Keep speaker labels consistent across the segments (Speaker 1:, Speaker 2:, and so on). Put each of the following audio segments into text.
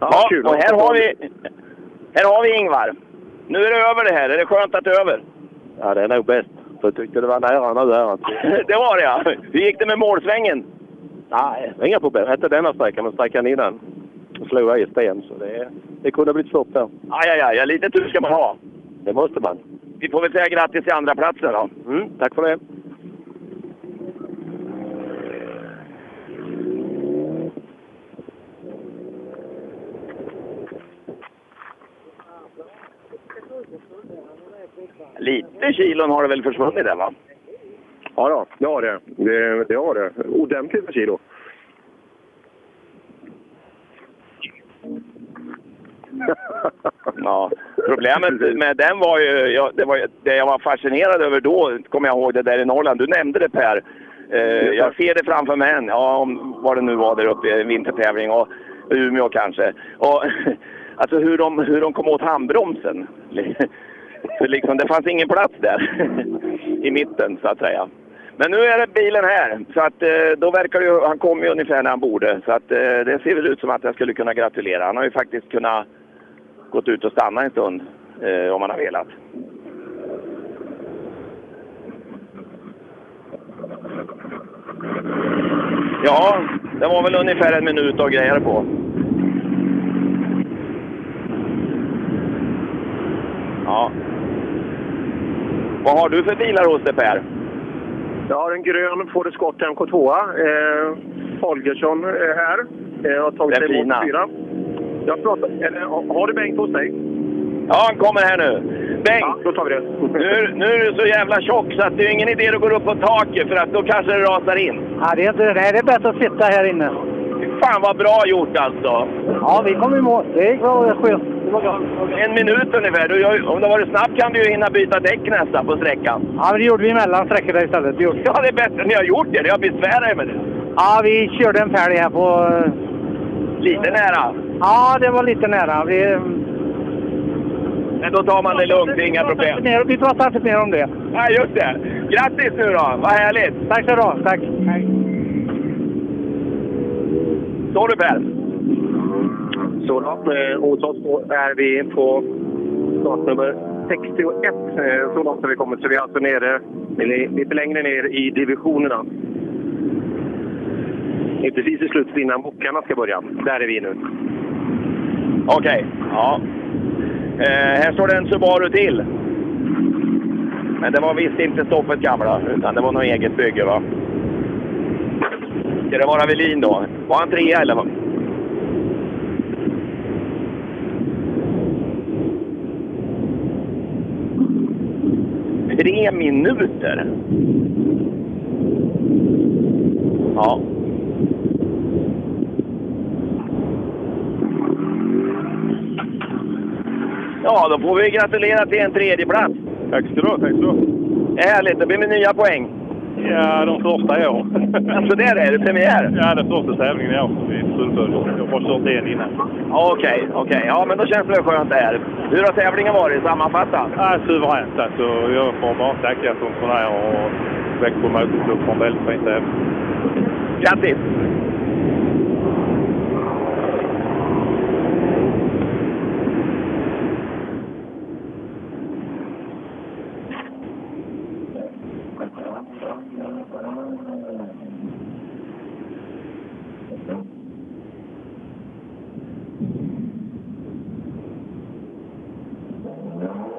Speaker 1: Ja,
Speaker 2: kul.
Speaker 1: och här har, vi, här har vi Ingvar. Nu är det över det här. Är det skönt att det är över?
Speaker 2: Ja, det är nog bäst. Jag tyckte det var nära nu. Här.
Speaker 1: det var det ja. Hur gick det med målsvängen?
Speaker 2: Nej, inga problem. Inte denna sträckan, men sträckan innan. Jag slog i sten, så det, det kunde ha blivit stopp där.
Speaker 1: Aj, aj, aj. Lite tur ska man ha.
Speaker 2: Det måste man.
Speaker 1: Vi får väl säga grattis till andra platsen då.
Speaker 2: Mm, tack för det.
Speaker 1: Lite kilon har det väl försvunnit där va?
Speaker 3: Ja, då, det har det. Det, det har det. Ordentligt med kilo.
Speaker 1: Ja. Problemet med den var ju, ja, det, var, ju- det jag var fascinerad över då, kommer jag ihåg det där i Norrland. Du nämnde det Per. Eh, jag ser det framför mig än, ja, om vad det nu var där uppe, eh, vintertävling och Umeå kanske. Och, alltså hur de, hur de kom åt handbromsen. Så liksom, det fanns ingen plats där i mitten så att säga. Men nu är det bilen här, så att eh, då verkar det ju, han kom ju ungefär när han borde. Så att eh, det ser väl ut som att jag skulle kunna gratulera. Han har ju faktiskt kunnat gått ut och stanna en stund eh, om man har velat. Ja, det var väl ungefär en minut och grejer på. Ja. Vad har du för bilar hos dig Per?
Speaker 3: Jag har en grön Ford Escort MK2. Eh, Holgersson är här. Eh, jag har tagit
Speaker 1: Den
Speaker 3: emot
Speaker 1: fina.
Speaker 3: fyra. Jag pratar, eller, har du Bengt hos dig?
Speaker 1: Ja, han kommer här nu.
Speaker 3: Ja,
Speaker 1: Bengt,
Speaker 3: då tar vi det.
Speaker 1: nu, nu är du så jävla tjock så att det är ingen idé att gå upp på taket för att då kanske det rasar in.
Speaker 4: Ja, det är inte det. Nej, det är bäst att sitta här inne.
Speaker 1: Fy Fan vad bra gjort alltså!
Speaker 4: Ja, vi kom i mål. Det gick bra. Det var schysst. Det var bra.
Speaker 1: En minut ungefär. Du, jag, om det har varit snabbt kan du ju hinna byta däck nästan på sträckan.
Speaker 4: Ja, men det gjorde vi mellan sträckorna istället. Det gjorde vi.
Speaker 1: Ja, det är bättre ni har gjort det. Jag besvärar er med det.
Speaker 4: Ja, vi körde en fälg här på...
Speaker 1: Lite nära.
Speaker 4: Ja, det var lite nära. Vi...
Speaker 1: Men då tar man det lugnt. Det är inga problem.
Speaker 4: Mer- Vi pratar inte mer om det.
Speaker 1: Nej, just det. Grattis nu då. Vad härligt.
Speaker 4: Tack så du ha. Tack.
Speaker 1: Står du Per?
Speaker 3: Så då, eh, hos oss då är vi på startnummer 61. Eh, så långt har vi kommit. Så vi är alltså nere, eller lite längre ner i divisionerna. Det är precis i slutet innan bockarna ska börja. Där är vi nu.
Speaker 1: Okej. Ja. Eh, här står det en Subaru till. Men det var visst inte Stoffet gamla, utan det var något eget bygge va? Ska det vara Velin då? Var han trea eller? vad? Tre minuter? Ja. Ja, då får vi gratulera till en tredje plats.
Speaker 5: Tack ska du ha, tack ska du ha.
Speaker 1: Härligt, det blir med nya poäng.
Speaker 5: Ja, de första i år.
Speaker 1: Alltså där är det premiär?
Speaker 5: ja, den första tävlingen i år som vi fullföljer. Jag har bara kört en innan.
Speaker 1: Okej, okej. Ja, men då känns det väl skönt det här. Hur har tävlingen varit? Sammanfatta.
Speaker 5: Ja, suveränt alltså. Jag får bara tacka funktionärer och Växjö Motorklubb för en väldigt fin tävling.
Speaker 1: Grattis!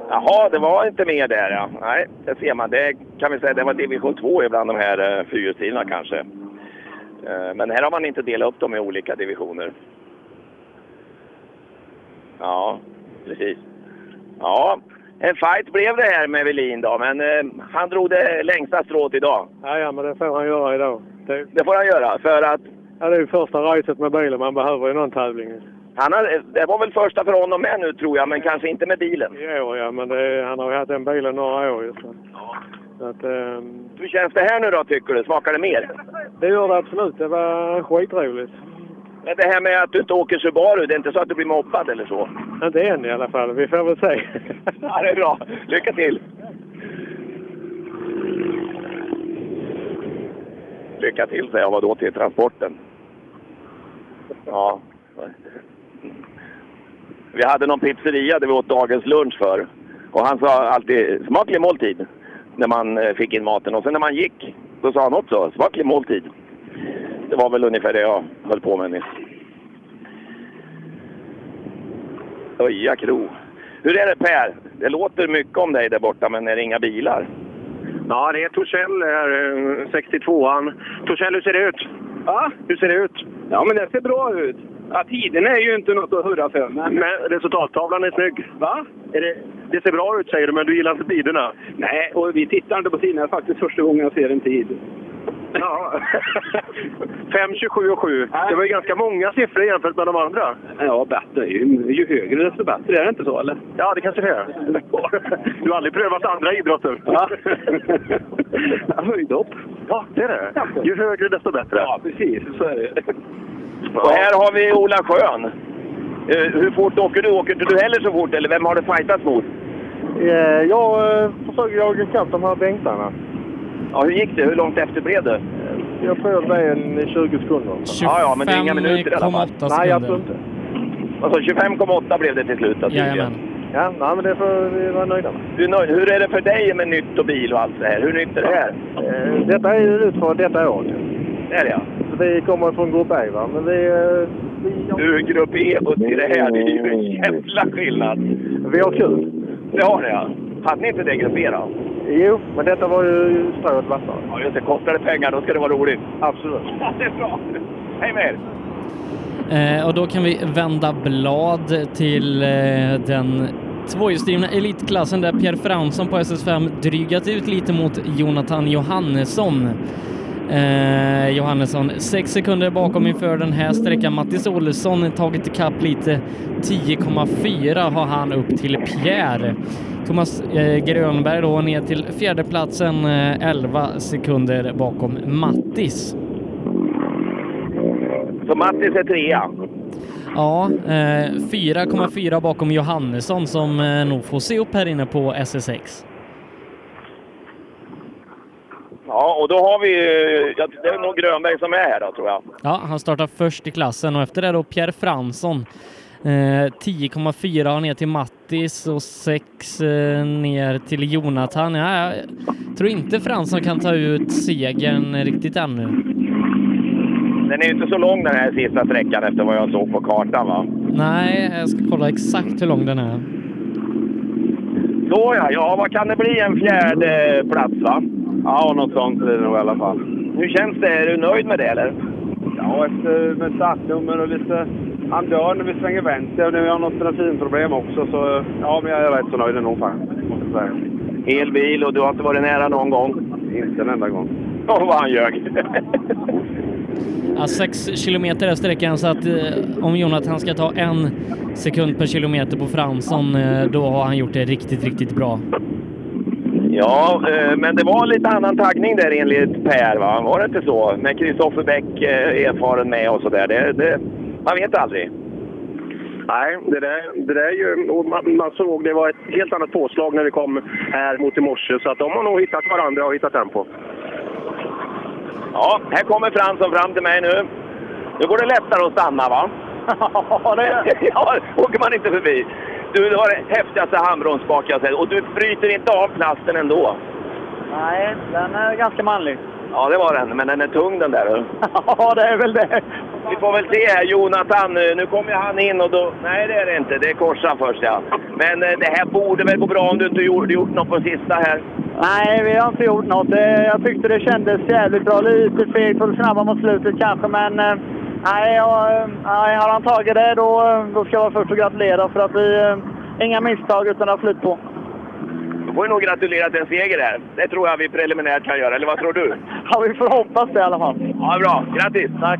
Speaker 1: Jaha, det var inte mer där ja. Nej, det ser man. Det kan vi säga, det var division 2 ibland de här eh, fyrhjulsdrivna kanske. Eh, Men här har man inte delat upp dem i olika divisioner. Ja, precis. Ja, en fight blev det här med Velin då, men eh, han drog det längsta strået idag.
Speaker 4: Ja, ja, men det får han göra idag. Det,
Speaker 1: Det får han göra, för att
Speaker 4: ja, det är ju första racet med bilen. Man behöver ju någon tävling.
Speaker 1: han har, eh, det var väl första för honom med nu tror jag, men kanske inte med bilen.
Speaker 4: I år, ja. Men det, han har ju haft den bilen några år. ju, Så, så att, ehm,
Speaker 1: Hur känns det här nu då tycker du? Smakar det mer?
Speaker 4: det gör det absolut. Det var skitroligt.
Speaker 1: Men det här med att du inte åker Subaru, det är inte så att du blir mobbad eller så?
Speaker 4: Inte än i alla fall. Vi får väl se.
Speaker 1: Ja, det är bra. Lycka till! Lycka till säger jag, vadå till transporten? Ja. Vi hade någon pizzeria där vi åt dagens lunch för. Och han sa alltid smaklig måltid när man eh, fick in maten. Och sen när man gick, då sa han också smaklig måltid. Det var väl ungefär det jag höll på med nyss. Öja kro. Hur är det Per? Det låter mycket om dig där borta, men är det inga bilar?
Speaker 3: Ja, det är Torssell här, eh, 62an. Torssell, hur ser det ut? Ja? Hur ser det ut? Ja, men det ser bra ut. Ja, tiden är ju inte något att hurra för. Men, resultattavlan är snygg. Va? Är det... det ser bra ut säger du, men du gillar inte tiderna? Nej, och vi tittar inte på tiderna. Det är faktiskt första gången jag ser en tid. Ja.
Speaker 6: 5, 27 och 7.
Speaker 3: Det var ju ganska många siffror jämfört med de andra. Ja, bättre. Ju, ju högre desto bättre. Är det inte så, eller? Ja, det kanske det är. Du har aldrig prövat andra idrotter? Ja. Höjdhopp. Ja, det är det. Ju högre desto bättre. Ja, precis. Så är det.
Speaker 1: Och här har vi Ola Schön. Eh, hur fort åker du? Åker inte du heller så fort? Eller vem har du fightat mot?
Speaker 7: Eh, Jag eh, försöker jaga ikapp de här bänktarna.
Speaker 1: Ja, hur gick det? Hur långt efter blev du?
Speaker 7: Jag tror det är en 20 sekunder.
Speaker 1: Ja, ja, men det är inga minuter i alla fall.
Speaker 8: 25,8
Speaker 7: Nej, absolut
Speaker 8: sekunder.
Speaker 7: inte.
Speaker 1: Alltså 25,8 blev det till slut. då, tydligen.
Speaker 8: Jajamän.
Speaker 7: Ja, nej, men det får vi vara nöjda med.
Speaker 1: Du är nöjd. Hur är det för dig med nytt och bil och allt det här? Hur nytt är det här?
Speaker 7: Eh, Detta är ju ut för detta året.
Speaker 1: Det är det, ja.
Speaker 7: Så Vi kommer från Grupp E, va? men vi, eh, vi,
Speaker 1: Du, grupp E och till det här, det är ju en jävla skillnad.
Speaker 7: vi har kul.
Speaker 1: Det har det, ja. Hade ni inte det grupp E då?
Speaker 7: Jo, men detta var ju strået vassare.
Speaker 1: Ja, just det. Kostar det pengar, då ska det vara roligt.
Speaker 7: Absolut.
Speaker 1: Ja, det är bra. Hej med er!
Speaker 8: Eh, och då kan vi vända blad till eh, den tvåhjulsdrivna elitklassen där Pierre Fransson på SS5 drygat ut lite mot Jonathan Johannesson. Eh, Johannesson sex sekunder bakom inför den här sträckan. Mattis Olsson har tagit ikapp lite. 10,4 har han upp till Pierre. Thomas eh, Grönberg då ner till fjärdeplatsen, eh, 11 sekunder bakom Mattis.
Speaker 1: Så Mattis är trea.
Speaker 8: Ja, eh, 4,4 bakom Johannesson som eh, nog får se upp här inne på SS6.
Speaker 1: Ja, och då har vi... eh, Ja, det är nog Grönberg som är här då, tror jag.
Speaker 8: Ja, han startar först i klassen och efter det då Pierre Fransson. Eh, 10,4 har ner till Mattis och 6 eh, ner till Jonathan. Ja, jag tror inte Fransson kan ta ut segern riktigt ännu.
Speaker 1: Den är ju inte så lång den här sista sträckan efter vad jag såg på kartan, va?
Speaker 8: Nej, jag ska kolla exakt hur lång den är.
Speaker 1: Nåja, ja vad kan det bli? En fjärde plats va? Ja, något sånt blir det nog i alla fall. Hur känns det? Är du nöjd med det eller?
Speaker 7: Ja, efter med startnummer och lite... Han dör när vi svänger vänster och nu har jag något bensinproblem också. Så ja, men jag är rätt så nöjd ändå faktiskt, måste jag säga.
Speaker 1: Hel bil och du har inte varit nära någon gång?
Speaker 7: Inte en enda gång.
Speaker 1: Åh, vad han ljög.
Speaker 8: Ja, sex kilometer är sträckan så att eh, om Jonathan ska ta en sekund per kilometer på Fransson eh, då har han gjort det riktigt, riktigt bra.
Speaker 1: ja, eh, men det var lite annan taggning där enligt Per va? Var det inte så? Med Kristoffer Bäck eh, erfaren med och sådär. Det, det, man vet aldrig.
Speaker 3: Nej, det där, det där är ju, och man, man såg det var ett helt annat påslag när vi kom här mot i morse. Så att de har nog hittat varandra och hittat tempo.
Speaker 1: Ja, här kommer Fransson fram till mig nu. Nu går det lättare att stanna va? Ja, det ja, åker man inte förbi. Du det var det häftigaste handbromsspak jag sett och du bryter inte av plasten ändå.
Speaker 9: Nej, den är ganska manlig.
Speaker 1: Ja, det var den, men den är tung den där. du.
Speaker 9: Ja, det är väl det.
Speaker 1: Vi får väl se här, Jonathan. eh, Nu kommer ju han in och då... Nej, det är det inte. Det är korsan först, ja. Men eh, det här borde väl gå bra om du inte gjort, gjort något på sista här.
Speaker 9: Nej, vi har inte gjort något. Det- Jag tyckte det kändes jävligt bra. Lite fegt och snabba mot slutet kanske, men... eh, Nej, jag, eh, nej, har han tagit det då, eh, då ska jag vara först och gratulera för att vi... eh, Inga misstag utan har flytt på.
Speaker 1: Då får vi nog gratulera till en seger här. Det tror jag vi preliminärt kan göra, eller vad tror du?
Speaker 9: Ja, vi får hoppas det i alla fall.
Speaker 1: Ja, bra. Grattis!
Speaker 9: Tack.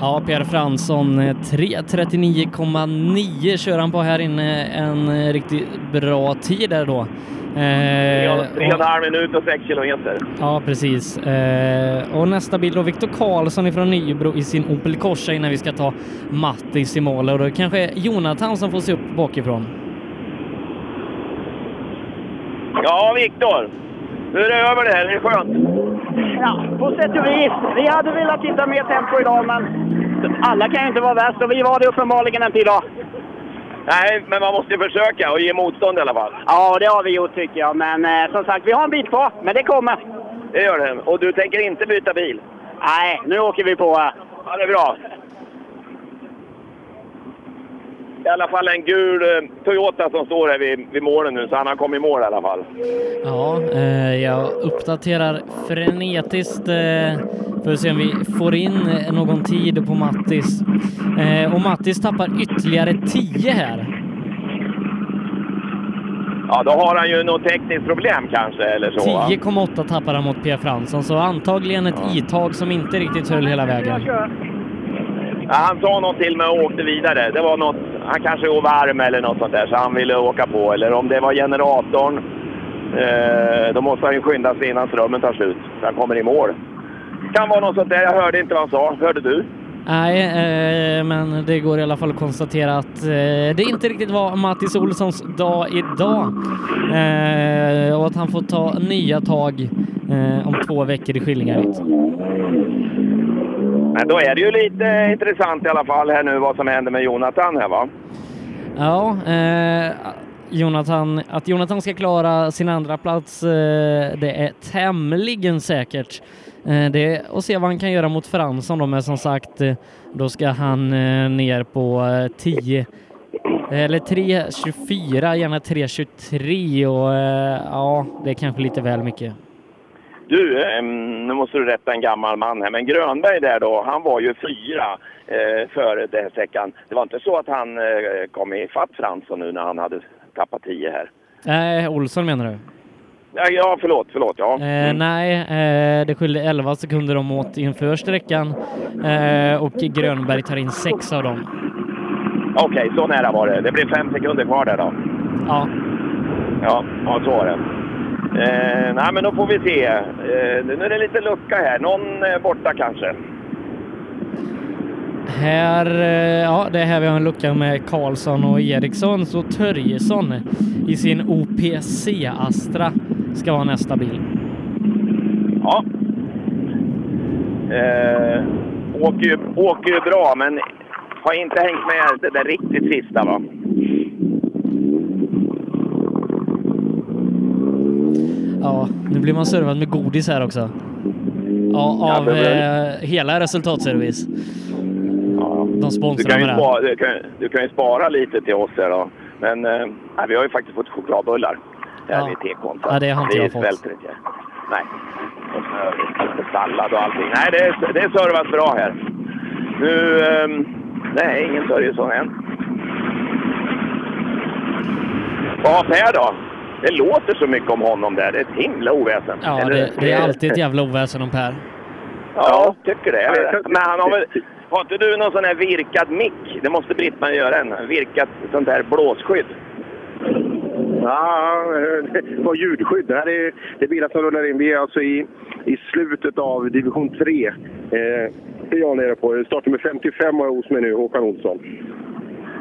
Speaker 8: Ja, Pierre Fransson, eh, 3.39,9 kör han på här inne. En eh, riktigt bra tid där då. Eh,
Speaker 1: Tre och- Tre och en
Speaker 8: och-
Speaker 1: halv minut och sex kilometer.
Speaker 8: ja, precis. Eh, och nästa bild då, Viktor Karlsson ifrån Nybro i sin Opel Corsa innan vi ska ta Mattis i mål. Och då kanske är Jonathan som får se upp bakifrån.
Speaker 1: Ja, Viktor. Nu är det över det här. Det är skönt.
Speaker 9: Ja, på sätt och vis. Vi hade velat hitta mer tempo idag, men alla kan ju inte vara värst och vi var det uppenbarligen inte idag.
Speaker 1: Nej, men man måste ju försöka och ge motstånd i alla fall.
Speaker 9: Ja, det har vi gjort tycker jag. Men eh, som sagt, vi har en bit kvar. Men det kommer.
Speaker 1: Det gör det. Och du tänker inte byta bil?
Speaker 9: Nej, nu åker vi på. här.
Speaker 1: Ja, det är bra. I alla fall en gul eh, Toyota som står här vid, vid målen nu, så han har kommit i mål i alla fall.
Speaker 8: Ja, eh, jag uppdaterar frenetiskt eh, för att se om vi får in eh, någon tid på Mattis. Eh, och Mattis tappar ytterligare 10 här.
Speaker 1: Ja, då har han ju något tekniskt problem kanske eller så. va?
Speaker 8: 10,8 tappar han mot Pia Fransson, så antagligen ett itag som inte riktigt höll hela vägen.
Speaker 1: Ja, han sa något till mig och åkte vidare. Det var något, han kanske går varm eller något sånt där, så han ville åka på. Eller om det var generatorn, eh, då måste han ju skynda sig innan strömmen tar slut, så han kommer i mål. Kan vara något sånt där, jag hörde inte vad han sa. Hörde du?
Speaker 8: Nej, eh, men det går i alla fall att konstatera att eh, det inte riktigt var Mattis Olssons dag idag. Eh, och att han får ta nya tag eh, om två veckor i Skillingaryd.
Speaker 1: Men då är det ju lite intressant i alla fall här nu vad som händer med Jonathan här va?
Speaker 8: Ja, eh, Jonathan, att Jonathan ska klara sin andra plats eh, det är tämligen säkert. Eh, det är att se vad han kan göra mot Fransson då, men som sagt, eh, då ska han eh, ner på eh, 10 eller 3.24, gärna 3.23 och eh, ja, det är kanske lite väl mycket.
Speaker 1: Du, ehm, nu måste du rätta en gammal man här, men Grönberg där då, han var ju fyra eh, före den här sträckan. Det var inte så att han eh, kom ifatt Fransson nu när han hade tappat tio här?
Speaker 8: Nej, Eh, Olsson menar du?
Speaker 1: Ja, Ja, förlåt, förlåt, ja.
Speaker 8: Eh, nej, eh, det skiljer 11 sekunder de åt inför sträckan eh, och Grönberg tar in sex av dem.
Speaker 1: Okej, så nära var det. Det blev fem sekunder kvar där då.
Speaker 8: Ja,
Speaker 1: Ja, ja så var det. Eh, nej, men då får vi se. Eh, nu är det lite lucka här. Någon eh, borta kanske.
Speaker 8: Här, eh, ja, det är här vi har en lucka med Karlsson och Eriksson, så Törjesson i sin OPC Astra ska vara nästa bil.
Speaker 1: Ja. Eh, åker, ju, åker ju bra, men har inte hängt med det där riktigt sista va.
Speaker 8: Ja, nu blir man servad med godis här också. Ja, av
Speaker 1: det
Speaker 8: eh,
Speaker 1: blir-
Speaker 8: hela resultatservice. De
Speaker 1: Du kan,
Speaker 8: sponsrar
Speaker 1: ju
Speaker 8: med det. här.
Speaker 1: spara, du, kan, du kan ju spara lite till oss här då. Men eh, nej, vi har ju faktiskt fått chokladbullar här
Speaker 8: Ja.
Speaker 1: vid tekon.
Speaker 8: Ja, det har inte jag
Speaker 1: vi
Speaker 8: fått.
Speaker 1: svälter inte. Nej. Och så lite sallad och allting. Nej, det är, det är servat bra här. Nu... ehm, nej, ingen Sörjesson än. Vad har Per då? Det låter så mycket om honom där. Det är ett himla oväsen.
Speaker 8: Ja,
Speaker 1: Eller-
Speaker 8: det, det är alltid ett jävla oväsen om Per.
Speaker 1: Ja, tycker det. Jag Typ. vet. Men han har väl... Har inte du någon sån här virkad mick? Det måste Britt-Marie göra en. Virkat sånt där blåsskydd.
Speaker 3: Ja, det var ljudskydd. Det här är, det är bilar som rullar in. Vi är alltså i, i slutet av division 3. Eh, det är jag nere på. Startnummer 55 har jag hos mig nu, Håkan Olsson.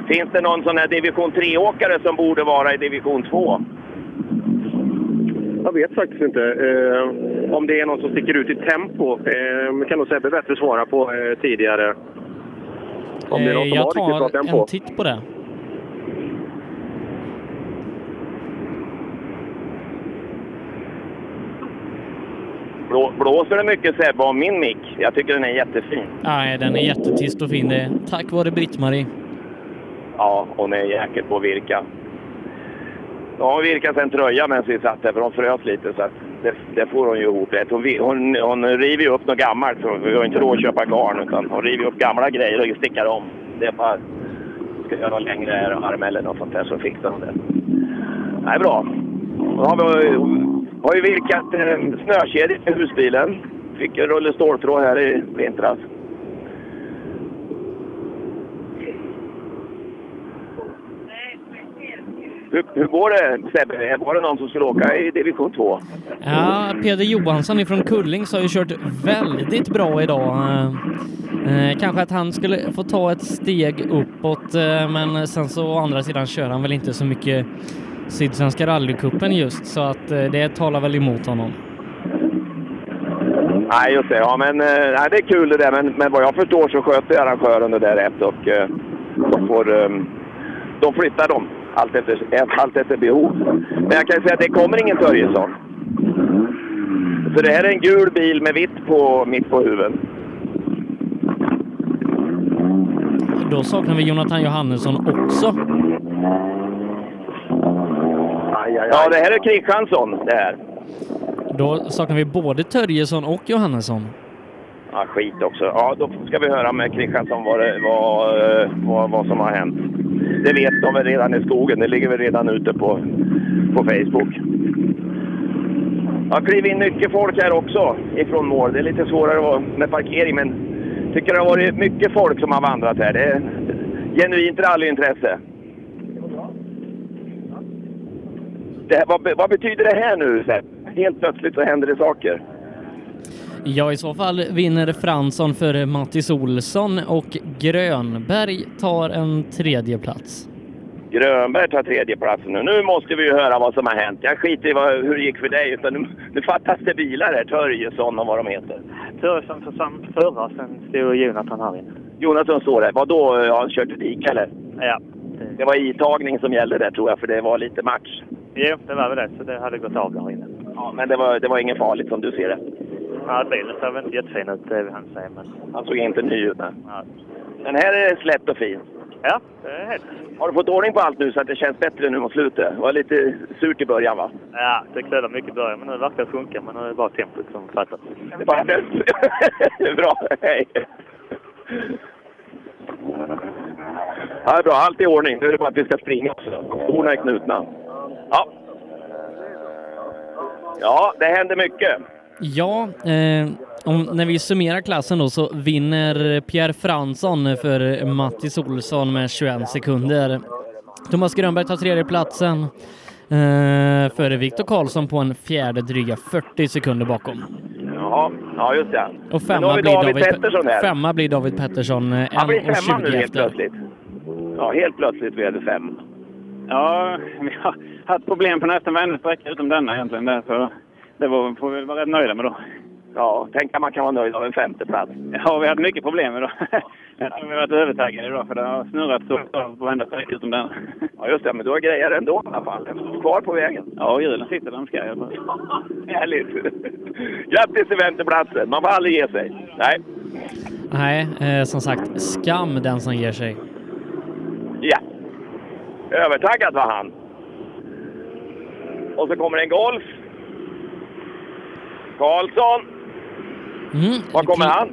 Speaker 1: Finns det någon sån här division 3-åkare som borde vara i division 2?
Speaker 3: Jag vet faktiskt inte eh, om det är någon som sticker ut i tempo. Eh, det kan nog Sebbe bättre svara på eh, tidigare. Om det är någon
Speaker 8: Eh,
Speaker 3: som har
Speaker 8: Jag
Speaker 3: riktigt bra
Speaker 8: tar
Speaker 3: tempo.
Speaker 8: en titt på det.
Speaker 1: Blå, blåser det mycket Sebbe om min mick? Jag tycker den är jättefin.
Speaker 8: Nej, den är jättetyst och fin. Det är tack vare Britt-Marie.
Speaker 1: Ja, och den är jäkligt på att virka. De har virkat en tröja medan vi satt här, för de frös lite. Så att det, det får hon ju ihop rätt. Hon, vi- hon, hon river ju upp något gammalt. För vi har inte råd att köpa garn, utan hon river upp gamla grejer och stickar om. Det är bara... Ska göra någon längre arm eller något sånt där, så fixar hon det. Nej, bra. Då har vi har ju virkat eh, snökedjor till husbilen. Fick en rulle ståltråd här i vintras. Hur, hur går det Sebbe? Var det någon som skulle åka i division 2?
Speaker 8: Ja, Peder Johansson ifrån Kullings har ju kört väldigt bra idag. Eh, eh, Kanske att han skulle få ta ett steg uppåt, eh, men sen så å andra sidan kör han väl inte så mycket Sydsvenska rallycupen just, så att eh, det talar väl emot honom.
Speaker 1: Nej, just det. Ja, men eh, nej, det är kul det där. Men, men vad jag förstår så sköter arrangören det där rätt och eh, de får, eh, de flyttar dem allt efter, allt efter behov. Men jag kan säga att det kommer ingen Börjesson. Så det här är en gul bil med vitt på, mitt på huvudet.
Speaker 8: Då saknar vi Jonathan Johannesson också.
Speaker 1: Ja, det här är Kristiansson det här.
Speaker 8: Då saknar vi både Törjesson och Johannesson.
Speaker 1: Ja, skit också. Ja, då ska vi höra med Kristiansson vad, det, vad, eh, vad, vad som har hänt. Det vet de väl redan i skogen. Det ligger väl redan ute på, på Facebook. Ja, kliv in mycket folk här också ifrån mål. Det är lite svårare att vara med parkering, men jag tycker det har varit mycket folk som har vandrat här. Det är genuint rallyintresse. Det här, vad, be- vad betyder det här nu? Sepp? Helt plötsligt så händer det saker.
Speaker 8: Ja, i så fall vinner Fransson för Mattis Olsson och Grönberg tar en tredje plats.
Speaker 1: Grönberg tar tredjeplatsen nu. Nu måste vi ju höra vad som har hänt. Jag skiter i vad, hur det gick för dig. Utan nu, nu fattas det bilar här. Törjesson och vad de heter.
Speaker 10: Turism för sam förra, sen stod Jonathan här inne.
Speaker 1: Jonasson står där. Vadå, eh, har han kört i dik eller?
Speaker 10: Ja.
Speaker 1: Det var itagning som gällde där tror jag, för det var lite match.
Speaker 10: Jo, det var väl det, så det hade gått av där inne.
Speaker 1: Ja, men det var, det var inget farligt som du ser det.
Speaker 10: Ja, bilen såg väl inte jättefin ut, det vill han säga, men...
Speaker 1: Han såg inte ny ut. nej. Den här är slätt och fin.
Speaker 10: Ja, det är helt...
Speaker 1: Har du fått ordning på allt nu så att det känns bättre nu mot slutet? Det var lite surt i början va?
Speaker 10: Ja, det kluddar mycket i början, men nu verkar det sjunka, men nu är det bara tempot som fattas.
Speaker 1: Det var bra, hej! Ja, det är bra. Allt i ordning. Nu är det bara att vi ska springa också. Skorna är knutna. Ja. Ja, det händer mycket.
Speaker 8: Ja, eh, om, när vi summerar klassen då så vinner Pierre Fransson för Mattis Olsson med 21 sekunder. Thomas Grönberg tar tredje platsen eh, före Viktor Karlsson på en fjärde dryga 40 sekunder bakom.
Speaker 1: Ja, ja just det.
Speaker 8: Och
Speaker 1: Men då
Speaker 8: femma
Speaker 1: har vi
Speaker 8: blir
Speaker 1: David,
Speaker 8: David, Pe-
Speaker 1: Pettersson här.
Speaker 8: femma blir David Pettersson, eh,
Speaker 1: Han blir femma
Speaker 8: 1.20
Speaker 1: nu helt
Speaker 8: efter.
Speaker 1: plötsligt. Ja, helt plötsligt blev det fem.
Speaker 11: Ja, vi har haft problem på nästan varenda sträcka utom denna egentligen. Där, så det var, får vi väl vara rätt nöjda med då.
Speaker 1: Ja, tänk att man kan vara nöjd av en femteplats.
Speaker 11: Ja, vi har haft mycket problem idag. Jag tror vi har varit övertaggade idag för det har snurrat så bra på varenda sträcka utom denna.
Speaker 1: Ja, just det. Men du har grejer ändå i alla fall. Kvar på vägen.
Speaker 11: Ja, hjulen sitter där de ska. Jag tror.
Speaker 1: Härligt! Grattis till femteplatsen! Man får aldrig ge sig. Nej.
Speaker 8: Nej, eh, som sagt, skam den som ger sig.
Speaker 1: Ja. Övertaggad var han. Och så kommer en Golf. Karlsson.
Speaker 8: Mm,
Speaker 1: Var kommer han?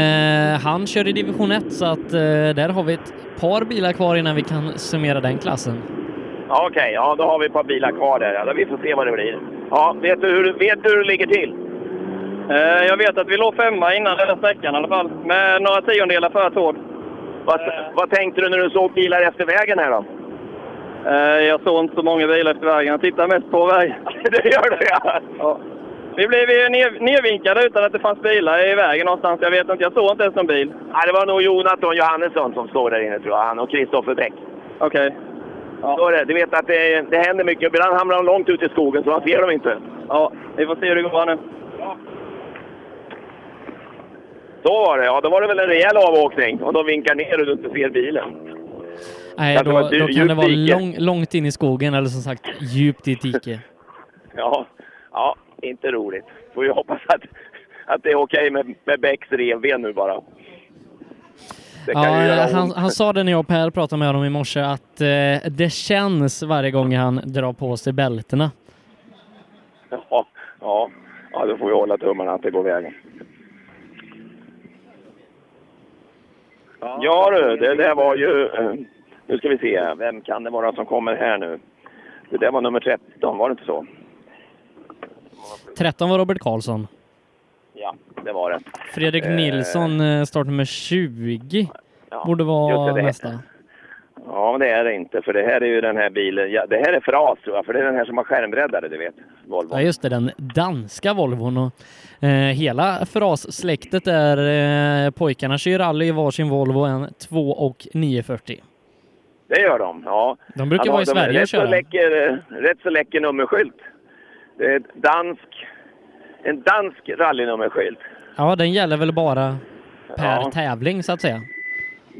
Speaker 8: Eh, han kör i division 1 så att eh, där har vi ett par bilar kvar innan vi kan summera den klassen.
Speaker 1: Ja, Okej, ja, då har vi ett par bilar kvar där. Ja, vi får se vad det blir. Ja, vet, du hur, vet du hur det ligger till?
Speaker 12: Eh, Jag vet att vi låg femma innan den här sträckan i alla fall, med några tiondelar för Tord.
Speaker 1: Vad, vad tänkte du när du såg bilar efter vägen här då?
Speaker 12: Eh, Jag såg inte så många bilar efter vägen, jag tittade mest på vägen.
Speaker 1: det gör du ja.
Speaker 12: Vi blev ju ner, nervinkade utan att det fanns bilar i vägen någonstans. Jag vet inte, jag såg inte ens någon bil.
Speaker 1: Ja, det var nog Jonathan Johannesson som står där inne tror jag. Han och Kristoffer Bäck.
Speaker 12: Okej.
Speaker 1: Så är det. Du vet att det, det händer mycket. Ibland hamnar de långt ut i skogen så man ser dem inte.
Speaker 12: Ja, vi får se hur det går nu.
Speaker 1: Så var det. Ja, då var det väl en rejäl avåkning. Och de vinkar ner och du inte ser bilen.
Speaker 8: Nej,
Speaker 1: Kan det
Speaker 8: då,
Speaker 1: vara ett
Speaker 8: då
Speaker 1: djupt
Speaker 8: kan det vara
Speaker 1: dike?
Speaker 8: lång, långt in i skogen eller som sagt djupt i ett dike.
Speaker 1: Ja, ja inte roligt. Får ju hoppas att, att det är okej med, med Becks revben nu bara. Det kan ju göra
Speaker 8: Ja,
Speaker 1: ont.
Speaker 8: han, han sa det när jag och Per pratade med honom i morse att eh, det känns varje gång han drar på sig bältena.
Speaker 1: Ja, ja. ja, då får vi hålla tummarna att det går vägen. Ja du, det där var ju... eh, Nu ska vi se, vem kan det vara som kommer här nu? Det där var nummer 13, var det inte så?
Speaker 8: 13 var Robert Karlsson.
Speaker 1: Ja, det var det.
Speaker 8: Fredrik
Speaker 1: Eh.
Speaker 8: Nilsson eh, startnummer 20
Speaker 1: Ja,
Speaker 8: borde vara
Speaker 1: just det, det-
Speaker 8: nästa.
Speaker 1: Ja, men det är det inte, för det här är ju den här bilen. Ja, det här är Fras tror jag, för det är den här som har skärmbreddare, du vet. Volvo.
Speaker 8: Ja, just det, den danska Volvon. Och, eh, hela Fras-släktet där eh, pojkarna kör rally i varsin Volvo, en 2 och 940.
Speaker 1: Det gör de, ja.
Speaker 8: De brukar
Speaker 1: Han har-
Speaker 8: vara i
Speaker 1: de är
Speaker 8: Sverige och
Speaker 1: rätt så
Speaker 8: köra.
Speaker 1: läcker, eh, Rätt så läcker nummerskylt. Det är ett dansk, en dansk rallynummerskylt.
Speaker 8: Ja, den gäller väl bara per
Speaker 1: Ja.
Speaker 8: tävling så att säga.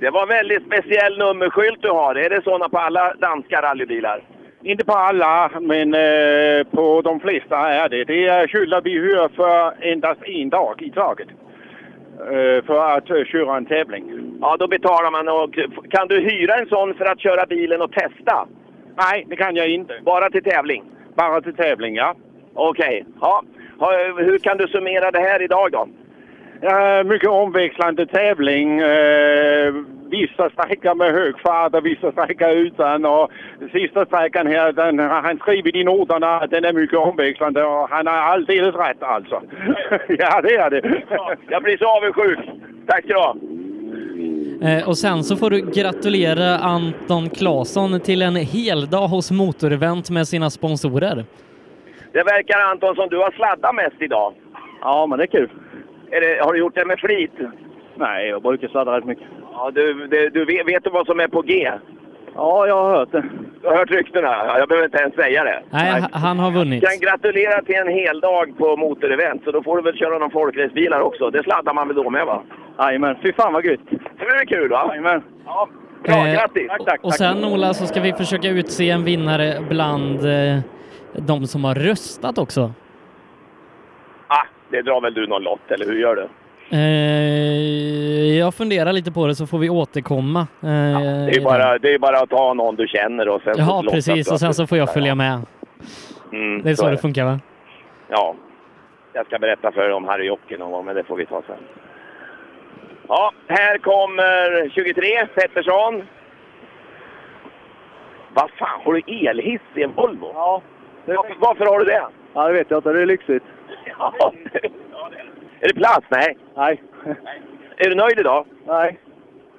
Speaker 1: Det var väldigt speciell nummerskylt du har. Är det såna på alla danska rallybilar?
Speaker 13: Inte på alla, men eh, på de flesta är det. Det är skyltar vi hyr för endast en dag i taget. Eh, för att eh, köra en tävling.
Speaker 1: Ja, då betalar man. Och, kan du hyra en sån för att köra bilen och testa?
Speaker 13: Nej, det kan jag inte.
Speaker 1: Bara till tävling?
Speaker 13: Bara till tävling, ja.
Speaker 1: Okej. Ja. Ha- Hur kan du summera det här idag då?
Speaker 13: Ja, mycket omväxlande tävling. Eh, vissa sträckor med hög fart och vissa sträckor utan. Och sista sträckan här, den har han skrivit i noterna att den är mycket omväxlande och han har alldeles rätt alltså. ja, det är det.
Speaker 1: Jag blir så avundsjuk. Tack ska du ha.
Speaker 8: Eh, Och sen så får du gratulera Anton Claesson till en hel dag hos Motorevent med sina sponsorer.
Speaker 1: Det verkar Anton som du har sladdat mest idag.
Speaker 4: Ja, men det är kul.
Speaker 1: Är det, har du gjort det med flit?
Speaker 4: Nej, jag brukar sladda rätt mycket.
Speaker 1: Ja, du, det, du vet, vet du vad som är på G?
Speaker 4: Ja, jag har hört det.
Speaker 1: Du har hört ryktena? Ja, Jag behöver inte ens säga det.
Speaker 8: Nej, h- han har vunnit.
Speaker 1: kan gratulera till en hel dag på motorevent, så då får du väl köra någon folkracebil här också. Det sladdar man väl då med va?
Speaker 4: Jajamän, fy fan vad grymt.
Speaker 1: Det är kul va?
Speaker 4: Jajamän.
Speaker 1: Ja, bra,
Speaker 8: Eh,
Speaker 1: grattis!
Speaker 8: Och sen Ola så ska vi försöka utse en vinnare bland eh, de som har röstat också.
Speaker 1: Ah, det drar väl du någon lott, eller hur gör du?
Speaker 8: Eh, jag funderar lite på det så får vi återkomma. Eh,
Speaker 1: Det är, bara, det är bara att ta någon du känner och sen så
Speaker 8: Ja,
Speaker 1: lottas
Speaker 8: precis.
Speaker 1: du
Speaker 8: Och sen
Speaker 1: att-
Speaker 8: så får jag följa med.
Speaker 1: Mm,
Speaker 8: Det är så
Speaker 1: är
Speaker 8: det funkar va?
Speaker 1: Ja. Jag ska berätta för er om Harry Jocke någon gång, men det får vi ta sen. Ja, här kommer 23, Pettersson. Vad fan, har du elhiss i en Volvo? Ja. Varför, varför har du det?
Speaker 4: Ja, det vet jag inte. Det är lyxigt.
Speaker 1: Ja, det- är det plats? Nej.
Speaker 4: Nej.
Speaker 1: Är du nöjd idag?
Speaker 4: Nej.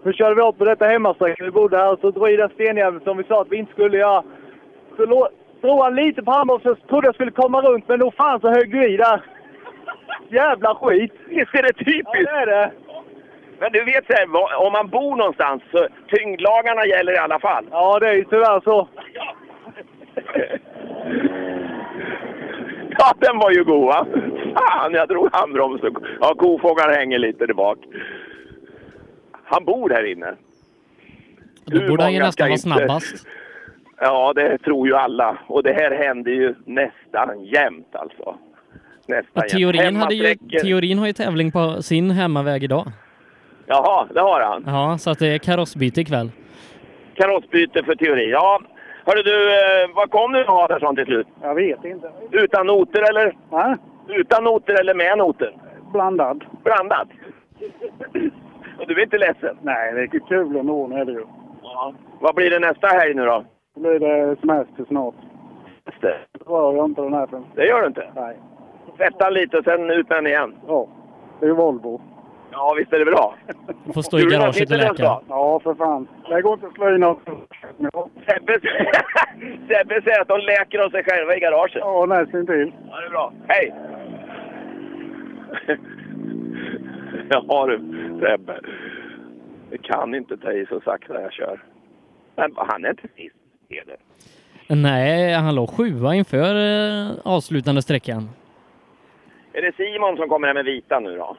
Speaker 4: Nu körde vi upp på detta hemmasträcka vi bodde här och så drog i den stenjäveln som vi sa att vi inte skulle göra. Så lå- drog han lite på handbromsen så trodde jag skulle komma runt men nog fan så högg du i där. Jävla skit!
Speaker 1: Visst är det typiskt?
Speaker 4: Ja, det är det.
Speaker 1: Men du vet så här, va- om man bor någonstans så tyngdlagarna gäller i alla fall.
Speaker 4: Ja, det är ju tyvärr så.
Speaker 1: Ja, den var ju god va? Fan, jag drog handbromsen. Ja, kofångaren hänger lite där bak. Han bor här inne.
Speaker 8: Då
Speaker 1: Hur
Speaker 8: borde han ju
Speaker 1: många
Speaker 8: nästan vara
Speaker 1: ska inte-
Speaker 8: snabbast.
Speaker 1: Ja, det tror ju alla. Och det här händer ju nästan jämt alltså. Nästan
Speaker 8: Och teorin,
Speaker 1: jämt.
Speaker 8: hade ju,
Speaker 1: Hemmasträckor-
Speaker 8: teorin har ju tävling på sin hemmaväg idag.
Speaker 1: Jaha, det har han.
Speaker 8: Ja, så att det är karossbyte ikväll.
Speaker 1: Karossbyte för teori. Ja, hörru du, eh, vad kom du Adarsson till slut?
Speaker 14: Jag vet inte.
Speaker 1: Utan noter eller?
Speaker 14: Va?
Speaker 1: Utan noter eller med noter?
Speaker 14: Blandad.
Speaker 1: Blandat. Och du är inte ledsen?
Speaker 14: Nej, det är kul att nå är det ju.
Speaker 1: Ja. Vad blir det nästa helg nu då?
Speaker 14: Då blir det semester snart.
Speaker 1: Semester?
Speaker 14: Då rör jag inte den här förrän.
Speaker 1: Det gör du inte?
Speaker 14: Nej.
Speaker 1: Tvätta lite och sen ut med den igen?
Speaker 14: Ja. Det är ju Volvo.
Speaker 1: Ja, visst är det bra?
Speaker 8: Får
Speaker 1: stå i Hur är det garaget och sitter läka. den då?
Speaker 14: Ja, för fan. Det går inte att slå in något.
Speaker 1: Sebbe Sebbe säger att de läker av sig själva i garaget.
Speaker 14: Ja, nästan till.
Speaker 1: Ja, det är bra. Hej! Ja du, Sebbe. Jag kan inte ta i så sakta jag kör. Men han är inte sist, är det.
Speaker 8: Nej, han låg sjua inför eh, avslutande sträckan.
Speaker 1: Är det Simon som kommer här med vita nu då?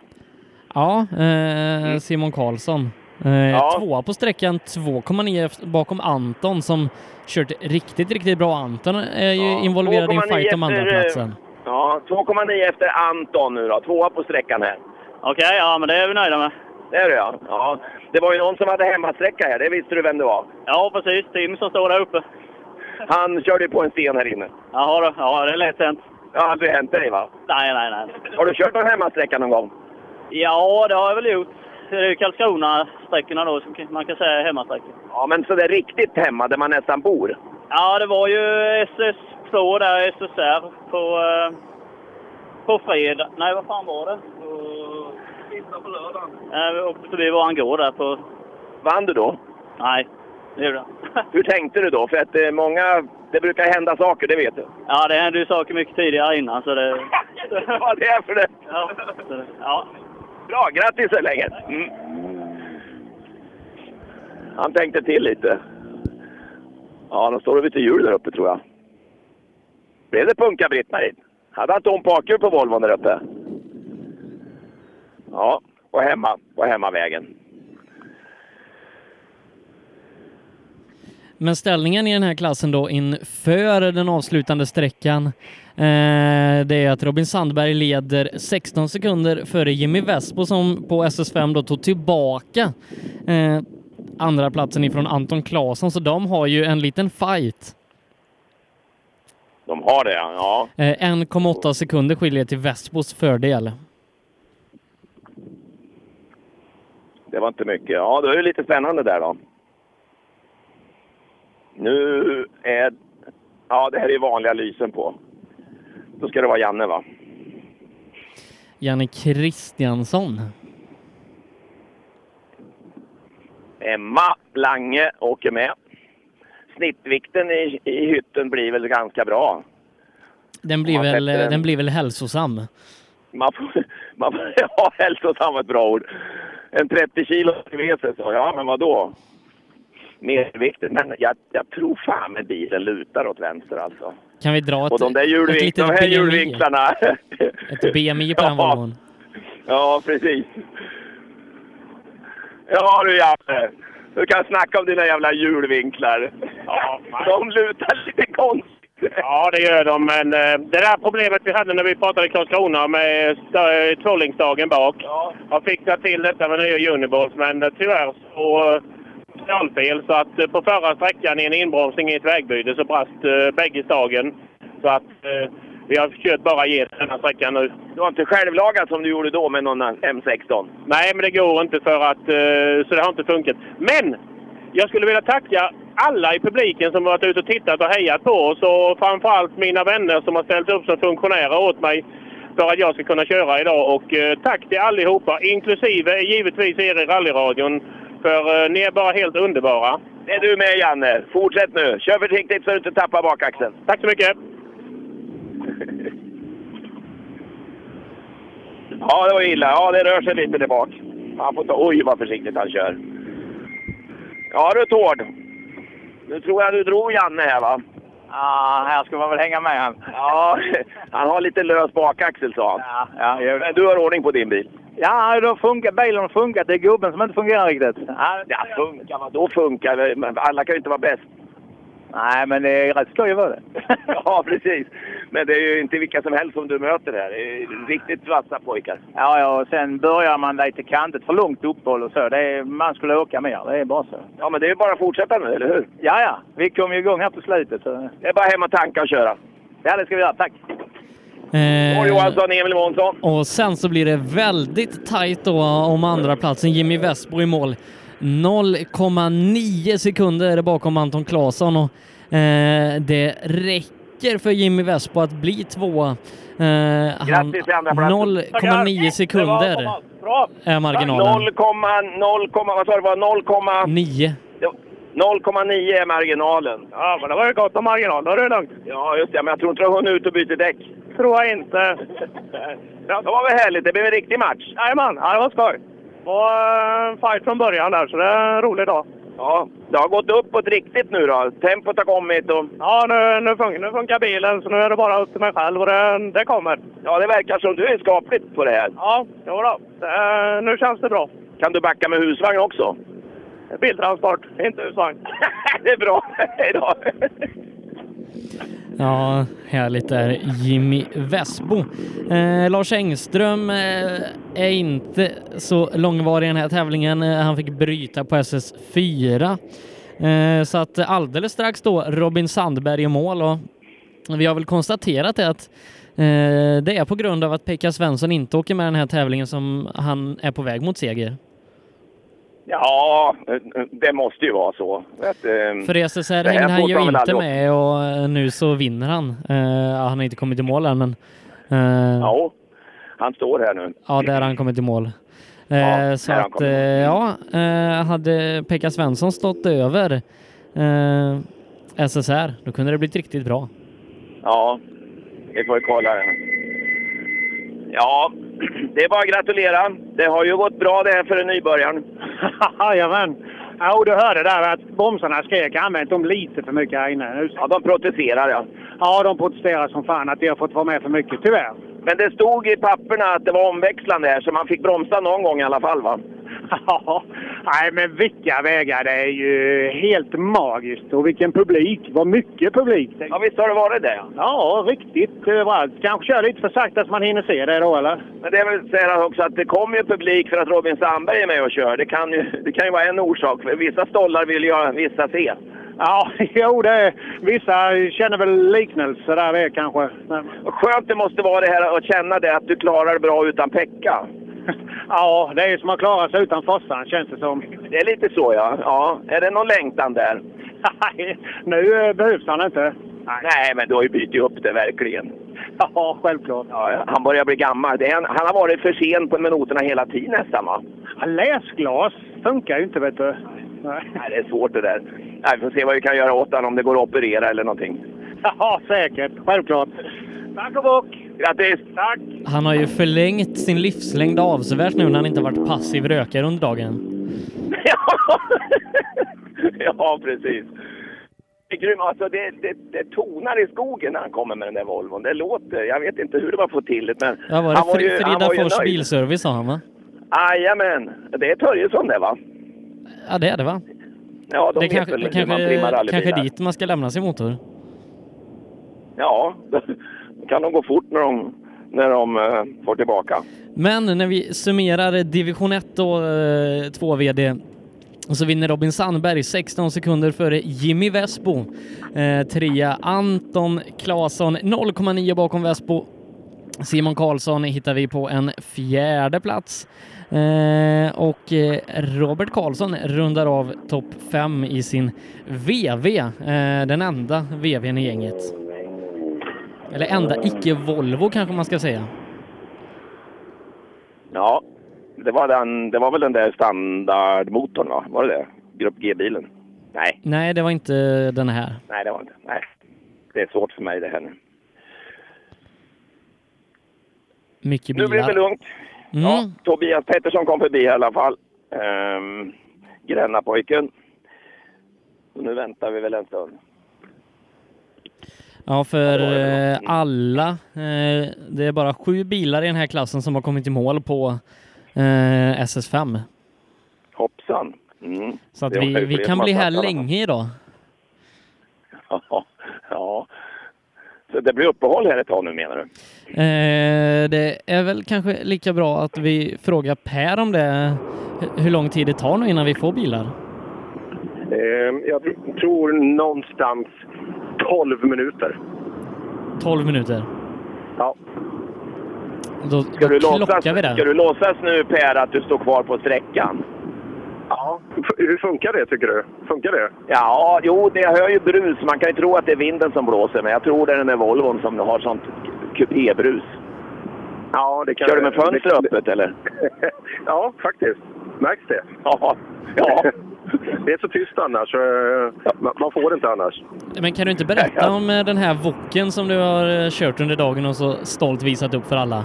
Speaker 8: Ja, eh, Simon Karlsson. Eh,
Speaker 1: Mm. Ja.
Speaker 8: Tvåa på sträckan, 2,9 efter- bakom Anton som kört riktigt, riktigt bra. Anton är ju involverad i en
Speaker 1: 2,9
Speaker 8: fight om
Speaker 1: efter,
Speaker 8: andraplatsen.
Speaker 1: eh, Ja, 2,9 efter Anton nu då. Tvåa på sträckan här.
Speaker 10: Okej, ja men det är vi nöjda med.
Speaker 1: Det är det ja. ja. Det var ju någon som hade hemmasträcka här. Det visste du vem det var.
Speaker 10: Ja precis, Tim som står där uppe.
Speaker 1: Han körde ju på en sten här inne.
Speaker 10: Jaha då, ja det är lätt hänt.
Speaker 1: Ja, hade det hänt dig va?
Speaker 10: Nej, nej, nej.
Speaker 1: Har du kört någon hemmasträcka någon gång?
Speaker 10: Ja, det har jag väl gjort. Det är ju Karlskrona-sträckorna då, som man kan säga är hemmasträckor.
Speaker 1: Ja, men så där riktigt hemma där man nästan bor.
Speaker 10: Ja, det var ju SS2 där, SSR, på, eh, på fredag. Nej, vad fan var det?
Speaker 3: Sista på lördagen.
Speaker 10: Eh, Vi åkte förbi våran gård där på...
Speaker 1: Vann du då?
Speaker 10: Nej, det gjorde jag inte.
Speaker 1: Hur tänkte du då? För att eh, många... Det brukar hända saker, det vet du.
Speaker 10: Ja, det hände ju saker mycket tidigare innan så det...
Speaker 1: Vad det är för det?
Speaker 10: Ja, så det- ja.
Speaker 1: Bra, grattis så länge! Mm. Han tänkte till lite. Ja, de står lite hjul där uppe tror jag. Blev det punka Britt-Marie? Hade han tom bakhjul på Volvon där uppe? Ja, och hemma. På hemmavägen.
Speaker 8: Men ställningen i den här klassen då inför den avslutande sträckan, eh, det är att Robin Sandberg leder 16 sekunder före Jimmy Vespo som på SS5 då tog tillbaka eh, andra platsen ifrån Anton Claesson, så de har ju en liten fight.
Speaker 1: De har det, ja.
Speaker 8: Eh, 1,8 sekunder skiljer till Vesbos fördel.
Speaker 1: Det var inte mycket. Ja, det var ju lite spännande där då. Nu är... Ja, det här är vanliga lysen på. Då ska det vara Janne, va?
Speaker 8: Janne Kristiansson.
Speaker 1: Emma Lange åker med. Snittvikten i, i hytten blir väl ganska bra.
Speaker 8: Den blir,
Speaker 1: Ja,
Speaker 8: väl, eh,
Speaker 1: Petter.
Speaker 8: den blir väl hälsosam?
Speaker 1: Man får, man får ja, hälsosam är ett bra ord. En 30 kilo vete, sa jag. Men vadå? Merviktigt. Men jag, jag tror fan med bilen lutar åt vänster alltså.
Speaker 8: Kan vi dra ett,
Speaker 1: Och de där
Speaker 8: ett
Speaker 1: hjulvink-
Speaker 8: litet
Speaker 1: de här
Speaker 8: BMI?
Speaker 1: hjulvinklarna.
Speaker 8: Ett BMI på den Volvon.
Speaker 1: Ja, precis. Ja du Janne. Du kan snacka om dina jävla hjulvinklar. de lutar lite konstigt.
Speaker 15: Ja, det gör de, men eh, det där problemet vi hade när vi pratade i Karlskrona med st- eh, tvålingsdagen bak. Jag fixat till detta med nya Uniballs, men eh, tyvärr så eh, totalfel. Så att eh, på förra sträckan i en inbromsning i ett vägbyte så brast eh, bägge stagen. Så att eh, vi har försökt bara ge den här sträckan nu.
Speaker 1: Du har inte självlagat som du gjorde då med någon M16?
Speaker 15: Nej, men det går inte för att... eh, Så det har inte funkat. Men! Jag skulle vilja tacka alla i publiken som varit ute och tittat och hejat på oss och framförallt mina vänner som har ställt upp som funktionärer åt mig för att jag ska kunna köra idag. Och eh, tack till allihopa, inklusive givetvis er i rallyradion, för eh, ni är bara helt underbara.
Speaker 1: Det är du med Janne. Fortsätt nu. Kör försiktigt så du inte tappar bakaxeln.
Speaker 15: Tack så mycket.
Speaker 1: Ja, det var illa. Ja, det rör sig lite där bak. Han får ta... Oj, vad försiktigt han kör. Ja du Tord. Nu tror jag du drog Janne här va?
Speaker 16: Ja, här ska man väl hänga med han.
Speaker 1: Ja, han har lite lös bakaxel sa han.
Speaker 16: ja, jag-
Speaker 1: Men du har ordning på din bil?
Speaker 16: Ja, då funkar bilen har funkat. Det är gubben som inte fungerar riktigt. Ja,
Speaker 1: Ja, funkar. Vadå funkar? Men Alla kan ju inte vara bäst.
Speaker 16: Nej, men det är rätt skoj att vara det.
Speaker 1: Ja, precis. Men det är ju inte vilka som helst som du möter här. Det är ju riktigt vassa pojkar.
Speaker 16: Ja, ja, och sen börjar man lite kantigt. För långt uppehåll och så. Det är, man skulle åka mer. Det är bara så.
Speaker 1: Ja, men det är ju bara att fortsätta nu, eller hur?
Speaker 16: Ja, ja. Vi kom ju igång här på slutet. Så.
Speaker 1: Det är bara hem och tanka och köra.
Speaker 16: Ja, det ska vi göra. Tack.
Speaker 8: Eh,
Speaker 1: Tord Johansson, Emil Månsson.
Speaker 8: Och sen så blir det väldigt tajt då om andra platsen. Jimmy Westbo i mål. 0,9 sekunder bakom Anton Claesson och eh, det räcker för Jimmy Westbo att bli tvåa. Eh, han-
Speaker 1: Grattis till andra platsen.
Speaker 8: 0,9
Speaker 1: Det
Speaker 8: sekunder
Speaker 1: var Bra!
Speaker 8: är marginalen.
Speaker 1: 0,0, vad sa du? det var? 0,9
Speaker 8: 9.
Speaker 1: är marginalen. Ja, men det var ju gott om marginal. Då är det lugnt. Ja, just det. Men jag tror inte du har hunnit ut och byta däck.
Speaker 15: Tror jag inte.
Speaker 1: Ja, det var väl härligt. Det blev en riktig match.
Speaker 15: Jajamän, ja, det var skoj. Det var en fight från början där, så det är en rolig dag.
Speaker 1: Ja, det har gått uppåt riktigt nu då. Tempot har kommit och...
Speaker 15: Ja, nu, nu, funkar, nu funkar bilen, så nu är det bara upp till mig själv och det, det kommer.
Speaker 1: Ja, det verkar som du är skapligt på det här.
Speaker 15: Ja, jo då. Det, eh, nu känns det bra.
Speaker 1: Kan du backa med husvagn också?
Speaker 15: Biltransport, inte husvagn.
Speaker 1: det är bra. Hej då!
Speaker 8: Ja, härligt där. Jimmy Vesbo. Eh, Lars Engström eh, är inte så långvarig i den här tävlingen. Eh, han fick bryta på SS4. Eh, så att eh, alldeles strax då Robin Sandberg i mål och vi har väl konstaterat det att eh, det är på grund av att Pekka Svensson inte åker med i den här tävlingen som han är på väg mot seger.
Speaker 1: Ja, det måste ju vara så. Att, ehm,
Speaker 8: För SSR
Speaker 1: det här
Speaker 8: hängde han
Speaker 1: får
Speaker 8: ju
Speaker 1: man väl
Speaker 8: inte
Speaker 1: aldrig
Speaker 8: med och eh, nu så vinner han. Eh, ja, han har inte kommit i mål än men eh,
Speaker 1: Ja, han står här nu.
Speaker 8: Ja, där har han kommit i mål. Eh, så
Speaker 1: där har han
Speaker 8: att, eh,
Speaker 1: kommit.
Speaker 8: ja, eh, hade Pekka Svensson stått över eh, SSR, då kunde det blivit riktigt bra.
Speaker 1: Ja, vi får ju kolla det. Ja, det är bara att gratulera. Det har ju gått bra det här för en nybörjaren.
Speaker 17: Jajamän. Ja, och du hörde där att bromsarna skrek. Jag har använt dem lite för mycket här inne.
Speaker 1: Ja, de protesterar ja.
Speaker 17: Ja, de protesterar som fan att de har fått vara med för mycket, tyvärr.
Speaker 1: Men det stod i papperna att det var omväxlande här, så man fick bromsa någon gång i alla fall va?
Speaker 17: Ja, Nej, men vilka vägar! Det är ju helt magiskt. Och vilken publik! Vad mycket publik!
Speaker 1: Ja, visst har det varit det?
Speaker 17: Ja, riktigt
Speaker 5: eh,
Speaker 17: överallt. Kanske kör lite för sakta så man hinner se det då, eller?
Speaker 1: Men det vill säga också att det kommer ju publik för att Robin Sandberg är med och kör. Det kan ju, det kan ju vara en orsak. För Vissa stollar vill ju vissa se.
Speaker 17: Ja, jo, det
Speaker 5: Eh,
Speaker 17: är, vissa känner väl liknelse där det kanske. Men,
Speaker 1: Och skönt det måste vara det här att känna det att du klarar det bra utan Pekka.
Speaker 17: ja, det är ju som att klara sig utan Fossan, känns det som.
Speaker 1: Det är lite så ja. ja. Är det någon längtan där?
Speaker 17: Nej, nu eh, behövs han inte.
Speaker 1: Nej, men du har ju bytt upp det verkligen.
Speaker 17: Ja, självklart.
Speaker 1: Ja, ja. Han börjar bli gammal. Det är en, han har varit för sen på med noterna hela tiden nästan va?
Speaker 17: Läsglas funkar ju inte, vet du.
Speaker 1: Nej, det är svårt det där. Nej, vi får se vad vi kan göra åt honom, om det går att operera eller någonting.
Speaker 17: Ja, säkert. Självklart. Tack och bock!
Speaker 1: Grattis!
Speaker 17: Tack!
Speaker 8: Han har ju förlängt sin livslängd avsevärt nu när han inte varit passiv rökare under dagen.
Speaker 1: ja, precis. Det är grym. Alltså det, det, det tonar i skogen när han kommer med den där Volvon. Det låter. Jag vet inte hur det var få till det, men...
Speaker 8: Ja, var det
Speaker 1: han var ju-
Speaker 8: Fri-
Speaker 1: han var ju
Speaker 8: Frida Fors
Speaker 1: nöjd.
Speaker 8: bilservice sa han va?
Speaker 1: Jajamän! Det är Törjesson det, va?
Speaker 8: Ja det är det va?
Speaker 1: Ja, de
Speaker 8: det
Speaker 1: vet
Speaker 8: kanske,
Speaker 1: väl
Speaker 8: det
Speaker 1: hur man trimmar
Speaker 8: kanske,
Speaker 1: rallybilar.
Speaker 8: kanske dit man ska lämna sin motor.
Speaker 1: Ja, då kan de gå fort när de, när de eh, får tillbaka.
Speaker 8: Men när vi summerar division 1 och eh, 2 VD så vinner Robin Sandberg 16 sekunder före Jimmy Vespo. Eh, trea Anton Claesson 0,9 bakom Vespo. Simon Karlsson hittar vi på en fjärde plats. Eh, och eh, Robert Karlsson rundar av topp fem i sin VV, eh, den enda VVn i gänget. Eller enda icke-Volvo kanske man ska säga.
Speaker 1: Ja, det var, den, det var väl den där standardmotorn, va? Var det det? Grupp G-bilen? Nej,
Speaker 8: Nej, det var inte den här.
Speaker 1: nej det var inte. Nej. Det är svårt för mig det här nu.
Speaker 8: Mycket bilar.
Speaker 1: Nu blir det lugnt.
Speaker 8: Mm. Ja.
Speaker 1: Tobias Pettersson kom förbi i alla fall. Ehm, Grännapojken. Så nu väntar vi väl en stund.
Speaker 8: för eh, alla. Eh, det är bara sju bilar i den här klassen som har kommit i mål på eh, SS5.
Speaker 1: Hoppsan! Mm.
Speaker 8: Så att
Speaker 1: Det är
Speaker 8: vi,
Speaker 1: okej,
Speaker 8: vi
Speaker 1: för det
Speaker 8: kan
Speaker 1: som
Speaker 8: bli
Speaker 1: har
Speaker 8: här
Speaker 1: startat, va?
Speaker 8: länge idag.
Speaker 1: Ja, ja. Så det blir uppehåll här ett tag nu menar du?
Speaker 8: Eh, det är väl kanske lika bra att vi frågar Per om det. H- Hur lång tid det tar nu innan vi får bilar?
Speaker 3: Eh, jag tr- tror någonstans 12 minuter.
Speaker 8: 12 minuter.
Speaker 3: Ja.
Speaker 8: Då,
Speaker 1: Ska du,
Speaker 8: då klockar
Speaker 1: låtsas,
Speaker 8: vi det.
Speaker 1: ska du låtsas nu Per att du står kvar på sträckan?
Speaker 3: Ja. Hur funkar det tycker du? Funkar det?
Speaker 1: Ja, jo, det jag hör ju brus. Man kan ju tro att det är vinden som blåser, men jag tror det är den där Volvon som har sånt kupébrus.
Speaker 3: Ja, det kan
Speaker 1: Kör du med fönstret öppet eller?
Speaker 3: ja, faktiskt. Märks det?
Speaker 1: Ja. ja.
Speaker 3: det är så tyst annars. eh, Man man får det inte annars.
Speaker 8: Men kan du inte berätta om eh, den här voken som du har eh, kört under dagen och så stolt visat upp för alla?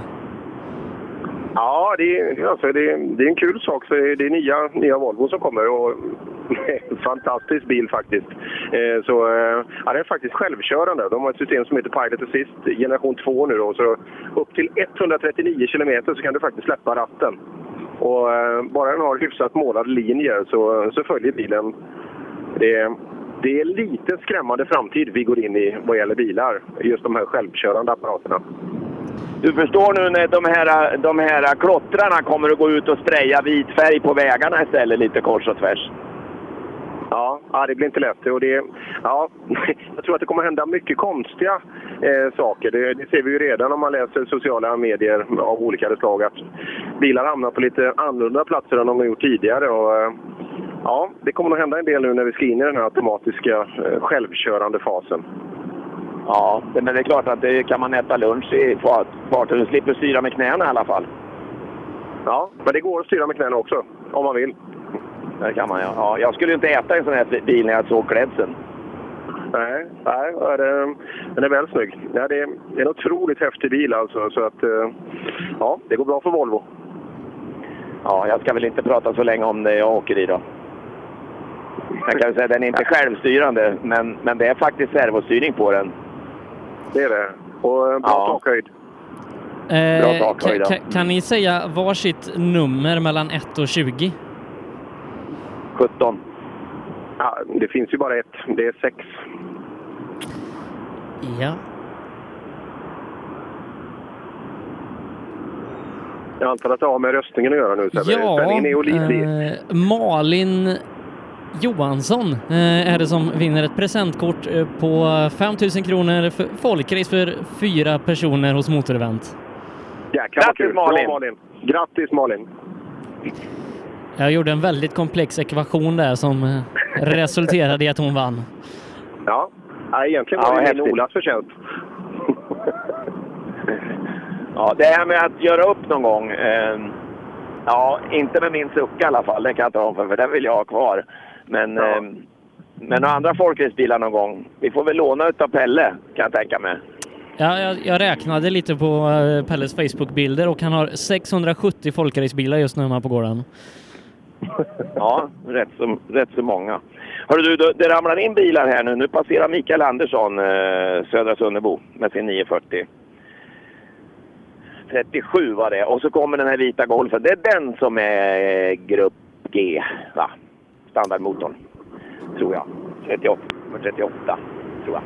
Speaker 3: Ja, det är, alltså, det, är, det är en kul sak för det är nya, nya Volvo som kommer. Och fantastisk bil faktiskt. Eh, så, eh, ja, den är faktiskt självkörande. De har ett system som heter Pilot Assist generation 2 nu. Då, så upp till 139 kilometer så kan du faktiskt släppa ratten. Och, eh, bara den har hyfsat målade linjer så, så följer bilen. Det, det är lite skrämmande framtid vi går in i vad gäller bilar. Just de här självkörande apparaterna.
Speaker 1: Du förstår nu när de här, de här klottrarna kommer att gå ut och spraya vit färg på vägarna istället lite kors och tvärs.
Speaker 3: Ja, ja, det blir inte lätt. Och det, ja, jag tror att det kommer hända mycket konstiga eh, saker. Det, det ser vi ju redan om man läser sociala medier av olika slag. Att bilar hamnar på lite annorlunda platser än de har gjort tidigare. Och, eh, ja, det kommer nog hända en del nu när vi ska in i den här automatiska eh, självkörande fasen.
Speaker 1: Ja, det- men det är klart att det kan man äta lunch i fart- farten. Du slipper styra med knäna i alla fall.
Speaker 3: Ja, men det går att styra med knäna också, om man vill.
Speaker 1: Det kan man ja. ja. Jag skulle ju inte äta en sån här bil när jag såg klädseln.
Speaker 3: Nej, nej ja, det, den är väl snygg. Ja, det är en otroligt häftig bil alltså. Så att, eh, ja, det går bra för Volvo.
Speaker 1: Ja, jag ska väl inte prata så länge om det jag åker i då. Jag kan väl säga att den är inte självstyrande, men, men det är faktiskt servostyrning på den.
Speaker 3: Det är det. Och eh, bra takhöjd.
Speaker 8: Eh,
Speaker 1: takhöjd,
Speaker 8: ka-
Speaker 1: ja.
Speaker 8: ka- kan ni säga varsitt nummer mellan 1 och 20?
Speaker 1: 17.
Speaker 3: Ja, det finns ju bara ett. Det är sex.
Speaker 8: Ja.
Speaker 3: Jag antar att det har med röstningen att göra nu Sebbe.
Speaker 8: Ja,
Speaker 3: Spänningen är ju olidlig.
Speaker 8: eh, Malin Johansson eh, är det som vinner ett presentkort eh, på 5 000 kronor för folkrace för fyra personer hos Motorevent.
Speaker 3: Jäklar vad kul. Bra, Malin. Grattis Malin!
Speaker 8: Jag gjorde en väldigt komplex ekvation där som eh, resulterade i att hon vann.
Speaker 3: Ja, ja egentligen var
Speaker 8: Ja,
Speaker 3: det min
Speaker 8: häftigt.
Speaker 3: Olas förtjänst.
Speaker 1: Ja, det här med att göra upp någon gång. Eh, ja, inte med min sucka i alla fall. Den kan jag inte ha för, för den vill jag ha kvar. Men, eh, men några andra folkracebilar någon gång. Vi får väl låna utav Pelle, kan jag tänka mig.
Speaker 8: Ja, jag, jag räknade lite på eh, Pelles Facebook-bilder och han har 670 folkracebilar just nu hemma på gården.
Speaker 1: Ja, rätt så, rätt så många. Hörru du, det- det ramlar in bilar här nu. Nu passerar Mikael Andersson eh, Södra Sunnebo med sin 940. 37 var det. Och så kommer den här vita Golfen. Det är den som är eh, Grupp G, va? Standardmotorn, tror jag. 38, nummer 38, tror jag.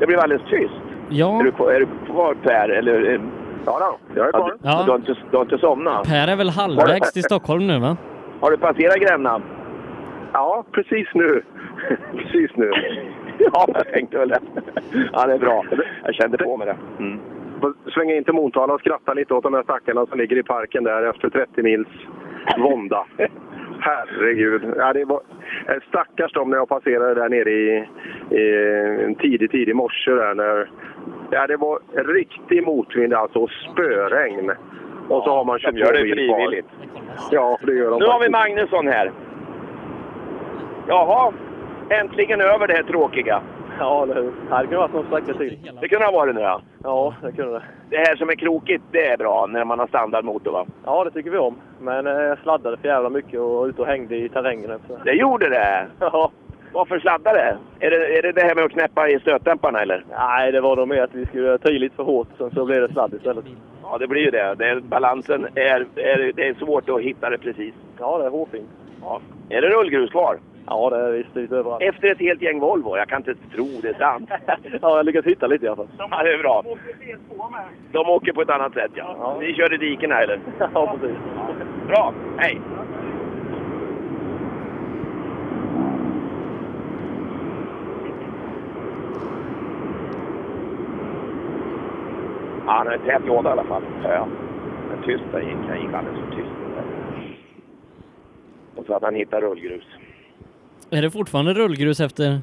Speaker 1: Det blev alldeles tyst.
Speaker 8: Ja.
Speaker 1: Är, du, kvar- är du kvar Per? Eller, eh, ja, då. jag är kvar. Du,
Speaker 8: Ja.
Speaker 1: du, har inte, du har inte somnat?
Speaker 8: Per är väl halvvägs till Stockholm nu va?
Speaker 1: Har du passerat Gränna? Ja, precis nu. precis nu. ja, jag tänkte väl det. Ja, det är bra. Jag kände på mig det.
Speaker 3: Svänga in till Motala och skratta lite åt de här stackarna som ligger i parken där efter 30 mils vånda. Herregud. Ja, det var... eh, Stackars dem när jag passerade där nere i, i tidig, tidig morse. Där när... ja, det var riktig motvind alltså och spöregn. Och så har man
Speaker 1: de gör det
Speaker 3: mil kvar.
Speaker 1: frivilligt.
Speaker 3: Ja, det gör de
Speaker 1: Nu har vi
Speaker 3: faktiskt.
Speaker 1: Magnusson här. Jaha, äntligen över det här tråkiga.
Speaker 5: Ja, eller hur. Ja, Det kunde ha varit någon stackare till.
Speaker 1: Det kunde ha varit nu ja.
Speaker 5: Ja, det kunde det.
Speaker 1: Det här som är krokigt, det är bra när man har standardmotor va?
Speaker 5: Ja, det tycker vi om. Men eh, jag sladdade för jävla mycket och var ute och hängde i terrängen. Så.
Speaker 1: Det gjorde det?
Speaker 5: Ja.
Speaker 1: Varför sladdade det? Är det, är det det här med att knäppa i stötdämparna eller?
Speaker 5: Nej, det var nog mer att vi skulle ta i lite för hårt, sen så blev det sladd istället.
Speaker 1: Ja, det blir ju det. det är, balansen är, är... Det är svårt att hitta det precis.
Speaker 5: Ja, det är hårfint.
Speaker 1: Ja. Är det rullgrus kvar?
Speaker 5: Ja, det är visst lite överallt.
Speaker 1: Efter ett helt gäng Volvo. Jag kan inte tro det är sant.
Speaker 5: Ja, jag lyckades hitta lite i alla fall.
Speaker 1: Ja, det är bra. De åker på ett annat sätt, ja. Ni kör i dikena, eller?
Speaker 5: Ja, precis.
Speaker 1: Bra, hej! Ja, han har en tät låda i alla fall. Ja, ja. Men tyst där gick han. gick alldeles för tyst. Och så att han hittar rullgrus.
Speaker 8: Är det fortfarande rullgrus efter eh,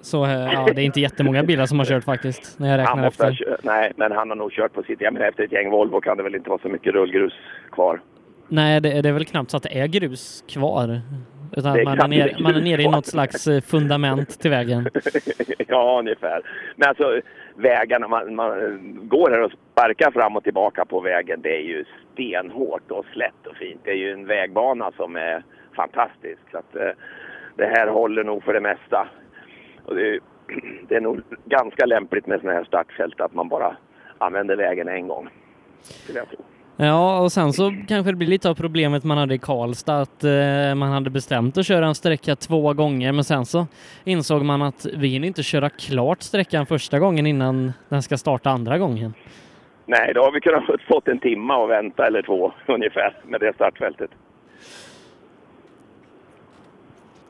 Speaker 8: så här? Ja, det är inte jättemånga bilar som har kört faktiskt när jag
Speaker 1: Han
Speaker 8: räknar
Speaker 1: måste ha
Speaker 8: efter.
Speaker 1: kö- nej, men han har nog kört på sitt... Jag menar, efter ett gäng Volvo kan det väl inte vara så mycket rullgrus kvar.
Speaker 8: Nej, det, det är väl knappt så att det är grus kvar. Utan
Speaker 1: Det är
Speaker 8: att man, är
Speaker 1: knappt
Speaker 8: nere,
Speaker 1: grus
Speaker 8: man är nere i
Speaker 1: kvar.
Speaker 8: något slags eh, fundament till vägen.
Speaker 1: ja, ungefär. Men alltså vägarna, man, man går här och sparkar fram och tillbaka på vägen. Det är ju stenhårt och slätt och fint. Det är ju en vägbana som är fantastisk. Så att, eh, det här håller nog för det mesta. Och det, är, det är nog ganska lämpligt med sådana här startfält att man bara använder vägen en gång. skulle jag tro.
Speaker 8: Ja, och sen så kanske det blir lite av problemet man hade i Karlstad att eh, man hade bestämt att köra en sträcka två gånger men sen så insåg man att vi hinner inte köra klart sträckan första gången innan den ska starta andra gången.
Speaker 1: Nej, då har vi kunnat fått- fått en timme att vänta eller två ungefär med det startfältet.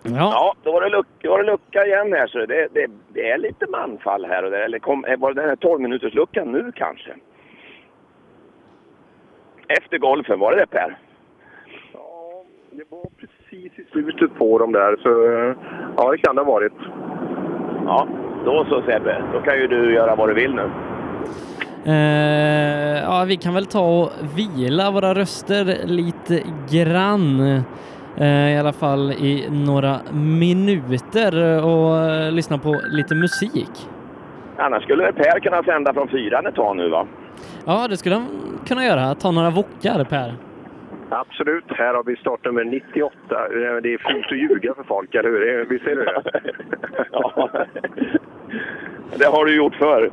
Speaker 8: Ja,
Speaker 1: då var det lucka, var det lucka igen här. Så det, det, det är lite manfall här och där. Eller kom, eh, var det den här 12 minuters luckan nu kanske? Efter golfen, var det det Per?
Speaker 3: slutet på dem där. Så eh, ja, det kan det ha varit.
Speaker 1: Ja, då så Sebbe. Då kan ju du göra vad du vill nu.
Speaker 8: Eh, ja, vi kan väl ta och vila våra röster lite grann. Eh, I alla fall i några minuter och eh, lyssna på lite musik.
Speaker 1: Annars skulle väl Per kunna sända från fyran ett tag nu va?
Speaker 8: Ja, det skulle han kunna göra. Ta några vokar, Per.
Speaker 3: Absolut. Här har vi startnummer 98. Eh, Det är fint att ljuga för folk, eller hur? Eh, Visst är det det?
Speaker 1: Ja. Det har du gjort förr.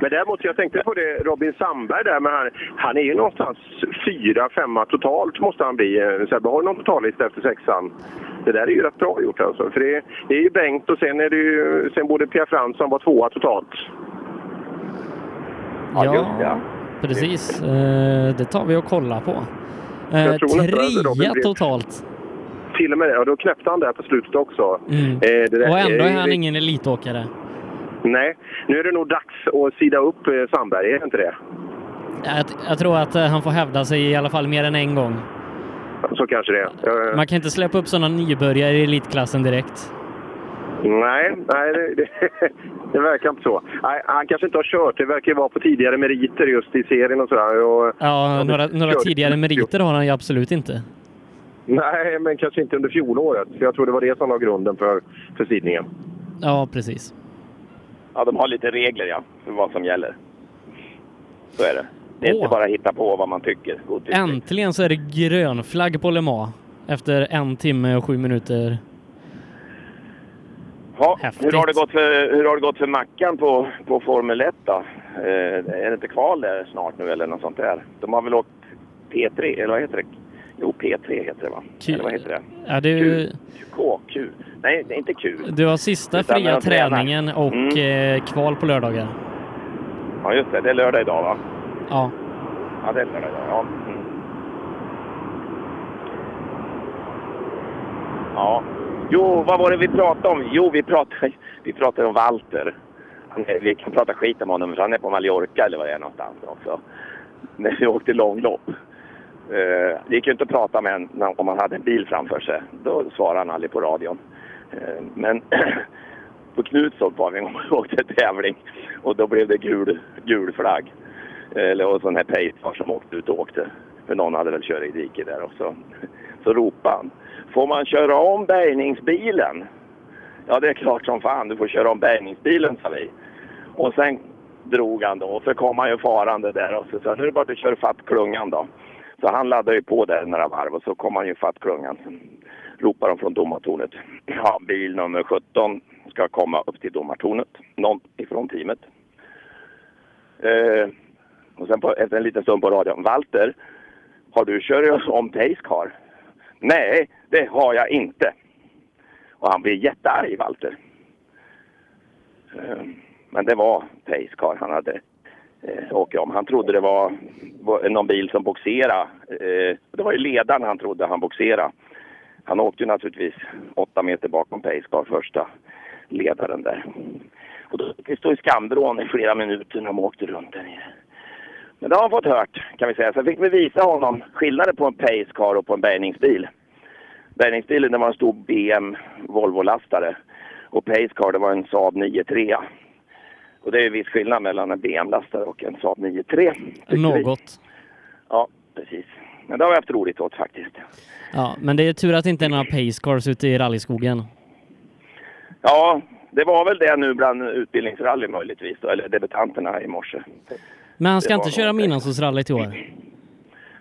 Speaker 3: Men däremot, jag tänkte på det, Robin Sandberg där, men han, han är ju någonstans fyra, femma totalt måste han bli. Eh, Sebbe, har du någon totallista efter sexan? Det där är ju rätt bra gjort alltså. För det, det är ju Bengt och sen är det ju, sen borde Pierre Fransson vara tvåa totalt. just det.
Speaker 8: precis. Eh, Det tar vi och kollar på. Eh,
Speaker 3: Jag tror nästan att Robin
Speaker 8: Trea
Speaker 3: blir-
Speaker 8: totalt.
Speaker 3: Till och med det, och då knäppte han där på slutet också.
Speaker 8: Mm.
Speaker 3: Eh, det där
Speaker 8: Och ändå är
Speaker 3: ju-
Speaker 8: han ingen elitåkare.
Speaker 3: Nej, nu är det nog dags att sida upp eh, Sandberg, är det inte det?
Speaker 8: Jag, jag tror att eh, han får hävda sig i alla fall mer än en gång.
Speaker 3: Så kanske det är. Jag-
Speaker 8: Man kan inte släppa upp sådana nybörjare i elitklassen direkt.
Speaker 3: Nej, nej det, det, det verkar inte så. Nej, han kanske inte har kört. Det verkar ju vara på tidigare meriter just i serien och sådär. Och,
Speaker 8: Ja, några, några
Speaker 3: kör.
Speaker 8: tidigare meriter har han ju absolut inte.
Speaker 3: nej, men kanske inte under fjolåret. För jag tror det var det som var grunden för, för sidningen.
Speaker 8: Ja, precis.
Speaker 1: Ja, de har lite regler ja, för vad som gäller. Så är det. Det är
Speaker 8: Åh.
Speaker 1: inte bara hitta på vad man tycker. godtyckligt.
Speaker 8: Äntligen så är det grön flagg på Le Mans efter en timme och sju minuter.
Speaker 1: Ja,
Speaker 8: Häftigt.
Speaker 1: hur, har det gått för, hur har det gått för Mackan på, på Formel 1 då? Eh, är det inte kval där snart nu eller något sånt där? De har väl åkt P3, eller vad heter det? Jo, P3 heter det va?
Speaker 8: Q-
Speaker 1: Eller vad heter det?
Speaker 8: Ja, du,
Speaker 1: K, Q. Nej, det är inte Q.
Speaker 8: du har sista
Speaker 1: Utan när
Speaker 8: fria
Speaker 1: de tränar.
Speaker 8: träningen och
Speaker 3: Mm.
Speaker 8: eh, kval på lördagar.
Speaker 1: Ja, just det. Det är lördag idag va?
Speaker 8: Ja.
Speaker 1: Ja, det är lördag idag. Ja. Mm. ja. Jo, vad var det vi pratade om? Jo, vi pratade, vi pratade om Walter. Han är, vi kan prata skit om honom, för han är på Mallorca eller vad det är någonstans också. När vi åkte långlopp. Eh, det gick ju inte att prata med honom om han hade en bil framför sig. Då svarade han aldrig på radion. Eh, men på Knutstorp var vi en gång och åkte tävling och då blev det gul, gul flagg. Eh, Eller och sån här pejsar som åkte ut och åkte. För någon hade väl kört i diket där också. Så ropade han. Får man köra om bärgningsbilen? Ja, det är klart som fan du får köra om bärgningsbilen, sa vi. Och sen drog han då och så kom han ju farande där och så sa nu är det bara att du kör fatt klungan då. Så han laddade ju på där några varv och så kom han ju fatt klungan. Sen ropade de från domartornet. Ja, bil nummer 17 ska komma upp till domartornet. Någon ifrån teamet. Eh, och sen på, efter en liten stund på radion. Walter, har du kört om Pacecar? Nej, det har jag inte. Och han blev jättearg, Walter. Eh, Men det var Pacecar han hade eh, åkt om. Han trodde det var, var någon bil som boxerade. Eh, det var ju ledaren han trodde han boxerade. Han åkte ju naturligtvis åtta meter bakom Pacecar, första ledaren där. Och då fick vi stå i skamvrån i flera minuter när de åkte runt där nere. Men det har han fått hört, kan vi säga. Sen fick vi visa honom skillnaden på en Pacecar och på en bärgningsbil. Bärgningsbilen det var en stor BM Volvo-lastare och Pacecar det var en Saab 9-3. Och det är ju viss skillnad mellan en BM-lastare och en Saab 9-3.
Speaker 8: Något.
Speaker 1: Ja, precis. Men det har vi haft roligt åt faktiskt.
Speaker 8: Ja, men det är tur att det inte är några pacecars ute i rallyskogen.
Speaker 1: Ja, det var väl det nu bland utbildningsrally möjligtvis, då, eller debutanterna i morse.
Speaker 8: Men han ska
Speaker 1: Det
Speaker 8: inte
Speaker 1: var
Speaker 8: köra Midnattssolsrallyt i år?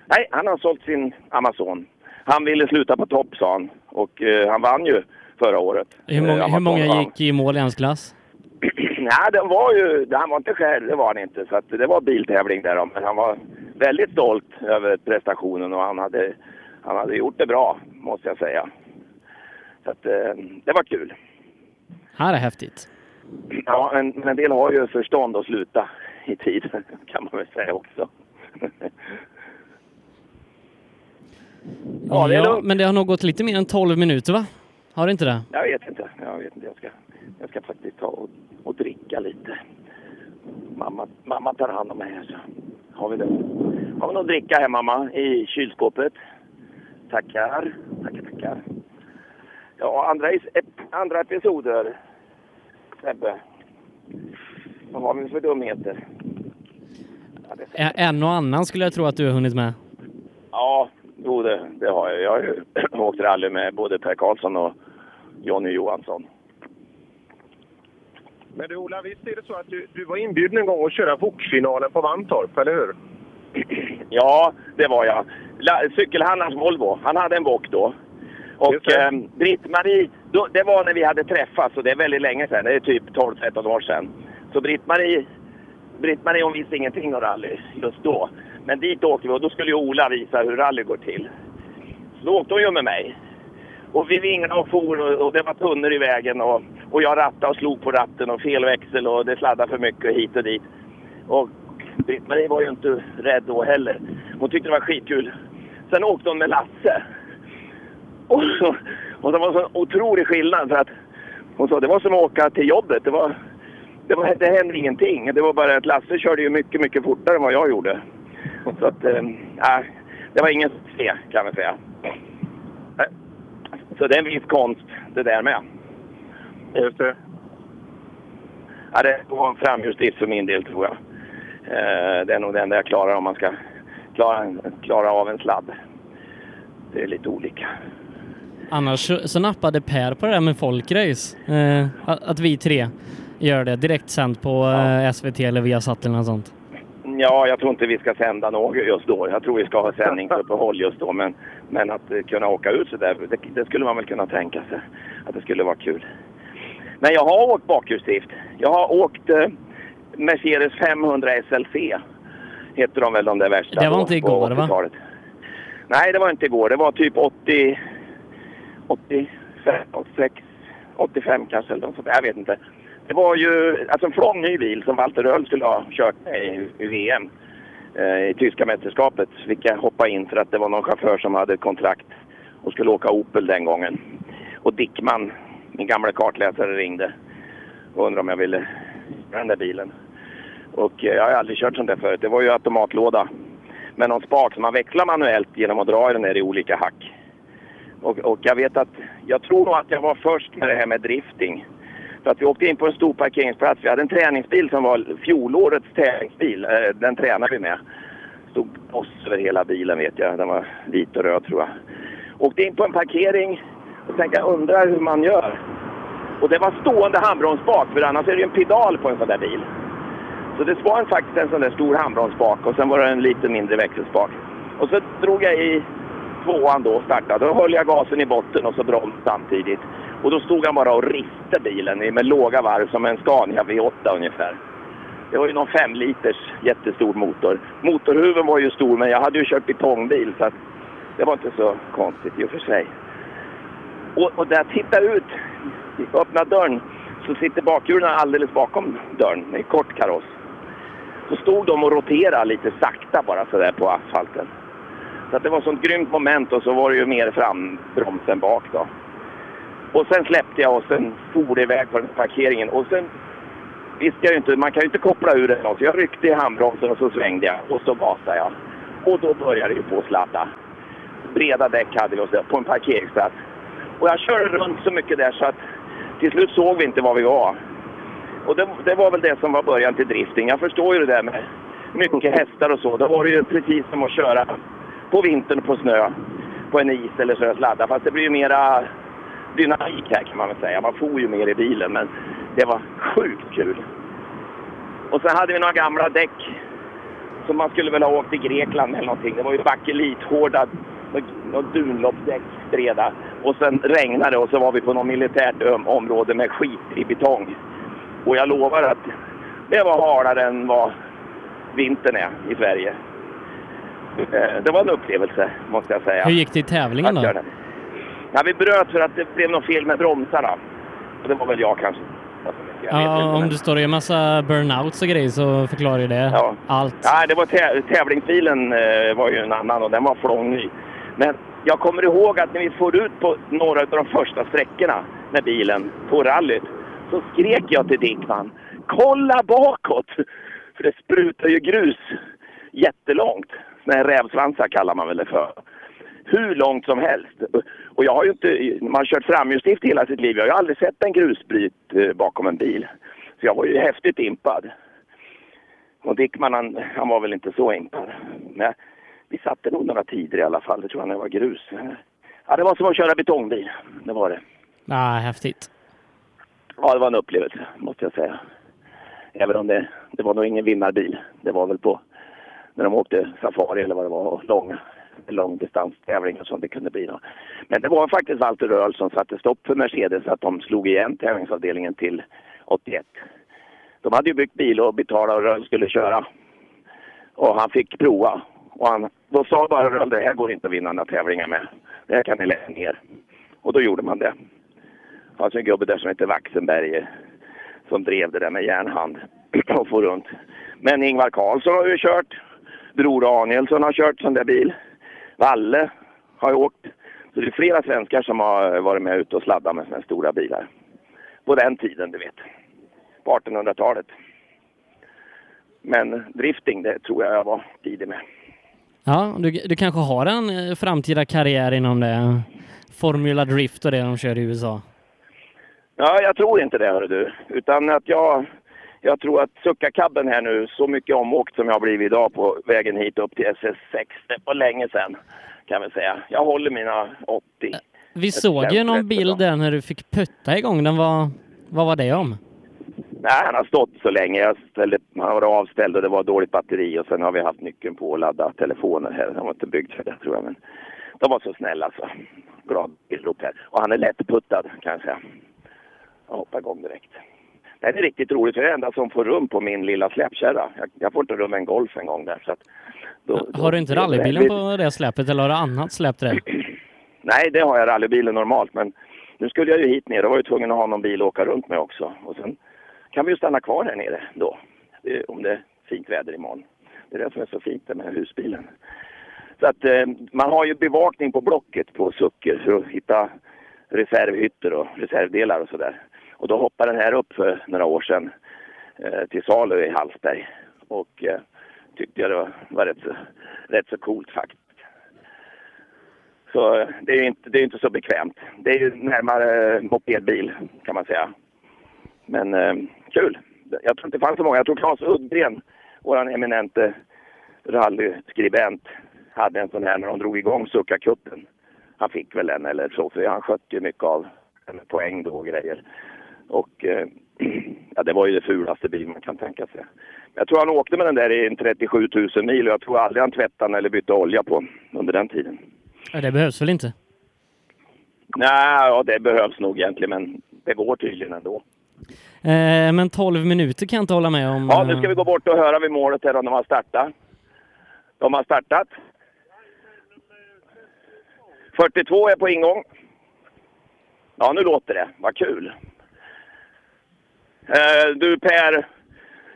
Speaker 1: Nej, han har sålt sin Amazon. Han ville sluta på topp, sa han. Och eh, han vann ju förra året.
Speaker 8: Hur många,
Speaker 1: Eh,
Speaker 8: hur många
Speaker 1: Amazon.
Speaker 8: gick i mål i hans klass?
Speaker 1: Nej, den var ju... Han var inte själv, det var han inte. Så att det var biltävling där då. Men han var väldigt stolt över prestationen och han hade, han hade gjort det bra, måste jag säga. Så att, eh, det var kul.
Speaker 8: Här är häftigt.
Speaker 1: Ja, men, men en del har ju förstånd att sluta i tid, kan man väl säga också.
Speaker 8: Ja,
Speaker 1: det är lugnt.
Speaker 8: men det har nog gått lite mer än 12 minuter, va? Har det inte det?
Speaker 1: Jag vet inte. Jag vet inte. Jag ska, jag ska faktiskt ta och, och dricka lite. Mamma, mamma tar hand om mig här så har vi det. Har vi någon dricka här mamma i kylskåpet? Tackar, tackar, tackar. Ja, andra, is- ep- andra episoder. Sebbe. Vad har vi för dumheter?
Speaker 8: Ä- En och annan skulle jag tro att du har hunnit med.
Speaker 1: Ja, jo, det, det har jag. Jag har ju åkt rally med både Per Karlsson och Jonny Johansson.
Speaker 3: Men du Ola, visst är det så att du, du var inbjuden en gång att köra Vokfinalen på Vantorp, eller hur?
Speaker 1: Ja, det var jag. La- Cykelhandlarens Volvo. Han hade en bock då. Och eh, ehm, Britt-Marie Då, det var när vi hade träffats och det är väldigt länge sedan. Det är typ 12-13 år sedan. Så Britt-Marie Britt-Marie hon visste ingenting om rally just då. Men dit åker vi och då skulle ju Ola visa hur rally går till. Så då åkte hon ju med mig. Och vi vinglade och for och, och det var tunnor i vägen och, och jag rattade och slog på ratten och fel växel och det sladdade för mycket och hit och dit. Och Britt-Marie var ju inte rädd då heller. Hon tyckte det var skitkul. Sen åkte hon med Lasse. Och, så, och det var så otrolig skillnad för att hon sa det var som att åka till jobbet. Det var det, var, det hände ingenting. Det var bara att Lasse körde ju mycket, mycket fortare än vad jag gjorde. Så att, eh, det var ingen succé kan man säga. Eh, Så det är en viss konst det där med. Just det. Ja, det var en framhjulsdrift för min del tror jag. Eh, det är nog det enda jag klarar om man ska klara, en- klara av en sladd. Det är lite olika.
Speaker 8: Annars så- så nappade Per på det där med folkrace. Eh, att, att vi tre gör det direkt sänd på eh, SVT eller Viasat eller något sånt.
Speaker 1: Ja, jag tror inte vi ska sända något just då. Jag tror vi ska ha sändningsuppehåll just då. Men, men att eh, kunna åka ut så där, det, det skulle man väl kunna tänka sig. Att det skulle vara kul. Men jag har åkt bakhjulsdrift. Jag har åkt eh, Mercedes 500 SLC. Heter de väl de där värsta
Speaker 8: Det var
Speaker 1: då,
Speaker 8: inte
Speaker 1: på
Speaker 8: igår, va?
Speaker 1: 80-talet. Nej, det var inte igår. Det var typ 80... 85, 86, 85 kanske eller något sånt. Jag vet inte. Det var ju alltså en från ny bil som Walter Röhl skulle ha kört med i, i VM eh, i tyska mästerskapet. Fick jag hoppa in för att det var någon chaufför som hade kontrakt och skulle åka Opel den gången. Och Dickman, min gamla kartläsare, ringde och undrade om jag ville köra den där bilen. Och eh, jag har aldrig kört sånt där förut. Det var ju automatlåda med någon spak som man växlar manuellt genom att dra i den där i olika hack. Och, och jag vet att, jag tror nog att jag var först med det här med drifting. För att vi åkte in på en stor parkeringsplats. Vi hade en träningsbil som var fjolårets tävlingsbil. Eh, Den tränade vi med. Stod oss över hela bilen vet jag. Den var vit och röd tror jag. Åkte in på en parkering och tänkte jag undrar hur man gör. Och det var stående handbromsbak för annars är det ju en pedal på en sån där bil. Så det var en- faktiskt en sån där stor handbromsbak och sen var det en lite mindre växelspak. Och så drog jag i tvåan då och startade. Då höll jag gasen i botten och så broms samtidigt. Och då stod han bara och riste bilen i- med låga varv som en Scania V8 ungefär. Det var ju någon 5 liters jättestor motor. Motorhuven var ju stor men jag hade ju kört betongbil så att det var inte så konstigt i och för sig. Och, och där jag tittar ut, öppna dörren, så sitter bakhjulen alldeles bakom dörren i kort kaross. Så stod de och roterade lite sakta bara sådär på asfalten. Så att det var sånt grymt moment och så var det ju mer frambromsen bak då. Och sen släppte jag och sen for det iväg på den här parkeringen. Och sen visste jag ju inte, man kan ju inte koppla ur den så jag ryckte i handbromsen och så svängde jag och så gasade jag. Och då började det ju på att sladda. Breda däck hade vi och så där, på en parkeringsplats. Och jag körde runt så mycket där så att till slut såg vi inte var vi var. Och det, det var väl det som var början till drifting. Jag förstår ju det där med mycket hästar och så. Då var det ju precis som att köra på vintern på snö, på en is eller så sladda. Fast det blir ju mera dynamik här kan man väl säga. Man får ju mer i bilen men det var sjukt kul. Och sen hade vi några gamla däck som man skulle väl ha åkt till Grekland eller någonting. Det var ju bakelithårda, något dunloppsdäck breda. Och sen regnade det och så var vi på något militärt öm- område med skit i betong. Och jag lovar att det var halare än vad vintern är i Sverige. Eh, Det var en upplevelse, måste jag säga.
Speaker 8: Hur gick det i tävlingen då?
Speaker 1: Ja, vi bröt för att det blev något fel med bromsarna. Och det var väl jag kanske.
Speaker 8: Ja, om du står och gör massa burnouts och grejer så förklarar ju det allt.
Speaker 1: Nej, det var tä- tävlingsbilen eh, var ju en annan och den var flångny. Men jag kommer ihåg att när vi for ut på några av de första sträckorna med bilen på rallyt så skrek jag till Dickman ”Kolla bakåt!” För det sprutar ju grus jättelångt. Såna här rävsvansar kallar man väl det för. Hur långt som helst. Och jag har ju inte, man har kört framhjulsdrift hela sitt liv. Jag har ju aldrig sett en grusbryt eh, bakom en bil. Så jag var ju häftigt impad. Och Dickman han, han var väl inte så impad. Men vi satte nog några tider i alla fall. Det tror jag när det var grus. Ja, det var som att köra betongbil. Det var det.
Speaker 8: Ah, häftigt.
Speaker 1: Ja, det var en upplevelse måste jag säga. Även om det, det var nog ingen vinnarbil. Det var väl på när de åkte safari eller vad det var och långa långdistanstävlingar som det kunde bli. Då. Men det var faktiskt Walter Röhl som satte stopp för Mercedes att de slog igen tävlingsavdelningen till 81. De hade ju byggt bil och betalat och Röhl skulle köra. Och han fick prova. Och han, då sa bara Röhl, det här går inte att vinna några tävlingar med. Det här kan ni lägga ner. Och då gjorde man det. Det fanns en gubbe där som hette Waxenberger som drev det där med järnhand och for runt. Men Ingvar Carlsson har ju kört. Bror Danielsson har kört sån där bil. Valle har ju åkt. Så det är flera svenskar som har varit med ute och sladdat med såna här stora bilar. På den tiden, du vet. På 1800-talet. Men drifting, det tror jag jag var tidig med.
Speaker 8: Ja, du, du kanske har en eh, framtida karriär inom det? Formula Drift och det de kör i USA.
Speaker 1: Ja, jag tror inte det, hörru du. Utan att jag, jag tror att suckarkabben här nu, så mycket omåkt som jag har blivit idag på vägen hit upp till SS6, det var länge sedan kan vi säga. Jag håller mina 80.
Speaker 8: Vi såg ju någon bild där när du fick putta igång den. Vad, vad var det om?
Speaker 1: Nej, han har stått så länge. Jag ställde, han var avställd och det var dåligt batteri och sen har vi haft nyckeln på att ladda telefoner här. De var inte byggd för det tror jag, men de var så snälla så. Glad tillrop här. Och han är lättputtad kan jag säga. Jag hoppar igång direkt. Det här är riktigt roligt, för jag är den enda som får rum på min lilla släpkärra. Jag, jag får inte rum med en Golf en gång där. Så att då,
Speaker 8: Har du inte
Speaker 1: då-
Speaker 8: rallybilen på det släpet eller har du annat släp till det?
Speaker 1: Nej, det har jag rallybilen normalt, men nu skulle jag ju hit ner. Då var jag ju tvungen att ha någon bil att åka runt med också. Och sen kan vi ju stanna kvar här nere då, eh, om det är fint väder imorgon. Det är det som är så fint med husbilen. Så att eh, man har ju bevakning på Blocket på Sucker för att hitta reservhytter och reservdelar och sådär. Och då hoppade den här upp för några år sedan eh, till salu i Hallsberg. Och eh, tyckte jag det var, var rätt, så- rätt så coolt faktiskt. Så eh, det är ju inte, det är ju inte så bekvämt. Det är ju närmare eh, mopedbil kan man säga. Men eh, kul! Jag tror inte det fanns så många. Jag tror Claes Uddgren, vår eminente rallyskribent, hade en sån här när de drog igång Succa-cupen. Han fick väl en eller så, för han skötte ju mycket av poäng då och grejer. Och eh, ja, det var ju det fulaste bil man kan tänka sig. Men Jag tror han åkte med den där i en 37 000 mil och jag tror aldrig han tvättade den eller bytte olja på den under den tiden.
Speaker 8: Ja, Det behövs väl inte?
Speaker 1: Nej, ja, det behövs nog egentligen, men det går tydligen ändå.
Speaker 8: Eh, men 12 minuter kan jag inte hålla med om. eh,
Speaker 1: Ja, nu ska vi gå bort och höra vid målet här om de har startat. De har startat. 42 är på ingång. Ja, nu låter det. Vad kul! Eh, du Per,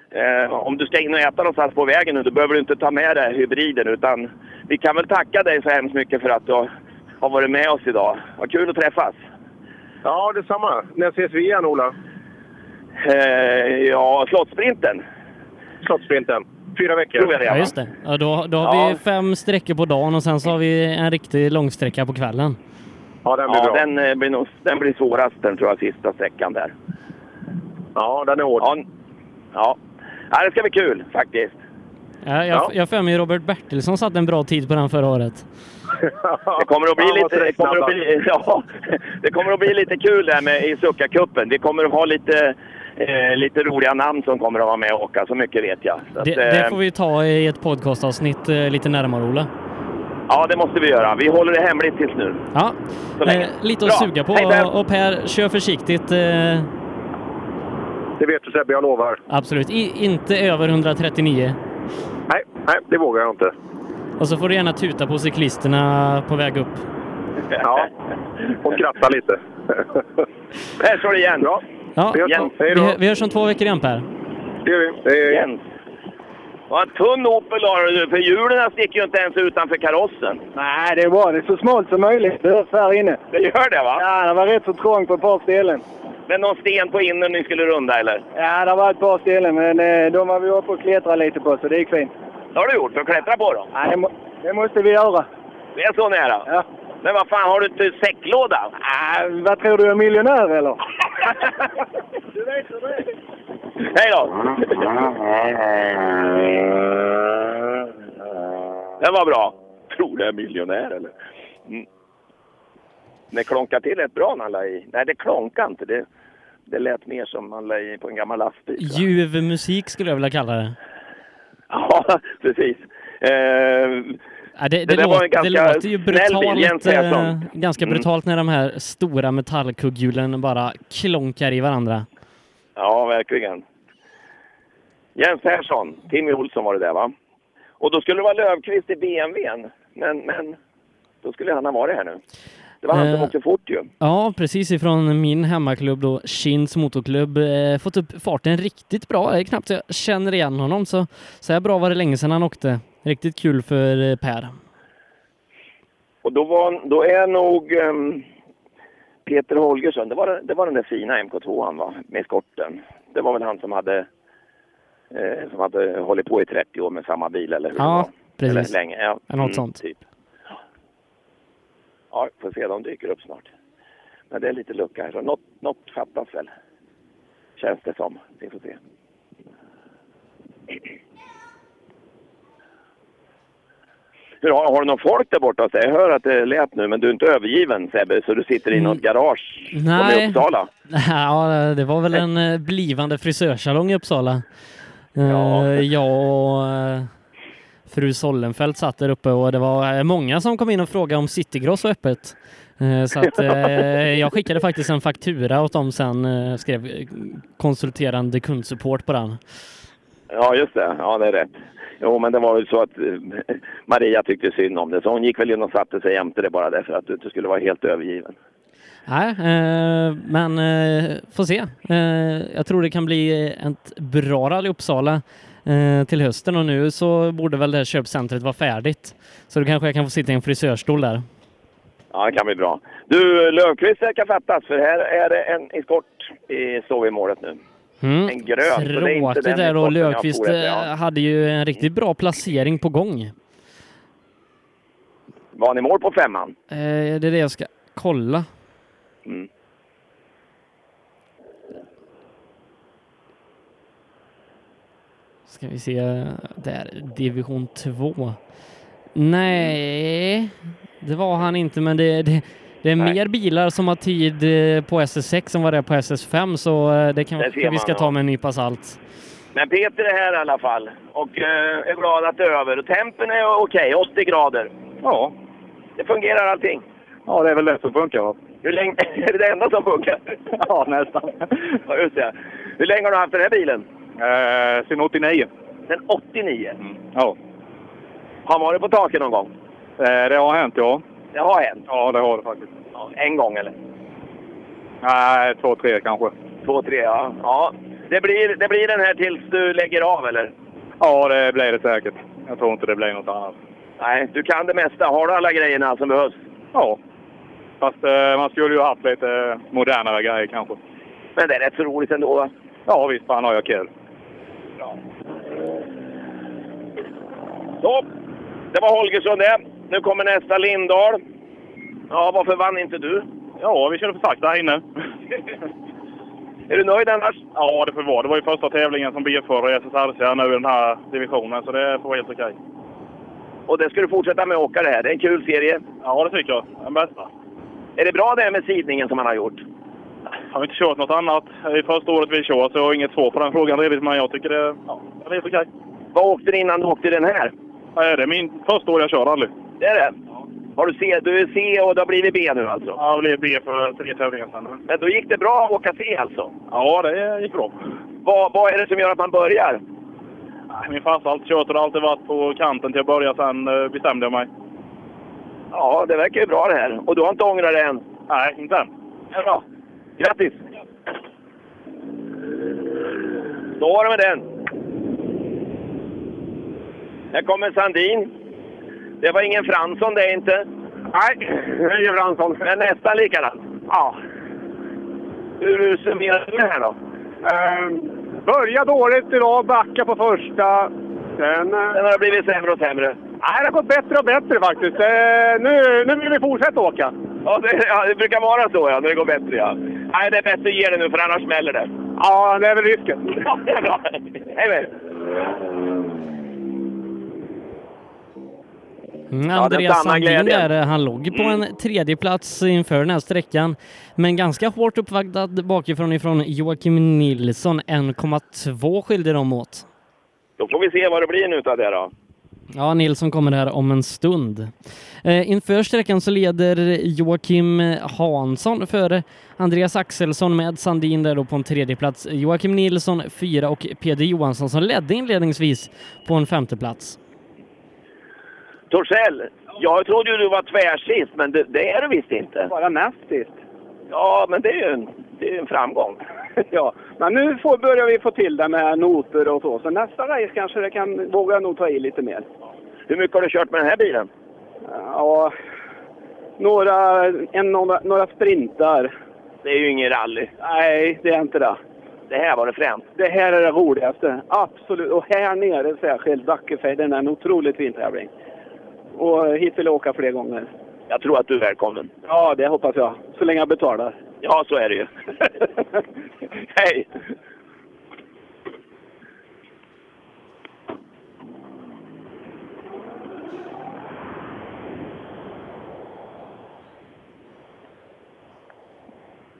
Speaker 1: eh, om du ska in och äta någonstans på vägen nu, då behöver du inte ta med dig hybriden. Utan vi kan väl tacka dig så hemskt mycket för att du har- har varit med oss idag. Vad kul att träffas!
Speaker 3: Ja, detsamma. När ses vi igen, Ola?
Speaker 1: Eh, ja, Slottsprinten.
Speaker 3: Slottsprinten. Fyra veckor.
Speaker 1: Tror jag
Speaker 8: Ja, just det. Ja, då, då har vi fem sträckor på dagen och sen så har vi en riktig långsträcka på kvällen.
Speaker 3: Ja, den blir
Speaker 1: ja,
Speaker 3: bra.
Speaker 1: Den, eh, blir nog, den blir svårast den tror jag, sista sträckan där.
Speaker 3: Ja, den är hård.
Speaker 1: Ja, n- ja. ja det ska bli kul faktiskt.
Speaker 8: Ja, jag
Speaker 1: Ja.
Speaker 8: jag har för mig Robert Bertilsson satte en bra tid på den förra året.
Speaker 1: Det kommer att bli
Speaker 8: Fan, vad
Speaker 1: lite, det kommer att bli, ja, det kommer att bli lite kul där med i Succa-cupen. Vi kommer att ha lite, eh, lite roliga namn som kommer att vara med och åka, så mycket vet jag. Så att,
Speaker 8: Det, det
Speaker 1: eh,
Speaker 8: får vi ta i ett podcastavsnitt eh, lite närmare Ola.
Speaker 1: Ja, det måste vi göra. Vi håller det hemligt tills nu.
Speaker 8: Ja,
Speaker 1: Så länge.
Speaker 8: eh, lite att
Speaker 1: Bra.
Speaker 8: suga på.
Speaker 1: Hej, Per.
Speaker 8: och Per, kör försiktigt. Eh,
Speaker 3: Det vet du Sebbe, jag lovar.
Speaker 8: absolut, I, inte över 139.
Speaker 3: Nej, nej, det vågar jag inte.
Speaker 8: Och så får du gärna tuta på cyklisterna på väg upp.
Speaker 3: Ja, och kratta lite.
Speaker 1: Här slår det igen.
Speaker 3: Bra.
Speaker 8: Ja,
Speaker 3: Vi hörs om. Hej då.
Speaker 8: vi, vi hörs om två veckor igen Per.
Speaker 3: Det gör vi. Hej, hej.
Speaker 1: Jens. Vad tunn Opel har du, för hjulen sticker ju inte ens utanför karossen.
Speaker 4: Nej, det är bra. Det är så smalt som möjligt. Det hörs här inne.
Speaker 1: Det gör det va?
Speaker 4: Ja, det var rätt så trångt på ett par ställen.
Speaker 1: Men någon sten på innen ni skulle runda eller?
Speaker 4: Ja, det var ett par ställen, men eh, de var vi uppe och klättrade lite på, så det gick fint.
Speaker 1: Det har du gjort, för att klättra på dem?
Speaker 4: Ja, det, må, det måste vi göra.
Speaker 1: Det är så nära?
Speaker 4: Ja.
Speaker 1: Men vad fan, har du inte säcklåda?
Speaker 4: Ja, vad tror du, jag är miljonär eller?
Speaker 1: du vet hur det är. Hej då! Den var bra. Tror du jag är miljonär eller? Mm. Det klonkade till rätt bra när han la i. Nej, det klonkade inte. Det, det lät mer som man la i på en gammal lastbil.
Speaker 8: Ljuv musik skulle jag vilja kalla det.
Speaker 1: Ja, precis. Eh,
Speaker 8: Ja, det,
Speaker 1: Det
Speaker 8: det,
Speaker 1: där var
Speaker 8: låter,
Speaker 1: en ganska
Speaker 8: det låter ju
Speaker 1: snäll bil, Jens
Speaker 8: brutalt,
Speaker 1: Persson.
Speaker 8: eh, ganska
Speaker 1: Mm.
Speaker 8: brutalt när de här stora metallkugghjulen bara klonkar i varandra.
Speaker 1: Ja, verkligen. Jens Persson, Timmy Olsson var det där va? Och då skulle det vara Löfqvist i BMWn. Men, men då skulle han ha varit här nu. Det var han som
Speaker 8: Eh.
Speaker 1: åkte fort ju.
Speaker 8: Ja, precis ifrån min hemmaklubb då, Kinds motorklubb, eh, fått upp farten riktigt bra. Det är knappt jag känner igen honom, så så här bra var det länge sedan han åkte. Riktigt kul för eh, Per.
Speaker 1: Och då, var, då är nog ehm, Peter Holgersson, det var, det var den där fina MK2an va, med skotten. Det var väl han som hade, eh, som hade hållit på i 30 år med samma bil eller hur det var.
Speaker 8: Ja, precis.
Speaker 1: Eller länge, ja.
Speaker 8: Något
Speaker 1: Mm,
Speaker 8: sånt.
Speaker 1: Typ. Ja, får se, de dyker upp snart. Men det är lite lucka här, så något, något fattas väl. Känns det som. Vi får se. Hur, har, har du någon folk där borta hos dig? Jag hör att det lät nu, men du är inte övergiven Sebbe, så du sitter i något garage som i
Speaker 8: Nej.
Speaker 1: Uppsala.
Speaker 8: Ja, det var väl en eh, blivande frisörsalong i Uppsala. Ja. Jag och eh, fru Sollenfelt satt där uppe och det var eh, många som kom in och frågade om Citygross var öppet. Eh, Så att eh, jag skickade faktiskt en faktura åt dem sen, eh, skrev eh, konsulterande kundsupport på den.
Speaker 1: Ja, just det. Ja, det är rätt. Jo, men det var väl så att eh, Maria tyckte synd om det, så hon gick väl in och satte sig jämte det bara därför att du inte skulle vara helt övergiven.
Speaker 8: Nej, eh, men eh, får se. Eh, jag tror det kan bli ett bra rally i Uppsala eh, till hösten och nu så borde väl det här köpcentret vara färdigt. Så då kanske jag kan få sitta i en frisörstol där.
Speaker 1: Ja, det kan bli bra. Du, Löfqvist verkar fattas, för här är det en eskort i står vid målet nu.
Speaker 8: Mm.
Speaker 1: En grön, så det är inte den
Speaker 8: Tråkigt där och
Speaker 1: importen jag
Speaker 8: Löfqvist
Speaker 1: for efter,
Speaker 8: eh,
Speaker 1: ja.
Speaker 8: hade ju en riktigt bra placering på gång.
Speaker 1: Var han i mål på femman?
Speaker 8: Eh, det är det jag ska kolla.
Speaker 1: Mm.
Speaker 8: Ska vi se där, division 2. Nej, det var han inte, men det, det, det är mer bilar som har tid eh, på SS6 än vad det är på SS5, så eh, det
Speaker 1: Där
Speaker 8: kanske
Speaker 1: ser
Speaker 8: vi ska
Speaker 1: man,
Speaker 8: ta
Speaker 1: ja.
Speaker 8: med en nypa salt.
Speaker 1: Men Peter är här i alla fall och eh, är glad att det är över. Och tempen är okej, 80 grader. Ja. Det fungerar allting.
Speaker 2: Ja, det är väl det som funkar. va?
Speaker 1: Hur länge... är det det enda som funkar? Ja, nästan. ja, just det. Hur länge har du haft den här bilen?
Speaker 2: Eh, sen 89.
Speaker 1: Sen 89?
Speaker 5: Mm.
Speaker 2: Ja.
Speaker 1: Har varit på taket någon gång?
Speaker 2: Eh, det har hänt, ja.
Speaker 1: Det har hänt?
Speaker 2: Ja, det har det faktiskt.
Speaker 1: Ja, en gång eller?
Speaker 2: Nej, två, tre kanske.
Speaker 1: Två, tre, ja. ja. Det, blir, det blir den här tills du lägger av eller?
Speaker 2: Ja, det blir det säkert. Jag tror inte det blir något annat.
Speaker 1: Nej, du kan det mesta. Har du alla grejerna som behövs?
Speaker 2: Ja. Fast eh, man skulle ju haft lite modernare grejer kanske.
Speaker 1: Men det är rätt så roligt ändå va?
Speaker 2: Ja, visst fan har jag kul.
Speaker 1: Så, det var Holgersson det. Nu kommer nästa Lindahl. Ja, varför vann inte du?
Speaker 15: Ja, vi körde för sakta här inne.
Speaker 1: är du nöjd annars?
Speaker 15: Ja, det får vara. Det var ju första tävlingen som bilförare i SSRC nu i den här divisionen, så det får vara helt okej.
Speaker 1: Och det ska du fortsätta med att åka det här. Det är en kul serie.
Speaker 15: Ja, det tycker jag. Den bästa.
Speaker 1: Är det bra det här med sidningen som han har gjort?
Speaker 15: Har vi inte kört något annat i första året vi kör, så jag har inget svar på den frågan riktigt, men jag tycker det, ja, det är helt okej.
Speaker 1: Vad åkte du innan du åkte den här?
Speaker 15: Ja, det är min första år jag kör rally.
Speaker 1: Det är det? Har du, C, du är C och det har blivit B nu alltså?
Speaker 15: Ja, det blev B för tre tävlingar sedan.
Speaker 1: Men då gick det bra att åka C alltså?
Speaker 15: Ja, det gick bra.
Speaker 1: Vad, vad är det som gör att man börjar?
Speaker 15: Nej, Min farsa har alltid kört och det har alltid varit på kanten till jag började, sen eh, bestämde jag mig.
Speaker 1: Ja, det verkar ju bra det här. Och du har inte ångrat det än?
Speaker 15: Nej, inte än.
Speaker 1: Det är bra. Grattis! Då var det med den. Här kommer Sandin. Det var ingen Fransson det inte. Nej, ingen Fransson. Men nästan likadan. Ja. Hur summerar du det här då?
Speaker 7: Ehm, Börja dåligt idag, backa på första. Sen, Sen
Speaker 1: har det blivit sämre och sämre.
Speaker 7: Nej, det har gått bättre och bättre faktiskt. Eh, nu, nu vill vi fortsätta åka.
Speaker 1: Ja, det, ja, det brukar vara så ja, när det går bättre ja. Nej, det är bättre att ge det nu för annars smäller det.
Speaker 7: Ja, det är väl risken.
Speaker 1: Ja, det är bra. Hej med er.
Speaker 8: Mm,
Speaker 1: Ja, den
Speaker 8: Andreas
Speaker 1: sanna
Speaker 8: Sandin
Speaker 1: glädjen. Mm.
Speaker 8: där, eh, han låg på en tredje plats inför den här sträckan. Men ganska hårt uppvaktad bakifrån ifrån Joakim Nilsson. 1,2 skilde de åt.
Speaker 1: Då får vi se vad det blir nu utav det då.
Speaker 8: Ja, Nilsson kommer här om en stund. Eh, inför sträckan så leder Joakim Hansson före Andreas Axelsson med Sandin där då på en tredje plats. Joakim Nilsson fyra och Peder Johansson som ledde inledningsvis på en femte plats.
Speaker 1: Torssell, jag trodde ju du var tvärsist, men det, det är du visst inte. Bara nästiskt. Ja, men det är ju en, det är ju en framgång.
Speaker 3: ja, men nu får, börjar vi få till det med noter och så. Så nästa race kanske det kan, vågar jag nog ta i lite mer.
Speaker 1: Hur mycket har du kört med den här bilen?
Speaker 3: Ja, några, en, några, några sprintar.
Speaker 1: Det är ju ingen rally.
Speaker 3: Nej, det är inte det.
Speaker 1: Det här var det främst.
Speaker 3: Det här är det roligaste. Absolut. Och här nere särskilt, Dackefejden, är en otroligt fin tävling. Och eh, hit vill jag åka fler gånger.
Speaker 1: Jag tror att du är välkommen.
Speaker 3: Ja, det hoppas jag. Så länge jag betalar.
Speaker 1: Ja, så är det ju. Hej!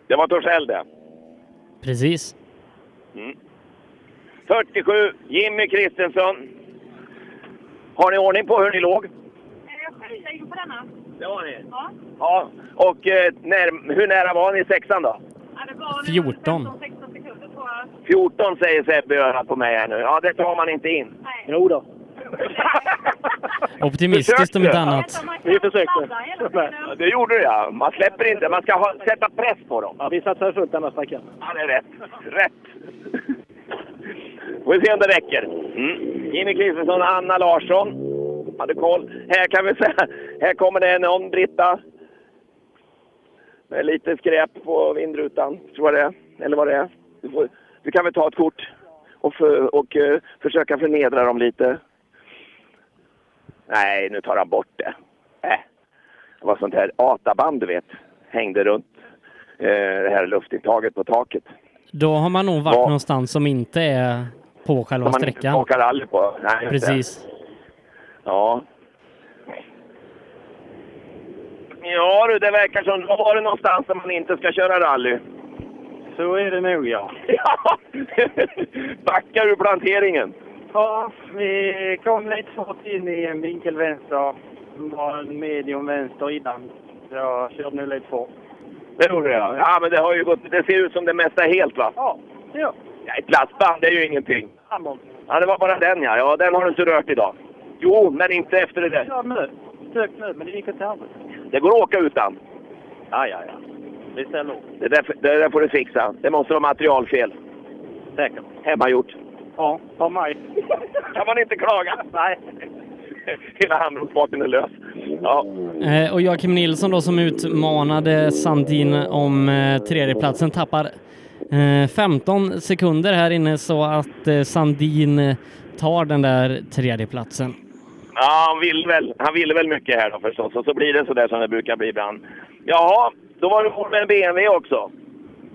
Speaker 1: Det var Torssell det.
Speaker 8: Precis.
Speaker 1: 47, Jimmy Kristensson. Har ni ordning på hur ni låg?
Speaker 18: Jag ska rusa in på denna.
Speaker 1: Det har ni?
Speaker 18: Ja.
Speaker 1: Ja. Och eh, när, hur nära var ni sexan då?
Speaker 18: Ja, det var
Speaker 1: 14.
Speaker 18: 16 sekunder tror jag.
Speaker 1: 14 säger Sebbe i örat på mig här nu. Ja, det tar man inte in.
Speaker 18: Nej.
Speaker 1: Jo då.
Speaker 8: Optimistiskt om inte annat.
Speaker 1: Vi försökte. Det gjorde du ja. Man släpper inte. Man ska ha, sätta press på dem.
Speaker 4: Ja, vi satsar fullt denna stackaren.
Speaker 1: Ja, det är rätt. Rätt. Får vi se om det räcker. Mm. Jimmy Kristensson, Anna Larsson. Hade koll. Här kan vi säga, här kommer det en om Britta. Med lite skräp på vindrutan, tror jag det är. Eller vad det är. Du, får, du kan väl ta ett kort och, för, och eh, försöka förnedra dem lite. Nej, nu tar han bort det. Äh. Det var sånt här ataband, du vet. Hängde runt eh, det här luftintaget på taket.
Speaker 8: Då har man nog varit någonstans som inte är på själva
Speaker 1: Som man inte
Speaker 8: sträckan.
Speaker 1: åker rally på. Nej, just det.
Speaker 8: Precis.
Speaker 1: Ja. Ja du, det verkar som... Var var det någonstans där man inte ska köra rally?
Speaker 11: Så är det nog ja.
Speaker 1: Ja! Backar ur planteringen.
Speaker 4: Ja, vi kom lite svårt in i en vinkel vänster. Det var en medium vänster innan. Så jag körde nu lite fort.
Speaker 1: Det gjorde jag. Ja, men det har ju gått... Det ser ut som det mesta är helt va?
Speaker 4: Ja, ja.
Speaker 1: Ja, ett lastband, det är ju ingenting.
Speaker 4: Handboll.
Speaker 1: Ja, det var bara den ja. Ja, den har du inte rört idag. Jo, men inte efter det där.
Speaker 4: Ja, nu. Sök nu, men det gick åt helvete.
Speaker 1: Det går att åka utan.
Speaker 11: Ja, ja, ja. Vi ställer upp.
Speaker 1: Det där, det där får du fixa. Det måste vara materialfel.
Speaker 11: Säkert.
Speaker 1: Hemmagjort.
Speaker 4: Ja, ta mig.
Speaker 1: kan man inte klaga?
Speaker 4: Nej.
Speaker 1: Hela handbromsbaken är lös. Ja.
Speaker 8: Eh, Och Joakim Nilsson då som utmanade Sandin om eh, tredjeplatsen tappar eh, 15 sekunder här inne så att eh, Sandin eh, tar den där tredjeplatsen.
Speaker 1: Ja, han ville väl, han ville väl mycket här då förstås. Och så blir det så där som det brukar bli ibland. Jaha, då var det på med en BMW också.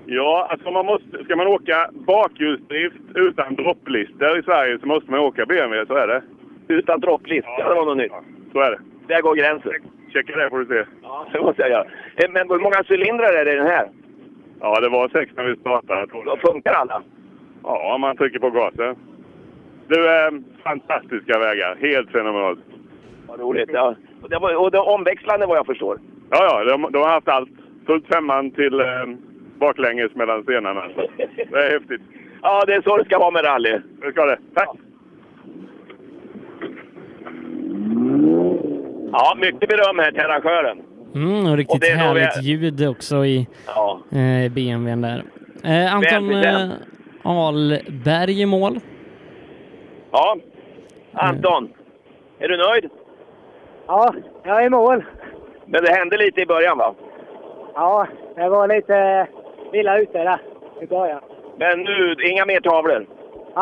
Speaker 6: Ja, alltså man måste, ska man åka bakhjulsdrift utan dropplister i Sverige så måste man åka BMW, så är det.
Speaker 1: Utan dropplist, ja, det var något nytt.
Speaker 6: Så är det.
Speaker 1: Där går gränsen.
Speaker 6: Checka det får du se.
Speaker 1: Ja, det måste jag göra. Eh, Men hur många cylindrar är det i den här?
Speaker 6: Ja, det var sex när vi startade. Då
Speaker 1: funkar alla?
Speaker 6: Ja, man trycker på gasen. Du, eh, fantastiska vägar. Helt fenomenalt.
Speaker 1: Vad roligt. Ja. Och det, var, och det var omväxlande vad jag förstår.
Speaker 6: Ja, ja, de, de har haft allt. Fullt femman till eh, baklänges mellan stenarna. Det är häftigt.
Speaker 1: Ja, det är så det ska vara med rally.
Speaker 6: Det ska det. Tack!
Speaker 1: Ja, mycket beröm här till arrangören.
Speaker 8: Mm, och riktigt
Speaker 1: Och det är nog
Speaker 8: härligt
Speaker 1: det-
Speaker 8: ljud också i
Speaker 1: Ja.
Speaker 8: eh, BMWn där. Eh, Anton eh,
Speaker 1: Välförtjänt.
Speaker 8: Ahlberg i mål.
Speaker 1: Ja. Anton, är du nöjd?
Speaker 4: Ja, jag är i mål.
Speaker 1: Men det hände lite i början va?
Speaker 4: Ja, det var lite illa ute där i början.
Speaker 1: Men nu, inga mer tavlor.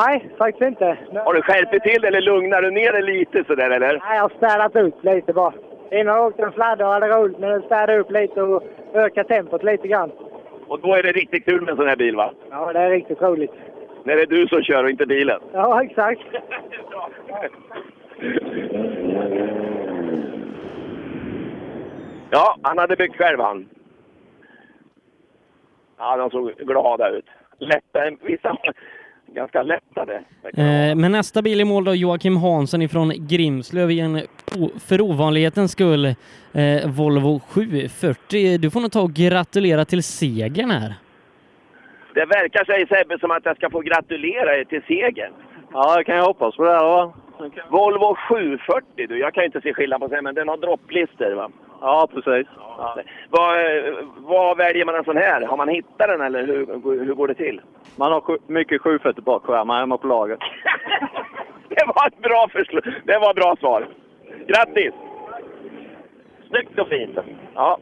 Speaker 4: Nej, faktiskt inte.
Speaker 1: Har du skärpt dig till eller lugnar du ner dig lite sådär eller?
Speaker 4: Nej, jag har städat ut lite bara. Innan åkte en fladder och hade roligt, men nu städade jag upp lite och ökade tempot lite grann.
Speaker 1: Och då är det riktigt kul med en sån här bil va?
Speaker 4: Ja, det är riktigt roligt.
Speaker 1: När det är du som kör och inte bilen.
Speaker 4: Ja, exakt.
Speaker 1: Ja, han hade byggt själv han. Ja, de såg glada ut. Lätta, vissa, ganska lättade.
Speaker 8: Eh, Men nästa bil i mål då, Joakim Hansson ifrån Grimslöv i en o- för ovanlighetens skull eh, Volvo 740. Du får nog ta och gratulera till segern här.
Speaker 1: Det verkar, säger Sebbe, som att jag ska få gratulera er till segern.
Speaker 5: Ja, det kan jag hoppas på det här va.
Speaker 1: Volvo 740, du. Jag kan ju inte se skillnad på sig, men den har dropplister, va?
Speaker 5: Ja, precis.
Speaker 1: Vad, eh, vad väljer man en sån här? Har man hittat den, eller hur, hur går det till?
Speaker 5: Man har sju, mycket 740 bakskärmar hemma på laget.
Speaker 1: Det var ett bra förslag. Det var ett bra svar. Grattis! Snyggt och fint. Ja,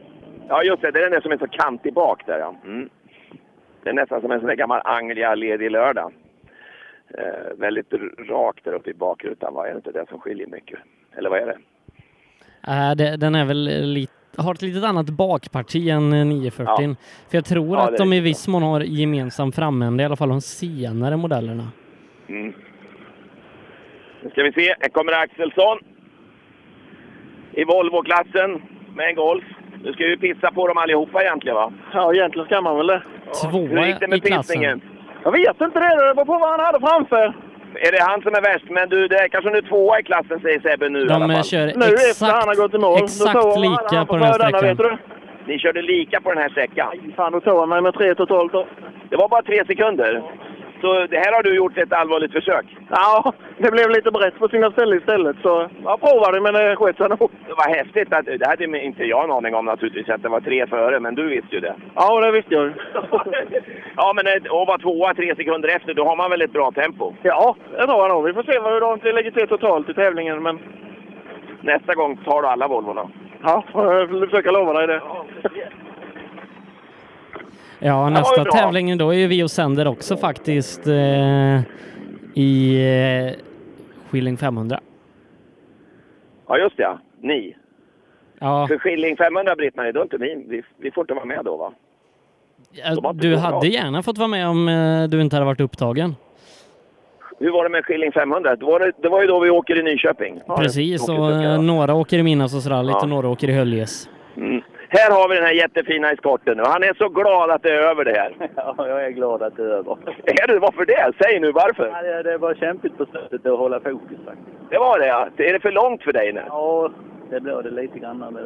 Speaker 1: ja just det. Det är den där som är så kantig bak där, ja. Mm. Det är nästan som en sån där gammal Anglia ledig lördag. Eh, väldigt r- rakt där uppe i bakrutan, va? Är det inte det som skiljer mycket? Eller vad är det?
Speaker 8: Eh, det- Den är väl lite har ett litet annat bakparti än eh, 940.
Speaker 1: Ja.
Speaker 8: För jag tror
Speaker 1: Ja, det
Speaker 8: att de
Speaker 1: är
Speaker 8: i viss mån har gemensam framände, i alla fall de senare modellerna.
Speaker 1: Mm. Nu ska vi se. Här kommer Axelsson. I Volvo-klassen med en Golf. Nu ska vi pissa på dem allihopa egentligen, va?
Speaker 5: Ja, egentligen ska man väl det.
Speaker 1: Hur gick det med pissningen?
Speaker 5: Jag vet inte det. Det var på vad han hade framför.
Speaker 1: Är det han som är värst? Men du, det är kanske nu tvåa i klassen säger Sebbe nu i alla
Speaker 8: De eh,
Speaker 1: fall.
Speaker 8: kör
Speaker 5: Nu efter
Speaker 8: exakt,
Speaker 5: han har gått i mål. Då tog
Speaker 8: exakt
Speaker 5: han-
Speaker 8: lika
Speaker 5: han
Speaker 8: på den här
Speaker 5: får denna,
Speaker 8: sträckan.
Speaker 5: vet du.
Speaker 1: Ni körde lika på den här sträckan.
Speaker 5: Fan, då tog han mig med 3 totalt då.
Speaker 1: Det var bara tre sekunder. Så det här har du gjort ett allvarligt försök.
Speaker 5: Ja, det blev lite brett på sina ställen istället. Så jag provade, men det sket sig nog.
Speaker 1: Det var häftigt. Att, det hade inte jag en aning om naturligtvis, att det var tre före, men du visste ju det.
Speaker 5: Ja, det visste jag ju.
Speaker 1: Ja, men eh, att vara tvåa tre sekunder efter, då har man väl ett bra tempo?
Speaker 5: Ja, det tror jag nog. Vi får se vad- hur långt vi lägger till totalt i tävlingen. Men
Speaker 1: Nästa gång tar du alla Volvorna.
Speaker 5: ja, jag får försöka lova dig det.
Speaker 8: Ja,
Speaker 1: Det var ju
Speaker 8: nästa
Speaker 1: bra.
Speaker 8: tävling då är ju vi och sänder också faktiskt eh, i eh, Skilling 500.
Speaker 1: Ja, just det. ja. Ni.
Speaker 8: Ja,
Speaker 1: För Skilling 500, Britt-Marie, då är inte vi, vi, vi får inte vara med då, va?
Speaker 8: eh, du hade gärna fått vara med om eh, du inte hade varit upptagen.
Speaker 1: Hur var det med Skilling 500? Det var, det, det var ju då vi åker i Nyköping. Ja,
Speaker 8: Precis,
Speaker 1: det-
Speaker 8: och eh, några åker i Midnattsåsrallyt
Speaker 1: Ja.
Speaker 8: och några åker i Höljes.
Speaker 1: Mm. Här har vi den här jättefina eskorten nu. Han är så glad att det är över det här.
Speaker 5: Ja, jag är glad att det är över.
Speaker 1: Är du? Varför det? Säg nu varför.
Speaker 5: Ja, det, det var kämpigt på slutet att hålla fokus faktiskt.
Speaker 1: Det var det, ja. Är det för långt för dig nu?
Speaker 5: Ja, det blev det lite grann. Men det,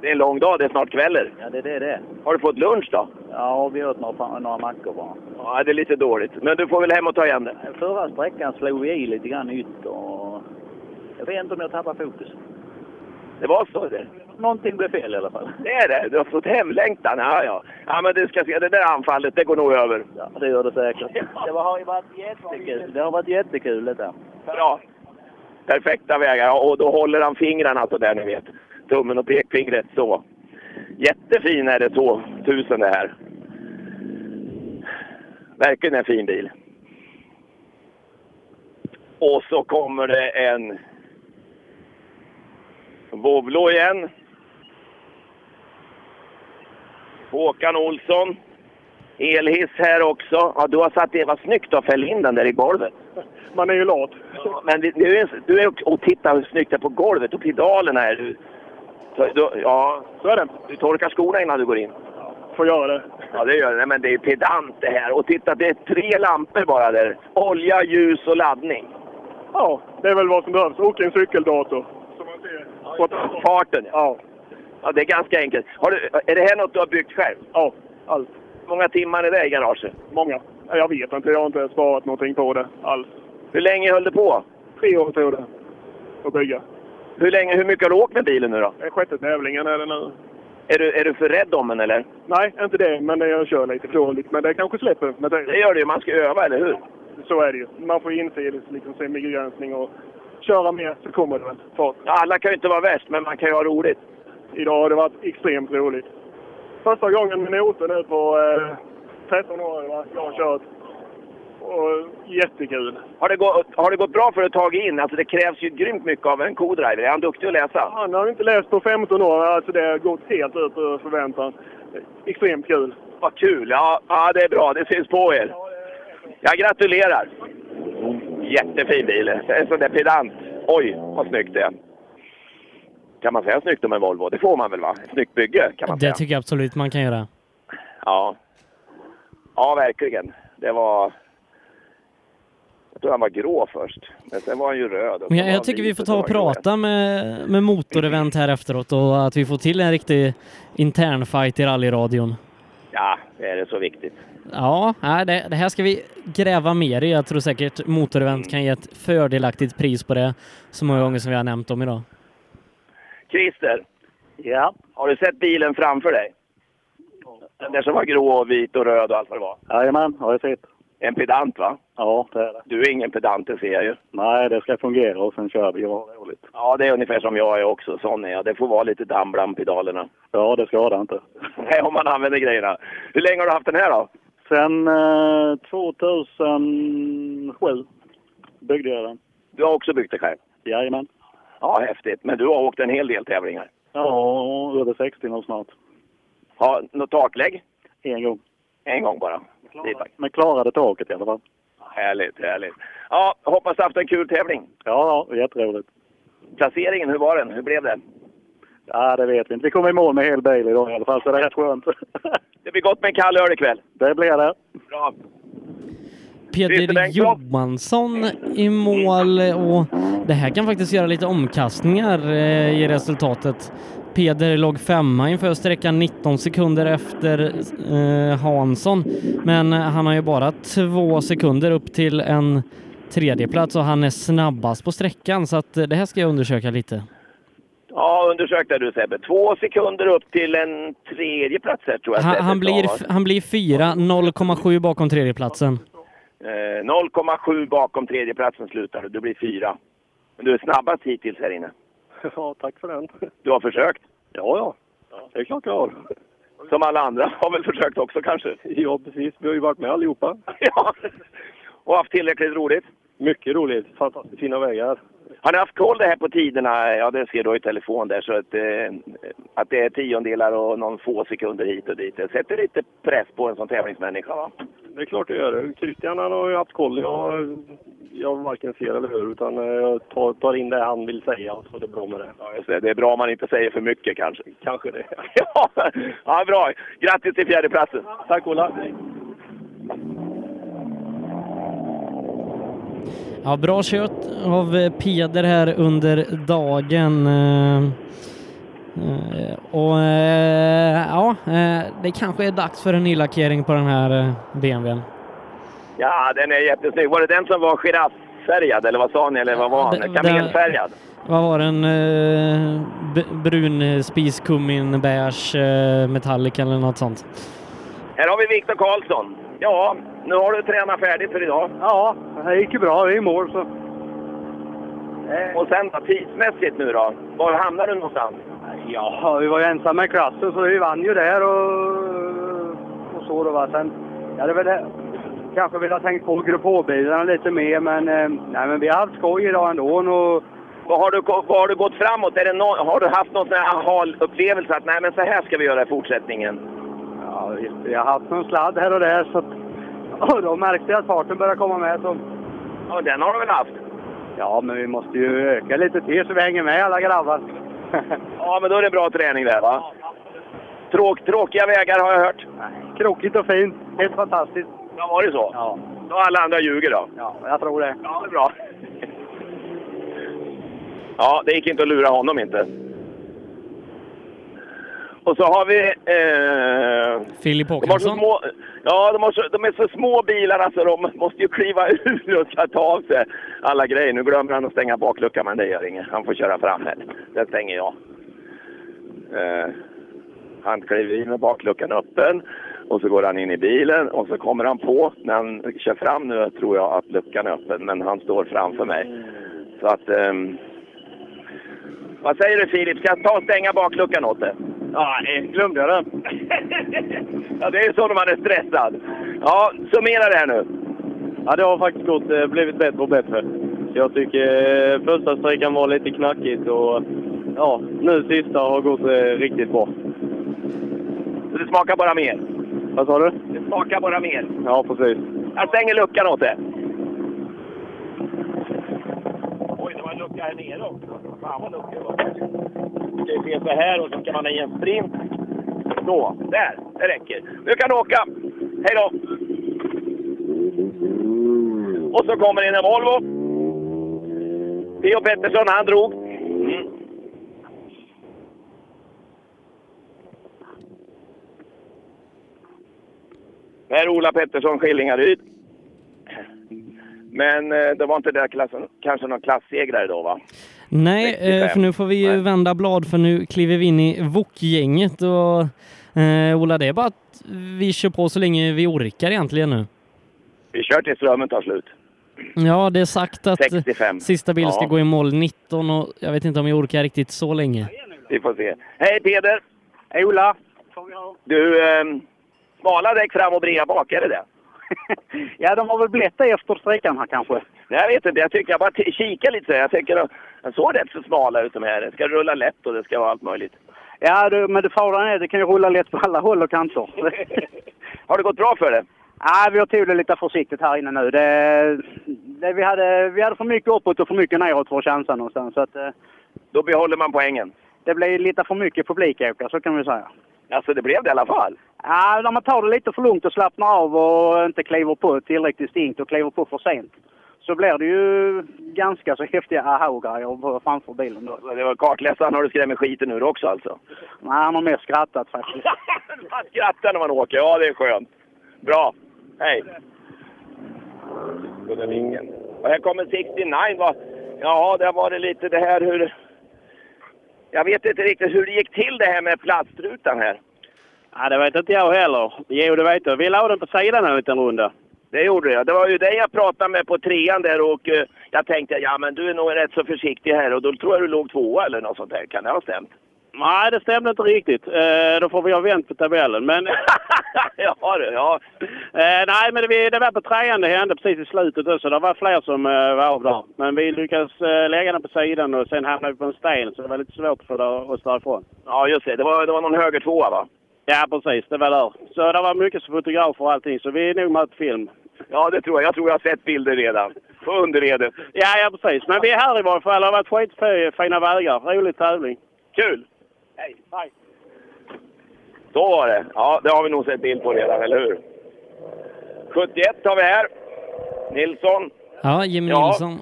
Speaker 1: Det är en lång dag, det är snart kväller.
Speaker 5: ja, det är det det är.
Speaker 1: Har du fått lunch då?
Speaker 5: Ja, vi åt några, några mackor bara.
Speaker 1: Ja, det är lite dåligt. Men du får väl hem och ta igen det.
Speaker 5: Förra sträckan slog vi i lite grann ytter och jag vet inte om jag tappade fokus.
Speaker 1: Det var så det.
Speaker 5: Någonting blev fel i alla fall.
Speaker 1: Det är det. Du har fått hemlängtan. Ja, ja. Ja, men du ska se. Det där anfallet, det går nog över.
Speaker 5: Ja, det gör det säkert. Det var- har ju varit jättekul. Det har varit jättekul detta.
Speaker 1: Bra. Perfekta vägar. Ja, Och då håller han fingrarna så där, ni vet. Tummen och pekfingret så. Jättefin är det så. Tusen det här. Verkligen en fin bil. Och så kommer det en Vovlo igen. Håkan Olsson. Elhiss här också. Ja, du har satt det. Vad snyggt du har fällt in den där i golvet.
Speaker 5: Man är ju lat.
Speaker 1: Ja, Men det, det är, ju- du är och titta hur snyggt det är på golvet och pedalerna är. Du, så- då- ja, så är det. Du torkar skorna innan du går in.
Speaker 5: Får göra det.
Speaker 1: Ja, det gör det. Nej, Men det är pedant det här. Och titta, det är tre lampor bara där. Olja, ljus och laddning.
Speaker 5: Ja, det är väl vad som behövs. Och en cykeldator.
Speaker 1: Och farten, ja. ja. Det är ganska enkelt. Har du, är det här något du har byggt själv?
Speaker 5: Ja, allt.
Speaker 1: Hur många timmar är det i garaget?
Speaker 5: Många. Jag vet inte. Jag har inte sparat någonting på det alls.
Speaker 1: Hur länge höll det på?
Speaker 5: Tre år tog det att bygga.
Speaker 1: Hur, länge, hur mycket har du åkt med bilen nu då?
Speaker 5: Det är sjätte tävlingen är det nu.
Speaker 1: Är du, är du för rädd om den eller?
Speaker 5: Nej, inte det. Men jag kör lite för dåligt. Men det kanske släpper med tiden.
Speaker 1: Det gör det ju. Man ska öva, eller hur?
Speaker 5: Så är det ju. Man får inse det, liksom, sin begränsning och köra mer så kommer det väl fart.
Speaker 1: Ja, Alla kan ju inte vara värst, men man kan ju ha roligt.
Speaker 5: Idag har det varit extremt roligt. Första gången med noter nu på eh, 13 år va? jag har kört. Och, jättekul.
Speaker 1: Har det, gått, har det gått bra för att ta in? Alltså det krävs ju grymt mycket av en co-driver. Är han duktig att läsa?
Speaker 5: Han har inte läst på 15 år, alltså det har gått helt ut ur förväntan. Extremt kul.
Speaker 1: Vad kul! Ja, ja, det är bra. Det syns på er. Jag gratulerar! Jättefin bil. En sån där pedant. Oj, vad snyggt det är. Kan man säga snyggt om en Volvo? Det får man väl, va? Snyggt bygge, kan man
Speaker 8: Det
Speaker 1: säga.
Speaker 8: tycker jag absolut man kan göra.
Speaker 1: Ja. Ja, verkligen. Det var tror han var grå först. Men sen var han ju röd. och
Speaker 8: Men
Speaker 1: så var
Speaker 8: jag,
Speaker 1: han
Speaker 8: jag tycker vi
Speaker 1: vit
Speaker 8: får
Speaker 1: så
Speaker 8: ta och
Speaker 1: var han grå.
Speaker 8: prata med, med motorevent här efteråt och att vi får till en riktig internfight i rallyradion.
Speaker 1: Ja, är det så viktigt?
Speaker 8: Ja, nej, det, det här ska vi gräva mer i. Jag tror säkert motorevent kan ge ett fördelaktigt pris på det så många gånger som vi har nämnt om idag.
Speaker 1: Christer! Ja? Har du sett bilen framför dig? Den där som var grå och vit och röd och allt vad det var.
Speaker 14: Jajamän, har jag sett.
Speaker 1: En pedant va?
Speaker 14: Ja, det är det.
Speaker 1: Du är ingen pedant, det ser jag ju.
Speaker 14: Nej, det ska fungera och sen kör vi och har roligt.
Speaker 1: Ja, det är ungefär som jag är också. Sån är jag. Det får vara lite damm bland pedalerna.
Speaker 14: Ja, det skadar inte.
Speaker 1: Nej, om man använder grejerna. Hur länge har du haft den här då?
Speaker 14: Sen eh, 2007 byggde jag den.
Speaker 1: Du har också byggt det själv?
Speaker 14: Jajamän.
Speaker 1: Ja, häftigt. Men du har åkt en hel del tävlingar.
Speaker 14: Ja, över 60 nu snart.
Speaker 1: Ja, något taklägg?
Speaker 14: En gång.
Speaker 1: En gång bara. Det är tack.
Speaker 14: Men klarade taket i alla fall.
Speaker 1: Härligt, härligt. Ja, hoppas du haft en kul tävling.
Speaker 14: Ja, ja, jätteroligt.
Speaker 1: Placeringen, hur var den? Hur blev det?
Speaker 14: Ja, det vet vi inte. Vi kommer i mål med hel bil idag i alla fall, så det är rätt skönt.
Speaker 1: Det blir gott med en kall öl ikväll.
Speaker 14: Det blir det.
Speaker 1: Bra.
Speaker 8: Peder Johansson i mål och det här kan faktiskt göra lite omkastningar eh, i resultatet. Peder låg femma inför sträckan 19 sekunder efter eh, Hansson, men han har ju bara två sekunder upp till en tredjeplats och han är snabbast på sträckan så att eh, det här ska jag undersöka lite.
Speaker 1: Ja, undersök det du Sebbe. Två sekunder upp till en tredje plats här, tror jag.
Speaker 8: Han,
Speaker 1: Sebbe
Speaker 8: han,
Speaker 1: sa,
Speaker 8: blir,
Speaker 1: va?
Speaker 8: f- han blir fyra, 0,7 bakom tredjeplatsen.
Speaker 1: Eh, 0,7 bakom tredjeplatsen slutar du. Du blir fyra. Men du är snabbast hittills här inne.
Speaker 14: Ja, tack för den.
Speaker 1: Du har försökt?
Speaker 14: Ja, ja. Det är klart jag har.
Speaker 1: Som alla andra har väl försökt också kanske?
Speaker 14: Ja, precis. Vi har ju varit med allihopa.
Speaker 1: Ja. Och haft tillräckligt roligt?
Speaker 14: Mycket roligt. Fantastiskt fina vägar.
Speaker 1: Har ni haft koll det här på tiderna? Ja, det ser då i telefon där. Så att, eh, att det är tiondelar och någon få sekunder hit och dit. Det sätter lite press på en som tävlingsmänniska va?
Speaker 5: Det är klart det gör det. Christian han har ju haft koll. Jag, jag varken ser eller hör utan eh, jag tar, tar in det han vill säga och så är det bra med det.
Speaker 1: Ja, just det. Det är bra om man inte säger för mycket kanske. Kanske det. ja, ja bra. Grattis till fjärdeplatsen.
Speaker 5: Tack Ola!
Speaker 8: Ja, bra kött av eh, Peder här under dagen. Eh, eh, Och eh, ja, eh, det kanske är dags för en ny lackering på den här eh, BMWn.
Speaker 1: Ja, den är jättesnygg. Var det den som var girafffärgad eller vad sa ni? Eller vad var han?
Speaker 8: det-
Speaker 1: Kamelfärgad?
Speaker 8: Vad var den? eh, b- Brun eh, spiskummin, beige, eh, metallic eller något sånt.
Speaker 1: Här har vi Viktor Karlsson. Ja, nu har du tränat färdigt för idag.
Speaker 14: Ja, det gick ju bra. Vi är i mål så.
Speaker 1: Eh, Och sen då, tidsmässigt nu då? Var hamnar du någonstans?
Speaker 14: Ja, vi var ju ensamma i klassen så vi vann ju där och, och så då va. Sen, jag hade väl eh, kanske velat tänkt på grupp H-bilarna lite mer men, eh, nej, men vi har haft skoj idag ändå. Och...
Speaker 1: Vad har, du, ko- vad har du gått framåt? Är det nå- har du haft någon sån här aha-upplevelse att nej men så här ska vi göra i fortsättningen?
Speaker 14: Ja, vi har haft någon sladd här och där så att, och då märkte jag att farten började komma med. Så,
Speaker 1: Ja, den har du väl haft?
Speaker 14: ja, men vi måste ju eh, öka lite till så vi hänger med alla grabbar.
Speaker 1: Ja, men då är det bra träning där va? Tråk, tråkiga vägar har jag hört.
Speaker 14: Krokigt och fint. Helt fantastiskt.
Speaker 1: Ja, var det så?
Speaker 14: Ja.
Speaker 1: Då alla andra ljuger då?
Speaker 14: Ja, jag tror det.
Speaker 1: Ja, det är bra. Ja, det gick inte att lura honom inte. Och så har vi... Eh,
Speaker 8: Filip
Speaker 1: de, har så
Speaker 8: Håkansson.
Speaker 1: små, ja, de, har så, de är så små bilar alltså, de måste ju kliva ur och ska ta av sig alla grejer. Nu glömmer han att stänga bakluckan, men det gör inget. Han får köra fram här. Den stänger jag. Eh, han kliver in med bakluckan öppen och så går han in i bilen och så kommer han på, när han kör fram nu tror jag att luckan är öppen, men han står framför mig. Så att... ehm, vad säger du Filip, ska jag ta och stänga bakluckan åt dig? Ja, glömde jag den. ja, det är så när man är stressad. Ja, summera det här nu.
Speaker 3: Ja, det har faktiskt gått, eh, blivit bättre och bättre. Jag tycker eh, första sträckan var lite knackigt och ja, nu sista har gått eh, riktigt bra.
Speaker 1: Det smakar bara mer.
Speaker 3: Vad sa du?
Speaker 1: Det smakar bara mer.
Speaker 3: Ja, precis.
Speaker 1: Jag stänger luckan åt dig. Oj, det var en lucka här nere också. Fan vad lucka det var. Ska vi se så här och så ska man i en sprint. Så, där. Det räcker. Nu kan du åka. Hej då! Och så kommer in en Volvo. Theo Pettersson, han drog. Det här är Ola Pettersson, Skillingaryd. Men eh, det var inte där klassen, kanske någon klasssegrare då, va?
Speaker 8: Nej, eh, för nu får vi ju vända blad för nu kliver vi in i Wok-gänget och eh, Ola, det är bara att vi kör på så länge vi orkar egentligen nu.
Speaker 1: Vi kör till strömmen tar slut.
Speaker 8: Ja, det är sagt att eh,
Speaker 1: 65.
Speaker 8: sista bil ska
Speaker 1: Ja.
Speaker 8: gå i mål 19 och jag vet inte om jag orkar riktigt så länge.
Speaker 1: Vi får se. Hej Peder! Hej Ola! Du, ehm, smala däck fram och breda bak, är det det?
Speaker 19: Ja, de har väl blivit det efter sträckan här kanske.
Speaker 1: Nej, jag vet inte, jag tycker jag bara t- kika lite så här. Jag tänker, de- de såg rätt så smala ut de här. Det ska rulla lätt och det ska vara allt möjligt.
Speaker 19: Ja, du, men det faran är det kan ju rulla lätt på alla håll och kanter.
Speaker 1: Har det gått bra för det?
Speaker 19: Nej, vi har tagit det lite försiktigt här inne nu. Det, det, vi, hade, vi hade för mycket uppåt och för mycket neråt för att chansa någonstans. Så att, eh,
Speaker 1: Då behåller man poängen.
Speaker 19: det blev lite för mycket publikökare, så kan vi säga.
Speaker 1: Alltså det blev det i alla fall.
Speaker 19: Ja, när man tar det lite för lugnt och slappnar av och inte kliver på tillräckligt stinkt och kliver på för sent så blir det ju ganska så häftiga aha-grejer framför bilen då.
Speaker 1: Alltså, Det var kartläsaren har du skrämmer skiten ur också alltså.
Speaker 19: Nej, han har mest skrattat faktiskt.
Speaker 1: Man skrattar när man åker, ja det är skönt. Bra, hej! Gunnar Lindgren. Och här kommer 69. Va? Ja, där var det lite det här hur... Jag vet inte riktigt hur det gick till det här med platstrutan här.
Speaker 11: Ja, det vet inte jag heller. Jo, det vet jag. Vi la den på sidan ut en runda.
Speaker 1: Det gjorde jag. Det var ju dig jag pratade med på trean där och eh, jag tänkte ja men du är nog rätt så försiktig här och då tror jag du låg tvåa eller något sånt där. Kan det ha stämt?
Speaker 11: Nej, det stämde inte riktigt. Eh, då får vi ha vänt på tabellen. Men...
Speaker 1: ja, det, ja.
Speaker 11: Eh, nej, men det, vi- det var på trean det hände precis i slutet då, så det var fler som eh, var av där. Men vi lyckades eh, lägga den på sidan och sen hamnade vi på en sten så det var lite svårt för det- oss därifrån.
Speaker 1: Ja, just det. Det var, det var någon höger tvåa va?
Speaker 11: Ja, precis. Det var där. Så det var mycket fotografer och allting, så vi är nog med på film.
Speaker 1: Ja, det tror jag. Jag tror jag har sett bilder redan. På underredet.
Speaker 11: Ja, ja precis. Men vi är här i varje fall. Det har varit skitfina vägar. Rolig tävling.
Speaker 1: Kul! Hej! Hej! Så var det. Ja, det har vi nog sett bild på redan, eller hur? 71 har vi här. Nilsson,
Speaker 8: Ja, Jimmy
Speaker 1: Ja.
Speaker 8: Nilsson.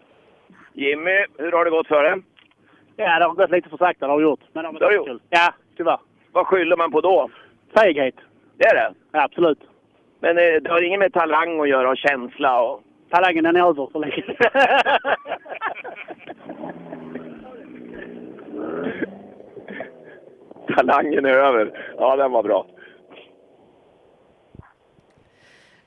Speaker 1: Jimmy, hur har det gått för dig?
Speaker 19: Ja, det har gått lite för sakta, det har gjort. Men
Speaker 1: Det har gjort.
Speaker 19: Ja, tyvärr.
Speaker 1: Vad skyller man på då?
Speaker 19: Feghet.
Speaker 1: Det är det?
Speaker 19: absolut.
Speaker 1: Men eh, det har inget med talang att göra och känsla och...
Speaker 19: Talangen den är över för länge
Speaker 1: Talangen är över. Ja, den var bra.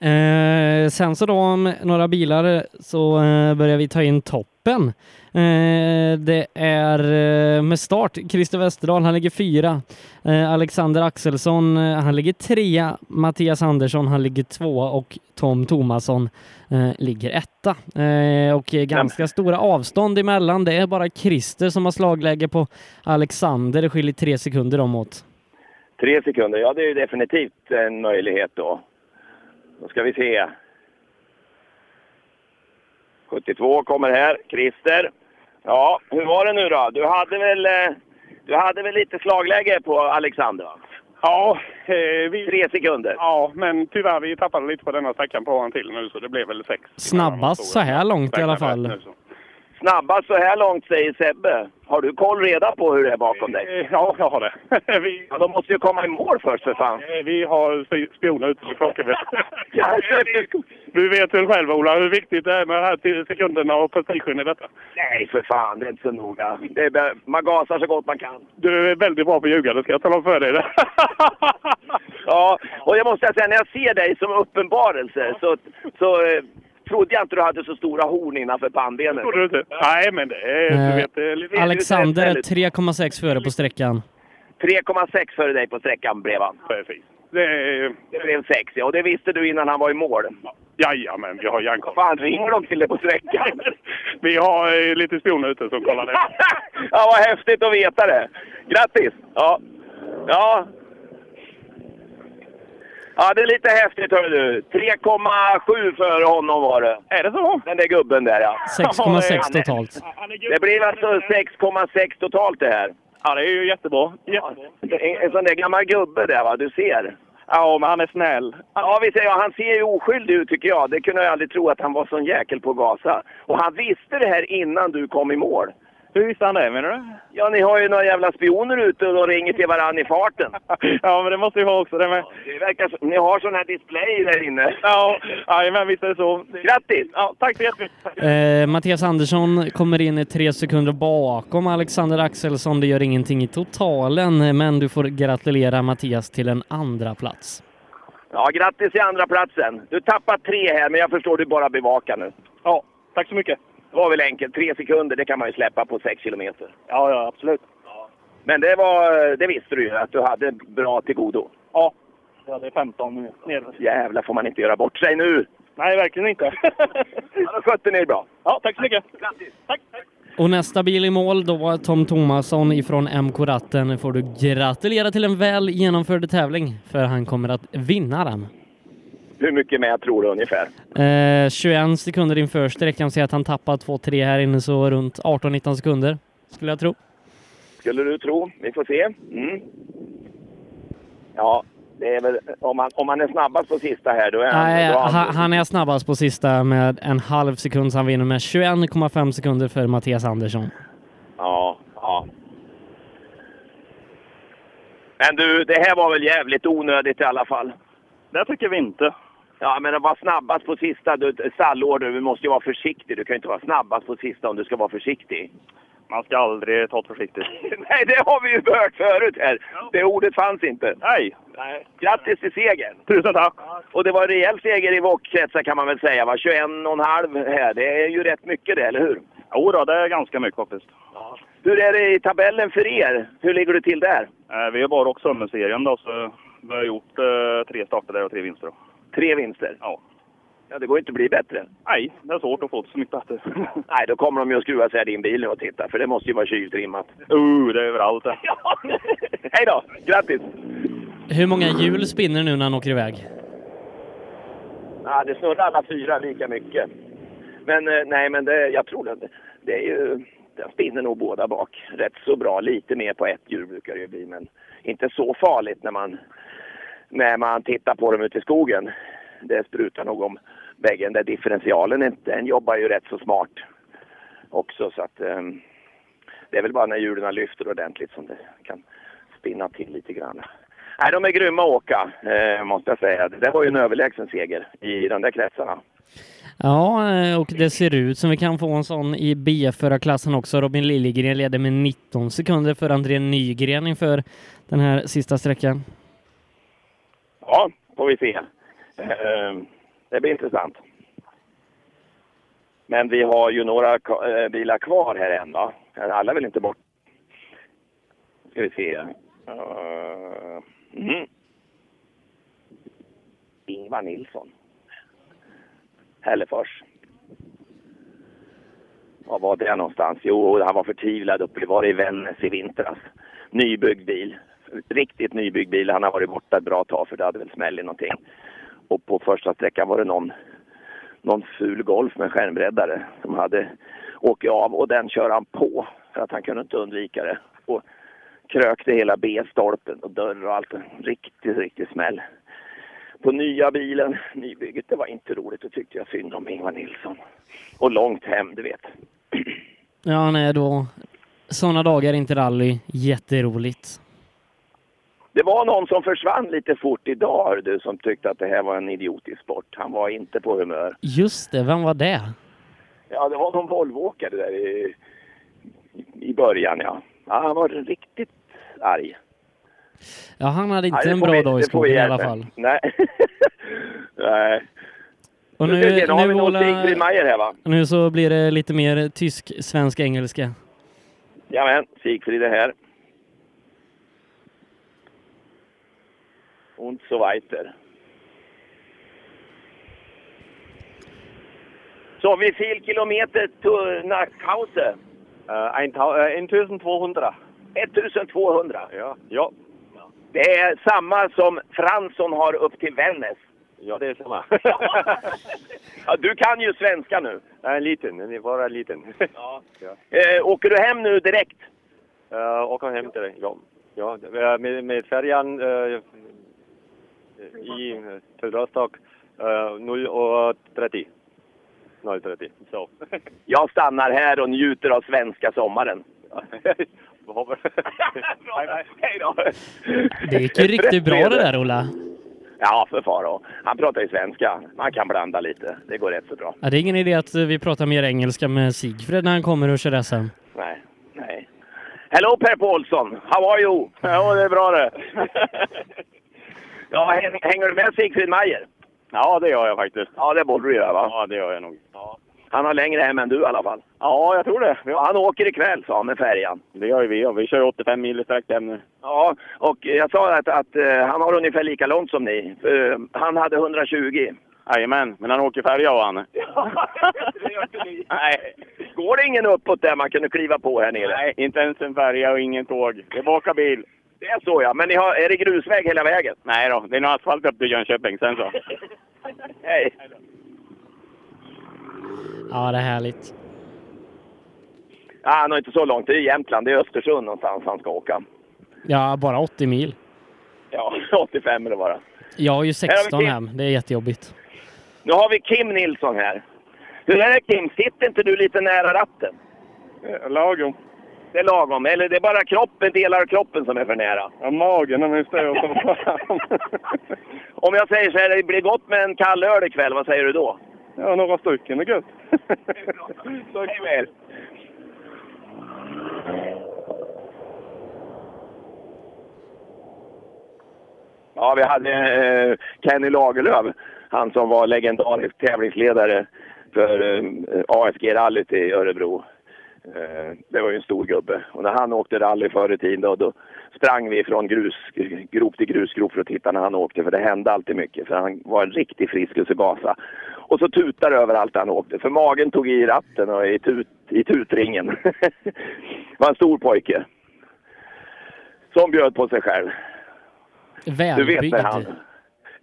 Speaker 8: Eh, sen så då om några bilar så eh, börjar vi ta in toppen. Eh, det är eh, med start Christer Westerdahl, han ligger fyra. Eh, Alexander Axelsson, eh, han ligger trea. Mattias Andersson, han ligger tvåa och Tom Tomasson eh, ligger etta. Eh, och eh, ganska stora avstånd emellan. Det är bara Christer som har slagläge på Alexander. Det skiljer tre sekunder om åt.
Speaker 1: Tre sekunder, ja det är ju definitivt en möjlighet då. Då ska vi se. 72 kommer här, Christer. Ja, hur var det nu då? Du hade väl, eh, du hade väl lite slagläge på Alexander? va?
Speaker 5: Ja, eh, vi...
Speaker 1: Tre sekunder.
Speaker 5: Ja, men tyvärr vi tappade lite på denna sträckan på han till nu så det blev väl sex.
Speaker 8: Snabbast så här långt i alla fall.
Speaker 1: Snabbast så här långt säger Sebbe. Har du koll reda på hur det är bakom dig?
Speaker 5: Eh, Ja, jag har det. vi...
Speaker 1: ja, de måste ju komma i mål först för fan.
Speaker 5: Eh, Vi har sp- spioner ute på klockan. Eh, du vet väl själv Ola hur viktigt det är med de här tio sekunderna och prestigen i detta.
Speaker 1: Nej, för fan. Det är inte så noga. Det är, bara- man gasar så gott man kan.
Speaker 5: Du är väldigt bra på att ljuga, det ska jag tala om för dig. Det.
Speaker 1: Ja, och jag måste säga, när jag ser dig som uppenbarelse så, så eh, trodde jag inte du hade så stora horn innanför pannbenet.
Speaker 5: Trodde du inte? Nej, men det är...
Speaker 8: Eh,
Speaker 5: Du vet, det är lite...
Speaker 8: Alexander är 3,6 före på sträckan.
Speaker 1: 3,6 före dig på sträckan blev han.
Speaker 5: Precis. Det,
Speaker 1: blev 6, ja. Och det visste du innan han var i mål.
Speaker 5: Jajamän, vi har järnkoll.
Speaker 1: Fan, ringer de till dig på sträckan?
Speaker 5: Vi har eh, lite spioner ute som kollar det.
Speaker 1: ja, vad häftigt att veta det. Grattis! Ja. Ja. Ja, det är lite häftigt hör du. 3,7 före honom var det.
Speaker 5: Är det så?
Speaker 1: Den där gubben där ja.
Speaker 8: 6,6 totalt.
Speaker 1: Det blir alltså 6,6 totalt det här.
Speaker 11: Ja, det är ju jättebra.
Speaker 1: En, en sån där gammal gubbe där va, du ser. Ja, men han är snäll. Ja, vi säger, ja, han ser ju oskyldig ut tycker jag. Det kunde jag aldrig tro att han var sån jäkel på att gasa. Och han visste det här innan du kom i mål. Hur visste han det menar du? Ja, ni har ju några jävla spioner ute och de ringer till varandra i farten.
Speaker 15: Ja, men det måste vi ha också. Det med.
Speaker 1: Det verkar som, ni har sån här display där inne.
Speaker 15: Ja, jajamän, visst är det så.
Speaker 1: Grattis!
Speaker 15: Ja, tack så jättemycket.
Speaker 8: Eh, Mattias Andersson kommer in i tre sekunder bakom Alexander Axelsson. Det gör ingenting i totalen, eh, men du får gratulera Mattias till en andra plats.
Speaker 1: Ja, grattis i andra platsen. Du tappar tre här, men jag förstår du bara bevakar nu. Ja, tack så mycket. Det var väl enkelt. Tre sekunder, det kan man ju släppa på sex kilometer.
Speaker 11: Ja, ja, absolut.
Speaker 1: Men det, var, det visste du ju, att du hade bra till godo.
Speaker 11: Ja. Ja, det är 15 nu. Nere.
Speaker 1: Jävlar får man inte göra bort sig nu!
Speaker 11: Nej, verkligen inte.
Speaker 1: Ja, då skötte ni er bra.
Speaker 11: Ja, tack så mycket.
Speaker 8: Och nästa bil i mål, då var Tom Tomasson ifrån MK Ratten, får du gratulera till en väl genomförd tävling, för han kommer att vinna den.
Speaker 1: Hur mycket med tror du ungefär?
Speaker 8: Eh, 21 sekunder inför sträckan, säger att han tappar 2-3 här inne, så runt 18-19 sekunder skulle jag tro.
Speaker 1: Skulle du tro. Vi får se. Mm. Ja, det är väl, om, han, om han är snabbast på sista här, då är han...
Speaker 8: Nej,
Speaker 1: då är han
Speaker 8: han, han är snabbast på sista med en halv sekund, så han vinner med 21,5 sekunder för Mattias Andersson.
Speaker 1: Ja, ja. Men du, det här var väl jävligt onödigt i alla fall? Det tycker vi inte. Ja, men att vara snabbast på sista, du, stallår du, du måste ju vara försiktig. Du kan ju inte vara snabbast på sista om du ska vara försiktig.
Speaker 3: Man ska aldrig ta det försiktigt.
Speaker 1: Nej, det har vi ju hört förut här. Det ordet fanns inte. Nej.
Speaker 3: Nej.
Speaker 1: Grattis till segern! Tusen tack! Och det var en rejäl seger i wokkretsar kan man väl säga, va? 21,5 här. Det är ju rätt mycket det, eller hur?
Speaker 3: Jo då, det är ganska mycket faktiskt.
Speaker 1: Hur är det i tabellen för er? Hur ligger du till där?
Speaker 3: Eh, Vi är bara och Sömmerserien då, så vi har gjort eh, tre starter där och tre vinster. Då.
Speaker 1: Tre vinster?
Speaker 3: Ja.
Speaker 1: Ja, det går ju inte att bli bättre.
Speaker 3: Nej, det är svårt att få det så mycket bättre.
Speaker 1: Nej, då kommer de ju att skruva sig i din bil nu och titta, för det måste ju vara tjuvtrimmat.
Speaker 3: Uh, det är överallt det.
Speaker 1: Hej då! Grattis!
Speaker 8: Hur många hjul spinner nu när han åker iväg?
Speaker 1: Ja, det snurrar alla fyra lika mycket. Men eh, nej, men det, jag tror det, det är ju... Den spinner nog båda bak rätt så bra. Lite mer på ett hjul brukar det ju bli, men inte så farligt när man, när man tittar på dem ute i skogen. Det sprutar nog om väggen. Där differentialen inte, den jobbar ju rätt så smart också. Så att, eh, det är väl bara när hjulen lyfter ordentligt som det kan spinna till lite grann. Nej, de är grymma att åka, eh, måste jag säga. Det där var ju en överlägsen seger i de där kretsarna.
Speaker 8: Ja, eh, och det ser ut som vi kan få en sån i B-förarklassen också. Robin Liljegren leder med 19 sekunder för André Nygren inför den här sista sträckan.
Speaker 1: Ja, får vi se. Eh, Det blir intressant. Men vi har ju några ka- eh, bilar kvar här än, va? Alla vill inte bort. Ska vi se. Eh, Mm. Ingvar Nilsson. Hällefors. Var var det någonstans? Jo, han var förtvivlad uppe. Det var i Vännäs i vintras. Nybyggd bil. Riktigt nybyggd bil. Han har varit borta ett bra tag för det hade väl smäll i någonting. Och på första sträckan var det någon, någon ful Golf med skärmbreddare som hade åkt av och den kör han på för att han kunde inte undvika det. Och krökte hela B-stolpen och dörr och allt. En riktig, riktig smäll. På nya bilen, nybygget, det var inte roligt. Det tyckte jag synd om Ingvar Nilsson. Och långt hem, du vet.
Speaker 8: Ja, han är då sådana dagar inte rally. Jätteroligt.
Speaker 1: Det var någon som försvann lite fort idag, hör du, som tyckte att det här var en idiotisk sport. Han var inte på humör.
Speaker 8: Just det, vem var det?
Speaker 1: Ja, det var någon Volvoåkare där i, i början, ja. ja. Han var riktigt arg.
Speaker 8: Ja, han hade inte
Speaker 1: Nej, det
Speaker 8: en
Speaker 1: får
Speaker 8: bra
Speaker 1: vi-
Speaker 8: dag i
Speaker 1: det får vi
Speaker 8: skogen i alla
Speaker 1: hjälpa.
Speaker 8: fall.
Speaker 1: Nej. Nej.
Speaker 8: Och nu,
Speaker 1: nu, har vi
Speaker 8: nu,
Speaker 1: någon till Ingrid
Speaker 8: Ola,
Speaker 1: Meijer här, va?
Speaker 8: nu så blir det lite mer tysk, svensk, engelska.
Speaker 1: Jajamän, Sigfrid är här. Und so weiter. So, wie viel Kilometer to, nach Hause? 1200. 1200? Ja. ja. Det är samma som Fransson har upp till Vännäs.
Speaker 2: Ja, det är samma.
Speaker 1: Ja, du kan ju svenska nu.
Speaker 2: Jag är liten, den är bara liten. Ja. ja.
Speaker 1: Eh, åker du hem nu direkt?
Speaker 2: eh, Uh, åker hem till dig, ja. ja. Med, med färjan, eh, i eh, Tulrastak eh, 0.30. 0.30, så.
Speaker 1: Jag stannar här och njuter av svenska sommaren. Hej då!
Speaker 8: Det gick ju riktigt bra det där Ola.
Speaker 1: Ja, för faro. Han pratar ju svenska. Man kan blanda lite. Det går rätt så bra.
Speaker 8: Ja, det är ingen idé att eh, vi pratar mer engelska med Sigfred när han kommer och kör SM.
Speaker 1: Nej, nej. Hello Per Paulsson! How are you? Ja, det är bra det. ja, häng- hänger du med Sigfrid Mayer? Ja, det gör jag faktiskt. Ja, det borde du göra va? Ja, det gör jag nog. Han har längre hem än du i alla fall. Ja, jag tror det. Han åker ikväll sa han med färjan.
Speaker 2: Det gör ju vi och vi kör 85 mil direkt hem nu.
Speaker 1: Ja, och jag sa att, att eh, han har ungefär lika långt som ni. Eh, han hade 120.
Speaker 2: Jajamän, men han åker färja och han.
Speaker 1: Nej. Går det ingen uppåt där man kunde kliva på här nere?
Speaker 2: Nej, inte ens en färja och ingen tåg. Det är bara bil.
Speaker 1: Det är så ja, men ni har, är det grusväg hela vägen?
Speaker 2: Nej då, det är nog asfalt upp till Jönköping sen så.
Speaker 1: Hej!
Speaker 8: Ja, det är härligt.
Speaker 1: Ja, han har inte så långt. Det är Jämtland. Det är Östersund någonstans han ska åka.
Speaker 8: Ja, bara 80 mil.
Speaker 1: Ja, 85 eller bara.
Speaker 8: Jag har ju
Speaker 1: Här har vi
Speaker 8: 16
Speaker 1: Kim.
Speaker 8: hem. Det är jättejobbigt.
Speaker 1: Nu har vi Kim Nilsson här. Hur är det Kim? Sitter inte du lite nära ratten? Lagom. Det är lagom. Eller det är bara kroppen, delar av kroppen som är för nära.
Speaker 6: Ja, magen den är stor som fan.
Speaker 1: Om jag säger så här, det blir gott med en kall öl ikväll. Vad säger du då?
Speaker 6: Ja, några stycken är gött.
Speaker 1: Tack väl. Ja, vi hade eh, Kenny Lagerlöf, han som var legendarisk tävlingsledare för eh, AFG-rallyt i Örebro. Eh, det var ju en stor gubbe. Och när han åkte rally förr i tiden då, då sprang vi från grusgrop till grusgrop för att titta när han åkte. För det hände alltid mycket. För han var en riktig friskus i Gasa. Och så tutar det överallt han åkte. För magen tog i ratten och i, tut, i tutringen. var en stor pojke. Som bjöd på sig själv. Du vet
Speaker 8: Välbyggd.
Speaker 1: när han...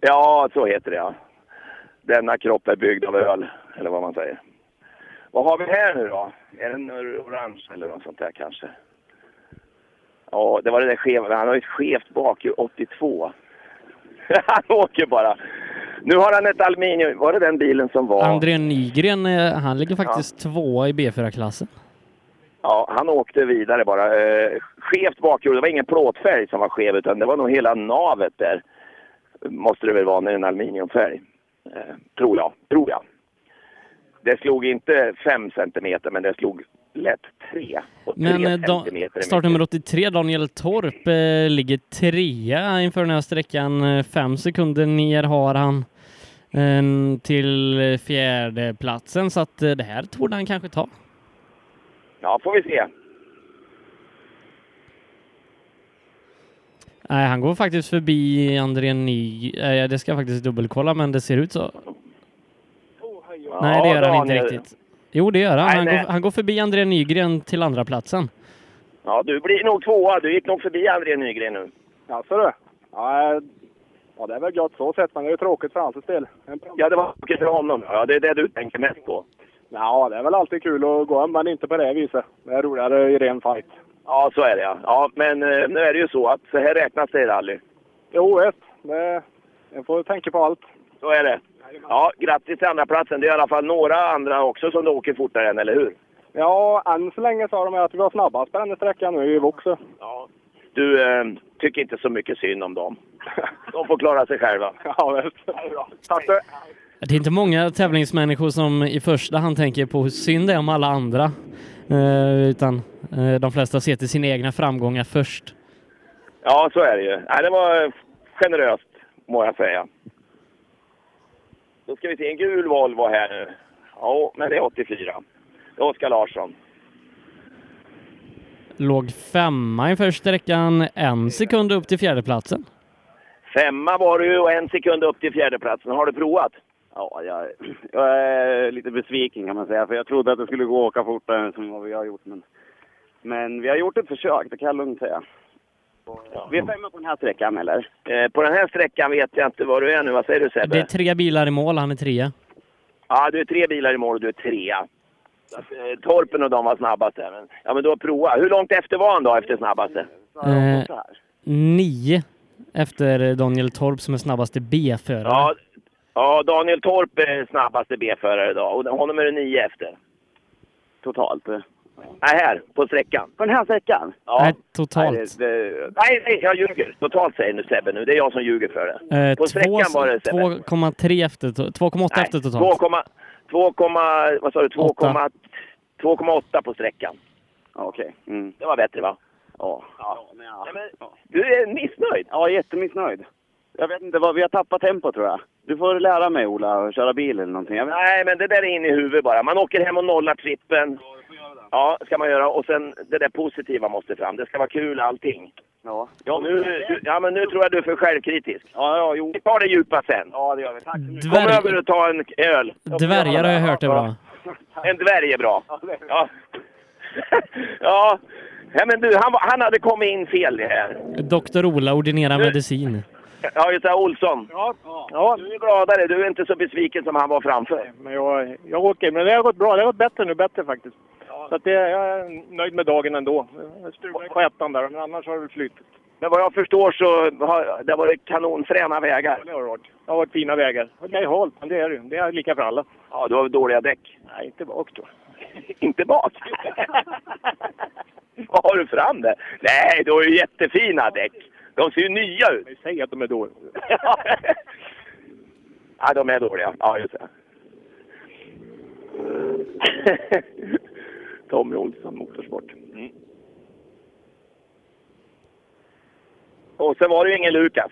Speaker 1: Ja, så heter det ja. Denna kropp är byggd av öl, eller vad man säger. Vad har vi här nu då? Är den orange eller något sånt där kanske? Ja, det var det där skeva. Han har ju ett skevt bak, ju, 82. han åker bara. Nu har han ett aluminium. Var det den bilen som var?
Speaker 8: André Nygren, eh, han ligger faktiskt tvåa i B4-klassen.
Speaker 1: Ja, han åkte vidare bara. Eh, skevt bakhjul. Det var ingen plåtfärg som var skev utan det var nog hela navet där. Måste det väl vara när det är en aluminiumfärg. Eh, tror jag. Tror jag. Det slog inte 5 centimeter men det slog lätt 3.
Speaker 8: Men eh, da,
Speaker 1: centimeter är
Speaker 8: startnummer 83, Daniel Torp, eh, ligger trea inför den här sträckan. Eh, Fem sekunder ner har han eh, till eh, fjärdeplatsen, så att eh, det här torde han kanske ta.
Speaker 1: Ja, får vi se.
Speaker 8: Nej, han går faktiskt förbi André Ny... Eh, det ska jag faktiskt dubbelkolla, men det ser ut så. nej, det gör han inte
Speaker 1: Daniel.
Speaker 8: riktigt. Jo, det gör han.
Speaker 1: Nej,
Speaker 8: han,
Speaker 1: nej.
Speaker 8: Går, han går förbi André Nygren till andra platsen.
Speaker 1: Ja, du blir nog tvåa. Du gick nog förbi André Nygren nu.
Speaker 7: Jaså du? Ja, eh, ja, det är väl gott så sett, men det är ju tråkigt för hans del.
Speaker 1: Ja, det var tråkigt för honom. Ja, det är det du tänker mest på.
Speaker 7: Ja, det är väl alltid kul att gå hem, men inte på det viset. Det är roligare i ren fight.
Speaker 1: Ja, så är det ja. ja men eh, nu är det ju så att så här räknas det i rally.
Speaker 7: Jo, ett. Det, jag får tänka på allt.
Speaker 1: Så är det. Ja, grattis till andra platsen. Det är i alla fall några andra också som åker fortare än, eller hur?
Speaker 7: Ja, än så länge sa de att vi var snabbast på den här sträckan nu i Voxö.
Speaker 1: Ja. Du eh, tycker inte så mycket synd om dem. De får klara sig själva.
Speaker 7: Ja, Tack du!
Speaker 8: Det är inte många tävlingsmänniskor som i första hand tänker på hur synd det är om alla andra. Eh, utan eh, de flesta ser till sina egna framgångar först.
Speaker 1: Ja, så är det ju. Nej, det var generöst, må jag säga. Då ska vi se, en gul Volvo här nu. Ja, men det är 84. Det är Oskar Larsson.
Speaker 8: Låg femma inför sträckan, en sekund upp till fjärdeplatsen.
Speaker 1: Femma var du ju och en sekund upp till fjärdeplatsen. Har du provat?
Speaker 20: Ja, jag, jag är lite besviken kan man säga. För jag trodde att det skulle gå att åka fortare som vad vi har gjort. Men, men vi har gjort ett försök, det kan jag lugnt säga. Vi är femma på den här sträckan eller?
Speaker 1: Eh, på den här sträckan vet jag inte var du är nu. Vad säger du Sebbe?
Speaker 8: Det är tre bilar i mål, han är trea.
Speaker 1: Ja, du är tre bilar i mål och du är trea. Så att, eh, Torpen och de var snabbast där. Men, ja, men du har provat. Hur långt efter var han då, efter snabbaste?
Speaker 8: Eh, nio efter Daniel Torp som är snabbaste B-förare.
Speaker 1: Ja, ja, Daniel Torp är snabbaste B-förare idag och honom är det nio efter. Totalt. eh. Nej, här, på sträckan.
Speaker 20: På den här sträckan?
Speaker 1: Ja.
Speaker 8: Nej, totalt.
Speaker 1: Nej, det, det, nej, nej, jag ljuger. Totalt säger nu Sebbe nu. Det är jag som ljuger för det.
Speaker 8: Eh,
Speaker 1: på
Speaker 8: två-
Speaker 1: sträckan var det Sebbe.
Speaker 8: 2,3 efter, to- 2,8 efter totalt.
Speaker 1: 2,8 vad sa du? 2,8 2,8 på sträckan.
Speaker 20: Okej. Mm.
Speaker 1: Det var bättre va?
Speaker 20: Ja.
Speaker 1: Ja.
Speaker 20: Ja,
Speaker 1: men, Du är missnöjd?
Speaker 20: Ja, jättemissnöjd. Jag vet inte, vad, vi har tappat tempo tror jag. Du får lära mig Ola att köra bil eller någonting. Jag vet.
Speaker 1: Nej, men det där är in i huvudet bara. Man åker hem och nollar trippen. Ja, ska man göra. Och sen det där positiva måste fram. Det ska vara kul allting.
Speaker 20: Ja.
Speaker 1: Ja, nu, du- ja men nu tror jag du är för självkritisk. Ja, ja, jo. Vi tar det djupa sen. Ja, det gör vi. Tack Kom
Speaker 8: Dvärg-
Speaker 1: över och ta en öl.
Speaker 8: Dvärgar har jag hört är bra.
Speaker 1: En dvärg är bra. Ja. ja. ja men du, han, var- han hade kommit in fel det här.
Speaker 8: Doktor Ola ordinerar medicin.
Speaker 1: Ja, just det, Olsson. Ja. Du är gladare. Du är inte så besviken som han var framför.
Speaker 14: Men jag, jag åker, men det har gått bra. Det har gått bättre nu, bättre faktiskt. Så att det, jag är nöjd med dagen ändå. Jag Strulade i skärpan där, men annars har det väl flyttat.
Speaker 1: Men vad jag förstår så har det har varit kanonfräna vägar.
Speaker 14: Det har det varit. Det har varit fina vägar. Åt det hållet, men det är det ju. Det är lika för alla.
Speaker 1: Ja, du har dåliga däck.
Speaker 14: Nej, inte bak då.
Speaker 1: inte bak? Vad har du fram det? Nej, du har ju jättefina däck. De ser ju nya ut.
Speaker 14: Säg att de är dåliga.
Speaker 1: ja, de är dåliga. Ja, just det. Tommy Olsson, Motorsport.
Speaker 14: Mm.
Speaker 1: Och sen var det ju ingen Lukas.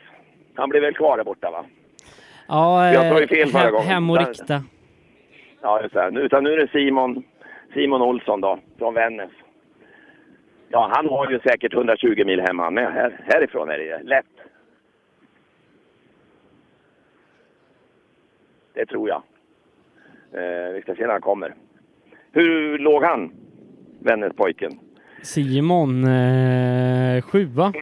Speaker 1: Han blev väl kvar där borta, va?
Speaker 8: Ja,
Speaker 1: Jag tar ju
Speaker 8: eh,
Speaker 1: fel förra
Speaker 8: hem-
Speaker 1: gången.
Speaker 8: Hem och
Speaker 1: Där.
Speaker 8: rikta.
Speaker 1: Ja, just det. Nu, utan nu är det Simon, Simon Olsson då, från Vännäs. Ja, han har ju säkert 120 mil hem han med. Här, härifrån är det ju lätt. Det tror jag. Eh, vi ska se när han kommer. Hur låg han, Vännäspojken?
Speaker 8: Simon eh, sjua.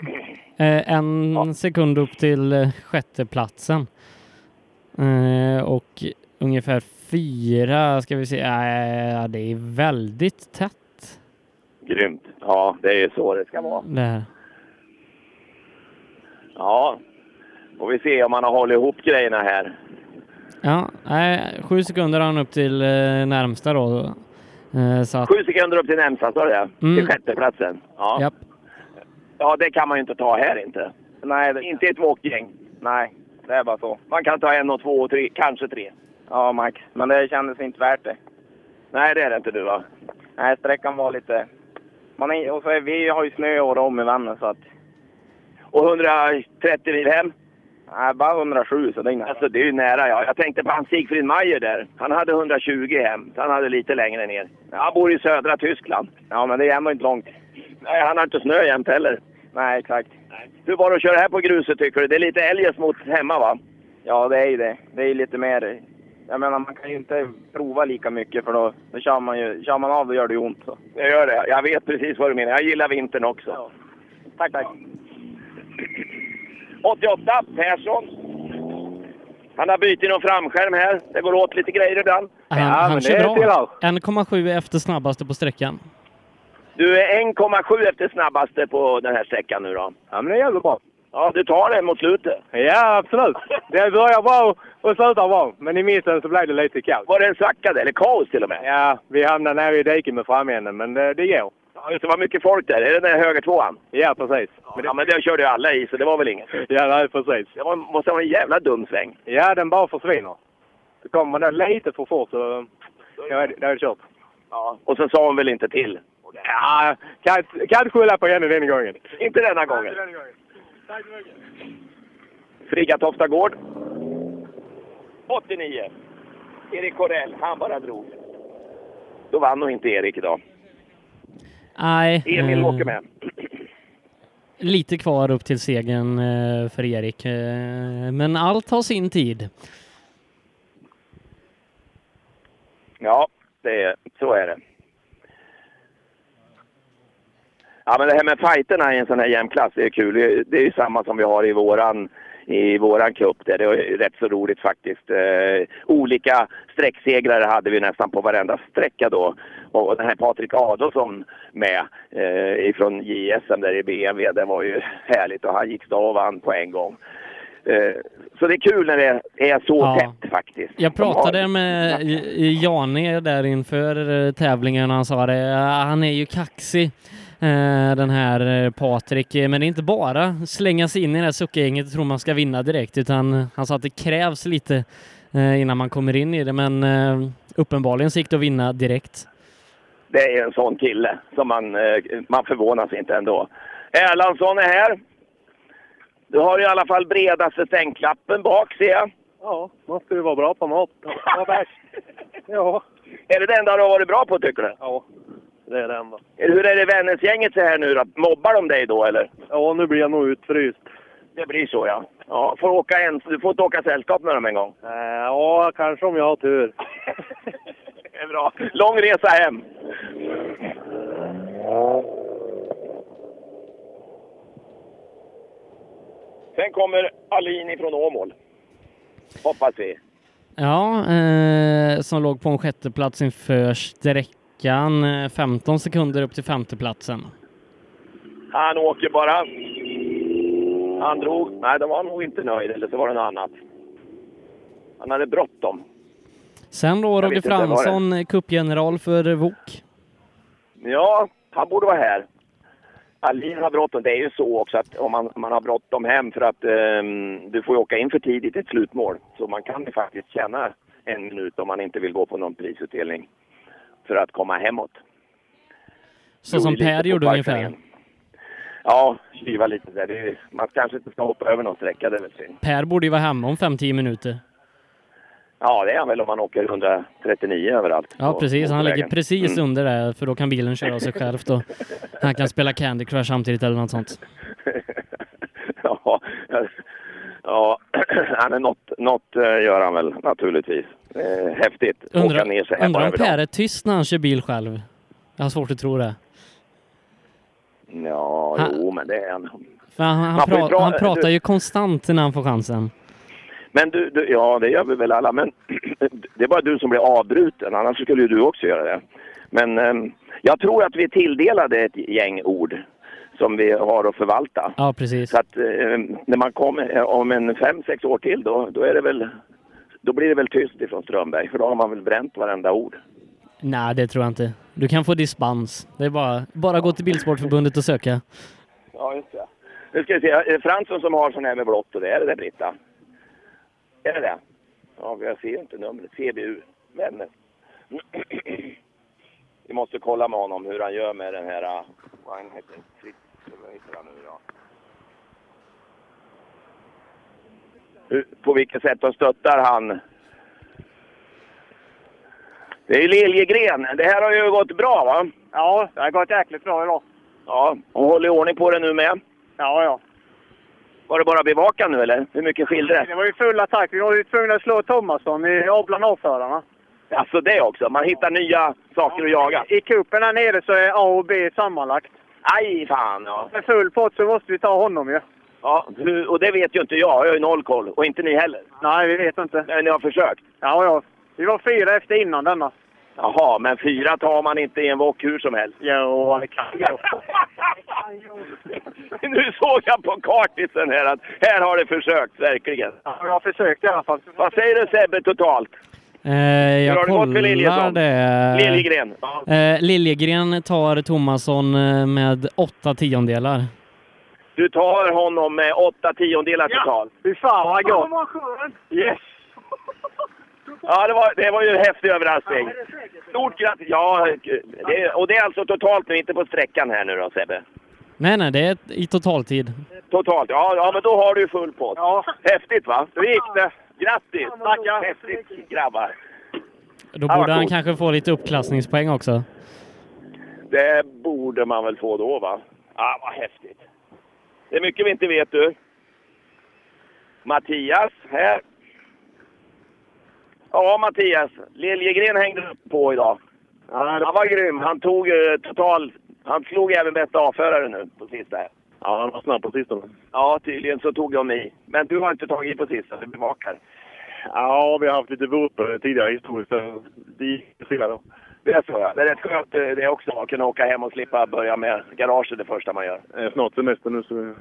Speaker 8: Eh, en sekund upp till eh, sjätteplatsen. Eh, och ungefär fyra ska vi se. Eh, det är väldigt tätt
Speaker 1: Grymt. Ja, det är ju så det ska vara.
Speaker 8: det här.
Speaker 1: Ja, får vi se om han har hållit ihop grejerna här.
Speaker 8: Ja, nej, sju sekunder har han upp till eh, närmsta då. Eh, så att,
Speaker 1: Sju sekunder upp till närmsta, sa du det?
Speaker 8: Mm.
Speaker 1: Till sjätteplatsen. Ja.
Speaker 8: Japp.
Speaker 1: ja, det kan man ju inte ta här inte. Nej, Inte i ett walkgäng. Nej, det är bara så. Man kan ta en och två och tre, kanske tre.
Speaker 12: Ja, Max. Men det kändes inte värt det.
Speaker 1: Nej, det är det inte du va?
Speaker 12: Nej, sträckan var lite... Man är, och så är, vi har ju snö år om i Vännäs, så att...
Speaker 1: Och 130 mil hem?
Speaker 12: Nej, bara 107, så det är inga...
Speaker 1: Alltså det är ju nära ja. Jag tänkte på han Sigfrid Mayer där. Han hade 120 hem, så han hade lite längre ner. Han bor i södra Tyskland.
Speaker 12: Ja, men det är ändå inte långt.
Speaker 1: Nej, han har inte snö jämt heller.
Speaker 12: Nej, exakt.
Speaker 1: Hur var det att köra här på gruset tycker du? Det är lite eljest mot hemma va?
Speaker 12: Ja, det är ju det. Det är ju lite mer... Jag menar, man kan ju inte prova lika mycket för då, då kör, man ju, kör man av då gör det ju ont. Så.
Speaker 1: Jag gör det. Jag vet precis vad du menar. Jag gillar vintern också.
Speaker 12: Tack, tack.
Speaker 1: 88, Persson. Han har bytt i någon framskärm här. Det går åt lite grejer ibland.
Speaker 8: Han, han kör bra. 1,7 efter snabbaste på sträckan.
Speaker 1: Du är 1,7 efter snabbaste på den här sträckan nu då.
Speaker 14: Ja, men det är jävligt bra.
Speaker 1: Ja, du tar det mot slutet.
Speaker 14: Ja, absolut. Det börjar bra och slutar bra. Men i mitten så blev det lite kaos.
Speaker 1: Var det en svacka där? Eller kaos till och med?
Speaker 14: Ja, vi hamnade nere i diket med framänden, men det, det går.
Speaker 1: Ja, just det var mycket folk där. Är det den där högertvåan?
Speaker 14: Ja, precis.
Speaker 1: Ja, men det körde ju alla i, så det var väl inget.
Speaker 14: Ja, nej, precis.
Speaker 1: Det var, måste ha varit en jävla dum sväng.
Speaker 14: Ja, den bara försvinner. Så kommer man där lite för fort så... Ja, det- det är det kört.
Speaker 1: Ja. Och så sa hon väl inte till?
Speaker 14: Ja, kan inte- kan inte skylla på henne den gången.
Speaker 1: Inte denna gången.
Speaker 14: Tack så mycket.
Speaker 1: Friggatofta gård. 89. Erik Korell, han bara drog. Då vann nog inte Erik idag.
Speaker 8: Nej.
Speaker 1: Emil
Speaker 8: eh,
Speaker 1: åker med.
Speaker 8: Lite kvar upp till segern eh, för Erik. eh, Men allt har sin tid.
Speaker 1: Ja, det är, så är det. Ja, men det här med fighterna i en sån här jämn klass, det är kul. Det är- Det är ju samma som vi har i våran, i våran cup. Där. Det var ju rätt så roligt faktiskt. Eh, olika sträcksegrare hade vi nästan på varenda sträcka då. Och och den här Patrik Adolfsson med eh, ifrån JSM där i BMW, det var ju härligt och han gick då och vann på en gång. Eh, så det är kul när det är så
Speaker 8: Ja.
Speaker 1: tätt faktiskt.
Speaker 8: Jag pratade med J- Jane där inför eh, tävlingen och han sa det, "Ja, han är ju kaxig eh, den här eh, Patrik, men det är inte bara slänga sig in i det här suckgänget och tro man ska vinna direkt, utan han sa att det krävs lite eh, innan man kommer in i det, men eh, uppenbarligen så gick det att vinna direkt.
Speaker 1: Det är en sån kille som man, eh, man förvånas inte ändå. Erlandsson är här. Du har i alla fall bredaste sängklappen bak ser jag.
Speaker 3: Ja, måste ju vara bra på mat. Ja, bäst. Ja,
Speaker 1: Är det det enda du har varit bra på tycker du? Ja.
Speaker 3: det är det enda.
Speaker 1: Hur är det Vännäsgänget så här nu då? Mobbar de dig då eller?
Speaker 3: Ja, nu blir jag nog utfryst.
Speaker 1: Det blir så ja. ja får åka en, du får inte åka sällskap med dem en gång.
Speaker 3: Eh, Ja, kanske om jag har tur.
Speaker 1: Det är bra. Lång resa hem. Sen kommer Alin ifrån Åmål. Hoppas vi.
Speaker 8: Ja, eh, som låg på en sjätteplats inför sträckan, eh, 15 sekunder upp till femteplatsen.
Speaker 1: Han åker bara. Han drog. Nej, då var han nog inte nöjd. Eller så var det något annat. Han hade bråttom.
Speaker 8: Sen då
Speaker 1: Jag vet
Speaker 8: Roger
Speaker 1: inte, var det?
Speaker 8: Fransson, eh, cupgeneral för VOK.
Speaker 1: Ja, han borde vara här. Alin har bråttom. Det är ju så också att om man, man har bråttom hem för att ehm, du får ju åka in för tidigt i ett slutmål. Så man kan ju faktiskt tjäna en minut om man inte vill gå på någon prisutdelning för att komma hemåt.
Speaker 8: Så som
Speaker 1: Gjorde lite
Speaker 8: Per
Speaker 1: på
Speaker 8: gjorde ungefär.
Speaker 1: parkeringen. Ja, kiva lite där. Det är, man kanske inte ska hoppa över någon sträcka, det är väl synd.
Speaker 8: Per borde ju vara hemma om 5-10 minuter.
Speaker 1: Ja, det är han väl om man åker 139 överallt.
Speaker 8: Ja,
Speaker 1: på
Speaker 8: precis. Han ligger
Speaker 1: motorvägen.
Speaker 8: precis
Speaker 1: Mm.
Speaker 8: under där, för då kan bilen köra av sig själv och han kan spela Candy Crush samtidigt eller något sånt.
Speaker 1: Mm. ja, ja han är något, något eh, gör han väl naturligtvis. Eh, häftigt. Åka ner sig här
Speaker 8: Undrar
Speaker 1: bara
Speaker 8: om
Speaker 1: över dagen.
Speaker 8: Per är tyst när han kör bil själv. Jag har svårt att tro det.
Speaker 1: Ja,
Speaker 8: Han-
Speaker 1: jo, men det är han.
Speaker 8: För han, han,
Speaker 1: Man får ju
Speaker 8: pra-
Speaker 1: pra-
Speaker 8: han pratar
Speaker 1: du-
Speaker 8: ju konstant när han får chansen.
Speaker 1: Men du, du, ja det gör vi väl alla, men det är bara du som blir avbruten, annars skulle ju du också göra det. Men ehm, jag tror att vi är tilldelade ett gäng ord som vi har att förvalta.
Speaker 8: Ja, precis.
Speaker 1: Så att ehm, när man kommer eh, om en fem, sex år till då, då är det väl då blir det väl tyst ifrån Strömberg, för då har man väl bränt varenda ord.
Speaker 8: Nej, det tror jag inte. Du kan få dispens. Det är bara, bara gå till Bilsportförbundet och söka.
Speaker 1: Ja, just det. Nu ska vi se, är det Fransson som har sån här med blått och det? Är det det, Britta? Är det det? Ja, jag ser ju inte numret. CBU. Men... Vi måste kolla med honom hur han gör med den här... äh, Vad han heter? Fritz- Vad heter han nu då? Hur, på vilket sätt de stöttar han? Det är ju Liljegren. Det här har ju gått bra, va?
Speaker 19: Ja, det har gått jäkligt bra idag.
Speaker 1: Ja, och håller i ordning på det nu med.
Speaker 19: Ja, ja.
Speaker 1: Var det bara bevakan nu eller? Hur mycket skilde det?
Speaker 19: Det var ju full attack. Vi var ju tvungna att slå Thomasson i bland avförarna.
Speaker 1: Alltså det också, man hittar nya saker att jaga.
Speaker 19: I cupen här nere så är A och B sammanlagt.
Speaker 1: Aj fan ja.
Speaker 19: Med full pott så måste vi ta honom ju.
Speaker 1: ja. hur- Och det vet ju inte jag, jag har ju noll koll. Och inte ni heller.
Speaker 19: Nej, vi vet inte.
Speaker 1: Men ni har försökt.
Speaker 19: Ja, ja. Vi var fyra efter innan denna.
Speaker 1: Jaha, men fyra tar man inte i en wok hur som helst.
Speaker 19: Jo, det kan jag.
Speaker 1: nu såg jag på kartisen här att här har det försökt, verkligen.
Speaker 19: Ja, jag har försökt i alla fall.
Speaker 1: Vad säger du Sebbe totalt?
Speaker 8: Eh, jag
Speaker 1: har det gått för
Speaker 8: kollar
Speaker 1: Liljesson?
Speaker 8: det.
Speaker 1: Liljegren, ja.
Speaker 8: Eh, Liljegren tar Tomasson eh, med åtta tiondelar.
Speaker 1: Du tar honom med åtta tiondelar totalt.
Speaker 19: Fy fan vad
Speaker 1: gott.
Speaker 19: var skönt!
Speaker 1: Yes! Ja, det var, det var ju en häftig överraskning. Stort grattis! Ja, det, och det är alltså totalt nu, inte på sträckan här nu då Sebbe?
Speaker 8: Nej, nej, det är i totaltid.
Speaker 1: Totalt, ja, ja men då har du ju full pott. Ja. Häftigt va? Hur gick det? Grattis! Tackar! Häftigt grabbar!
Speaker 8: Då
Speaker 1: Ja, vad
Speaker 8: borde han
Speaker 1: coolt.
Speaker 8: kanske få lite uppklassningspoäng också.
Speaker 1: Det borde man väl få då va? Ja, vad häftigt! Det är mycket vi inte vet du. Mattias här. Ja Mattias, Liljegren hängde upp på idag. Han var grym. Han tog eh, total... Han slog även bästa avförare nu på sista här.
Speaker 21: Ja, han var snabb på sistone.
Speaker 1: Ja, tydligen så tog de i. Men du har inte tagit i på sista, du bevakar.
Speaker 21: Ja, vi har haft lite vurpor tidigare historiskt. så Det gick stilla då.
Speaker 1: Det är så, ja. Det är rätt skönt eh, det också, att kunna åka hem och slippa börja med garaget det första man gör.
Speaker 21: Eh, Snart semester nu så vi...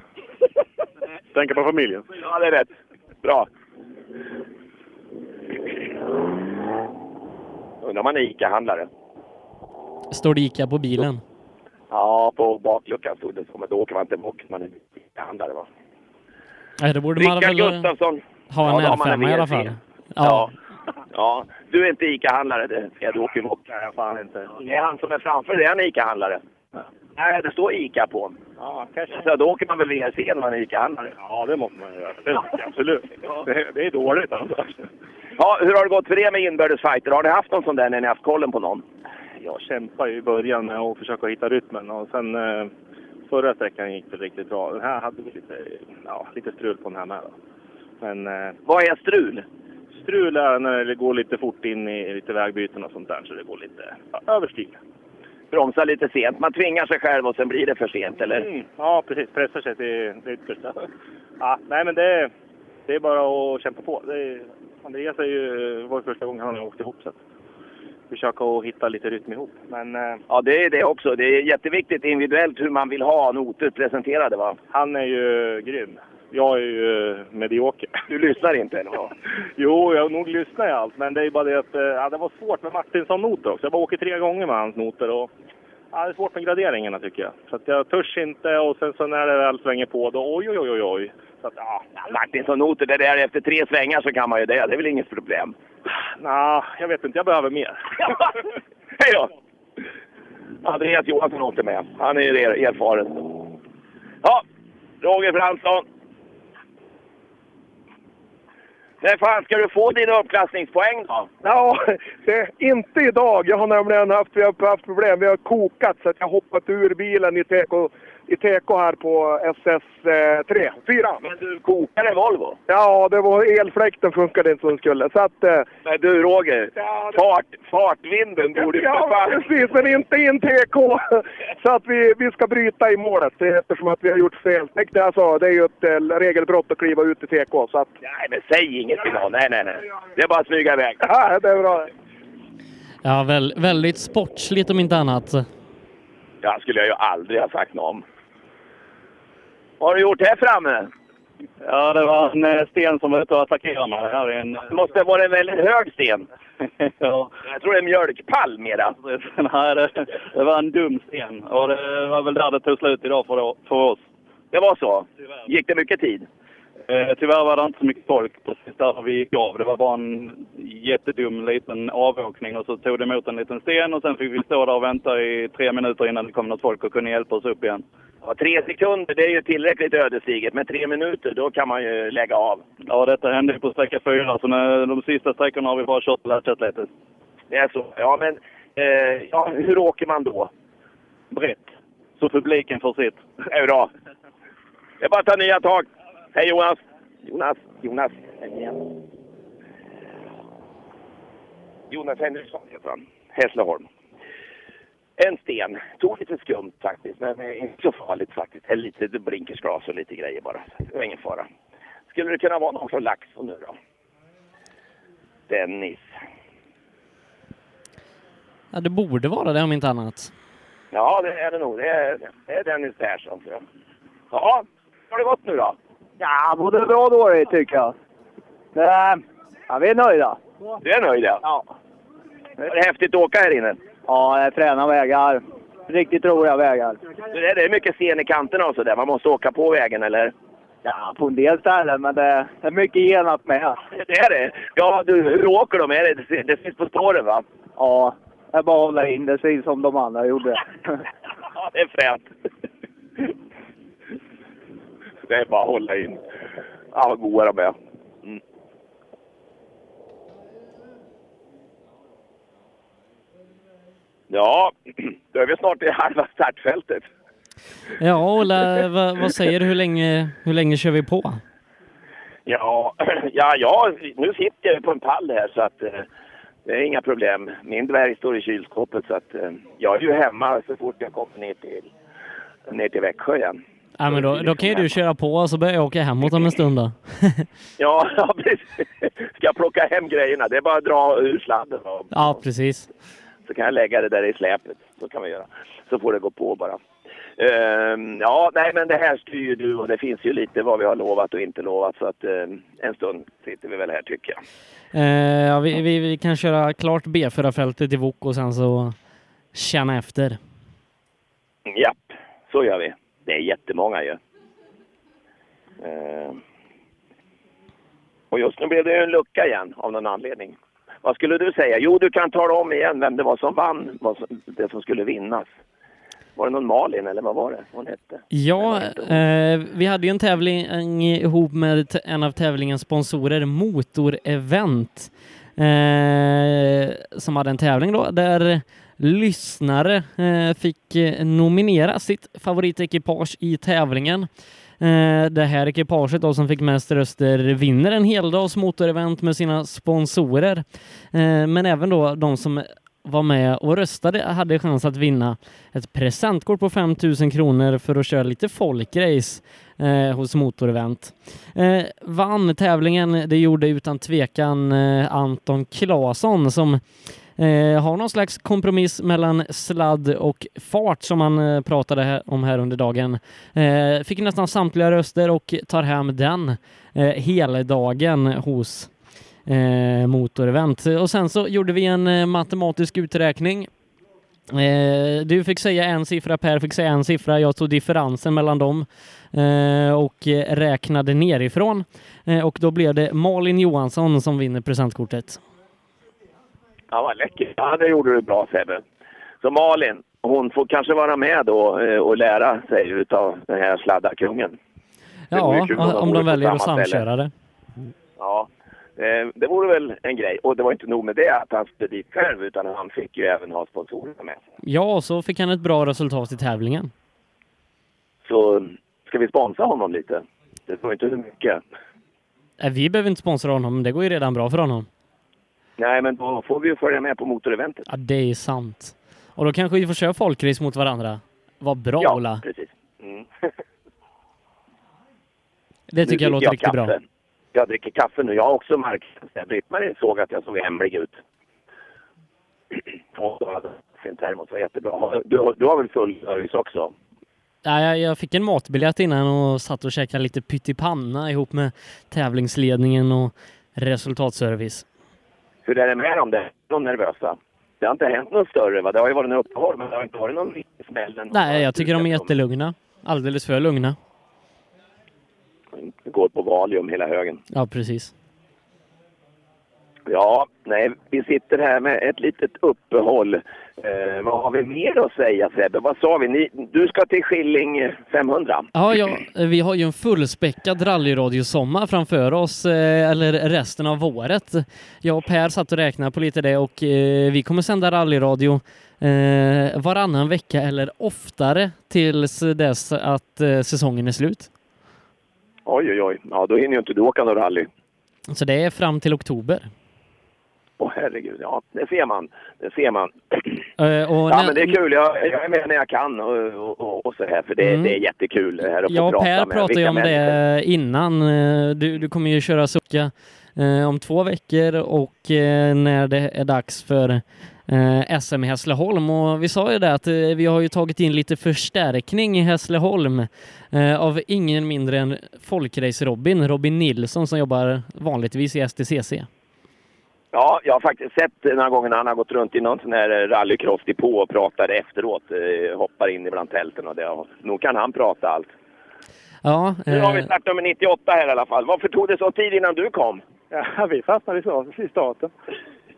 Speaker 21: Tänka på familjen.
Speaker 1: Ja, det är rätt. Bra. Undrar om han är ICA-handlare.
Speaker 8: Står det Ica på bilen?
Speaker 1: Ja, på bakluckan stod det så, men då åker man inte bort. Man är ICA-handlare, va?
Speaker 8: Nej, det borde man
Speaker 1: Rickard
Speaker 8: väl
Speaker 1: Gustafsson.
Speaker 8: ha
Speaker 1: Ja,
Speaker 8: en
Speaker 1: då har man en
Speaker 8: R5 i alla
Speaker 1: VRC.
Speaker 8: fall. Ja.
Speaker 1: Ja, du är inte ICA-handlare. det ser jag. Du åker ju bort. Nej, fan inte. Det är han som är framför dig, han är ICA-handlare. Nej, det står ICA på honom.
Speaker 21: Ja,
Speaker 1: Så då åker man väl VRC när man är ICA-handlare.
Speaker 21: Ja, det måste man göra. Det- Absolut. Det, det är dåligt alltså.
Speaker 1: Ja, hur har det gått för er med inbördes fighter? Har ni haft någon sån där när ni haft kollen på någon?
Speaker 5: Jag kämpade ju i början med att försöka hitta rytmen och sen eh, förra sträckan gick det riktigt bra. Den här hade vi lite, ja, lite strul på den här med. Då. Men, eh,
Speaker 1: Vad är strul?
Speaker 5: Strul är när det går lite fort in i lite vägbyten och sånt där så det går lite ja, överstyr.
Speaker 1: Bromsa lite sent. Man tvingar sig själv och sen blir det för sent, eller?
Speaker 5: Mm, ja precis, pressar sig till det yttersta. Ja, nej men det, det är bara att kämpa på. Det är, Andreas är ju, var ju första gången han har åkt ihop så att försöka att hitta lite rytm ihop. Men eh,
Speaker 1: Ja, det är det också. Det är jätteviktigt individuellt hur man vill ha noter presenterade, va?
Speaker 5: Han är ju grym. Jag är ju eh, medioker.
Speaker 1: Du lyssnar inte, eller vad?
Speaker 5: Jo, jag nog lyssnar jag allt, men det är bara det att eh, ja, det var svårt med Martinsson-noter också. Jag bara åker tre gånger med hans noter och ja, det är svårt med graderingarna tycker jag. Så att jag törs inte och sen så när det väl svänger på då oj, oj, oj, oj, oj. Så att ja,
Speaker 1: Martinsson-noter, det där efter tre svängar så kan man ju det. Det är väl inget problem.
Speaker 5: nja, jag vet inte, jag behöver mer.
Speaker 1: Hej då! Andreas Johansson åkte med. Han är ju er- erfaren. Ja, Roger Fransson. När fan ska du få dina uppklassningspoäng då?
Speaker 4: Ja, det, inte idag. Jag har nämligen haft, vi har haft problem. Vi har kokat så att jag har hoppat ur bilen i teko, i teko här på SS3. Fyra.
Speaker 1: Men du kokar en Volvo?
Speaker 4: Ja, det var elfläkten funkade inte som den skulle. Så att, eh,
Speaker 1: Men du Roger, fart, fartvinden borde ju för
Speaker 4: ja,
Speaker 1: fan...
Speaker 4: precis, men inte in TK. Så att vi, vi ska bryta i målet eh, eftersom att vi har gjort fel. Tänk det jag sa, det är ju ett eh, regelbrott att kliva ut i TK. Så att,
Speaker 1: Nej men säg inget idag, nej nej nej. Det är bara att smyga iväg.
Speaker 4: ja, det är bra.
Speaker 8: Ja, väl, väldigt sportsligt om inte annat.
Speaker 1: Ja, skulle jag ju aldrig ha sagt något om. Vad har du gjort här framme?
Speaker 22: Ja, det var en eh, sten som var ute och attackerade mig. Här är en...
Speaker 1: Det måste vara en väldigt hög sten.
Speaker 22: ja.
Speaker 1: Jag tror det är en mjölkpall mera.
Speaker 22: Nej, det, eh, det var en dum sten. Och det var väl där det tog slut idag för, för oss.
Speaker 1: Det var så? Gick det mycket tid?
Speaker 22: Eh, tyvärr var det inte så mycket folk precis där vi gick av. Det var bara en jättedum liten avåkning och så tog det emot en liten sten och sen fick vi stå där och vänta i tre minuter innan det kom något folk och kunde hjälpa oss upp igen.
Speaker 1: Ja, tre sekunder, det är ju tillräckligt ödesdigert. Men tre minuter, då kan man ju lägga av.
Speaker 22: Ja, detta hände ju på sträcka fyra så nu, de sista sträckorna har vi bara kört och latchat lite.
Speaker 1: Det är så. Ja, men eh, ja, hur åker man då?
Speaker 22: Brett. Så publiken får sitt.
Speaker 1: Det är bra. Det är bara att ta nya tag. Hej Jonas! Jonas, Jonas. Jonas Henriksson heter han. Hässleholm. En sten. Tog lite skumt faktiskt, men eh, inte så farligt faktiskt. Eller lite blinkersglas och lite grejer bara. Så Det var ingen fara. Skulle det kunna vara någon från Laxå nu då? Dennis.
Speaker 8: Ja, det borde vara det om inte annat.
Speaker 1: Ja, det är det nog. Det är, det är Dennis Persson, tror jag. Ja, hur har det gått nu då?
Speaker 19: Ja, både bra och dåligt tycker jag. Men, eh, ja, vi är nöjda.
Speaker 1: Du är nöjd ja?
Speaker 19: Ja.
Speaker 1: Var det häftigt att åka här inne?
Speaker 19: Ja, det är fräna vägar. Riktigt roliga vägar.
Speaker 1: Du, Det är det är mycket sten i kanterna och sådär. Man måste åka på vägen, eller?
Speaker 19: Ja, på en del ställen, men Eh, det är mycket genat med.
Speaker 1: Det är det. Ja, du, hur åker de? Är det, det finns på spåren, va?
Speaker 19: Ja, det är bara att hålla in det precis som de andra gjorde.
Speaker 1: Ja, det är fränt. Det är bara att hålla in. Ja, vad goa de är. Mm. Ja, då är vi snart i halva startfältet.
Speaker 8: Ja, Ola, vad, vad säger du? Hur länge, hur länge kör vi på?
Speaker 1: Ja, ja, ja, nu sitter jag på en pall här så att eh, det är inga problem. Min dvärg står i kylskåpet så att eh, jag är ju hemma så fort jag kommer ner till, ner till Växjö igen.
Speaker 8: Ja, men då, då kan ju du köra på och så börjar jag åka hemåt om en stund då.
Speaker 1: Ja, ja, precis. Ska jag plocka hem grejerna? Det är bara att dra ur sladden och
Speaker 8: Ja, precis.
Speaker 1: så kan jag lägga det där i släpet. Så kan vi göra. Så får det gå på bara. Ehm, ja, nej men det här styr ju du och det finns ju lite vad vi har lovat och inte lovat så att ehm, en stund sitter vi väl här tycker jag.
Speaker 8: Eh, ja, vi, vi, vi kan köra klart B4-fältet i Wok och sen så känna efter.
Speaker 1: Japp, så gör vi. Det är jättemånga ju. Ehm. Och just nu blev det ju en lucka igen av någon anledning. Vad skulle du säga? Jo, du kan tala om igen vem det var som vann, vad som, det som skulle vinnas. Var det någon Malin eller vad var det hon hette?
Speaker 8: Ja, eh, vi hade ju en tävling eh, ihop med t- en av tävlingens sponsorer, Motorevent, eh, som hade en tävling då där lyssnare eh, fick eh, nominera sitt favoritekipage i tävlingen. Eh, det här ekipaget då som fick mest röster vinner en heldags motorevent med sina sponsorer. Eh, men även då de som var med och röstade hade chans att vinna ett presentkort på 5 000 kronor för att köra lite folkrace eh, hos Motorevent. Eh, vann tävlingen, det gjorde utan tvekan eh, Anton Claesson som eh, har någon slags kompromiss mellan sladd och fart som han eh, pratade här, om här under dagen. Eh, fick nästan samtliga röster och tar hem den eh, hela dagen hos eh, motorevent. Och sen så gjorde vi en eh, matematisk uträkning. Eh, du fick säga en siffra, Per fick säga en siffra. Jag tog differensen mellan dem eh, och eh, räknade nerifrån. Eh, och då blev det Malin Johansson som vinner presentkortet.
Speaker 1: Ja, vad läckert. Ja, det gjorde du bra Sebbe. Så Malin, hon får kanske vara med då eh, och lära sig utav den här sladdarkungen. Det
Speaker 8: Ja,
Speaker 1: vore kul om de
Speaker 8: om
Speaker 1: vore
Speaker 8: de
Speaker 1: på
Speaker 8: väljer att
Speaker 1: samma ställe.
Speaker 8: samköra det.
Speaker 1: Ja, eh, det vore väl en grej. Och det var inte nog med det att han skulle dit själv utan han fick ju även ha sponsorerna med sig.
Speaker 8: Ja, och så fick han ett bra resultat i tävlingen.
Speaker 1: Så ska vi sponsra honom lite? Det får inte hur mycket.
Speaker 8: Eh, vi behöver inte sponsra honom, det går ju redan bra för honom.
Speaker 1: Nej, men då får vi ju följa med på motoreventet.
Speaker 8: Ja, det är sant. Och då kanske vi får köra folkrace mot varandra. Vad bra,
Speaker 1: ja,
Speaker 8: Ola.
Speaker 1: precis. Mm.
Speaker 8: Det tycker jag
Speaker 1: Nu
Speaker 8: låter
Speaker 1: dricker
Speaker 8: riktigt bra.
Speaker 1: kaffe. Jag dricker kaffe nu. Jag har också marktjänst. Britt-Marie såg att jag såg hemlig ut. Och så hade jag sin termos. Det var jättebra. Du, du har väl full service också?
Speaker 8: Ja, jag, jag fick en matbiljett innan och satt och käkade lite pyttipanna ihop med tävlingsledningen och resultatservice.
Speaker 1: Hur är det med dem? där? Är De nervösa? Det har inte hänt något större va? Det har ju varit några uppehåll men det har inte varit någon riktig smäll. än.
Speaker 8: Nej, jag tycker de är jättelugna. Alldeles för lugna.
Speaker 1: Det går på Valium hela högen.
Speaker 8: Ja, precis.
Speaker 1: Ja, nej, vi sitter här med ett litet uppehåll. Eh, vad har vi mer att säga Sebbe? Vad sa vi? Ni, du ska till Skilling 500.
Speaker 8: Ja, ja, vi har ju en fullspäckad rallyradiosommar framför oss, eh, eller resten av året. Jag och Per satt och räknade på lite det och eh, vi kommer sända rallyradio eh, varannan vecka eller oftare tills dess att eh, säsongen är slut.
Speaker 1: Oj, oj, oj. Ja, då hinner ju inte du åka någon rally.
Speaker 8: Så det är fram till oktober.
Speaker 1: Åh herregud, ja det ser man. Det ser man.
Speaker 8: Eh, och
Speaker 1: ja
Speaker 8: när-
Speaker 1: men det är kul, jag, jag är med när jag kan och, och, och, och så här för det,
Speaker 8: Mm.
Speaker 1: det är jättekul det här att
Speaker 8: Jag
Speaker 1: få
Speaker 8: och
Speaker 1: prata
Speaker 8: Per
Speaker 1: med
Speaker 8: pratade ju
Speaker 1: vilka
Speaker 8: om det innan. Eh, Du, du kommer ju köra Succa eh, om två veckor och eh, när det är dags för eh, SM i Hässleholm. Och vi sa ju det att eh, vi har ju tagit in lite förstärkning i Hässleholm eh, av ingen mindre än Folkrace-Robin, Robin Nilsson som jobbar vanligtvis i STCC.
Speaker 1: Ja, jag har faktiskt sett några gånger när han har gått runt i någon sån här rallycross på och pratar efteråt. eh, Hoppar in ibland tälten och det. och Nog kan han prata allt.
Speaker 8: Ja,
Speaker 1: Nu har vi
Speaker 8: eh,
Speaker 1: startnummer 98 här i alla fall. Varför tog det så tid innan du kom?
Speaker 17: Ja, vi fastnade i starten- i starten.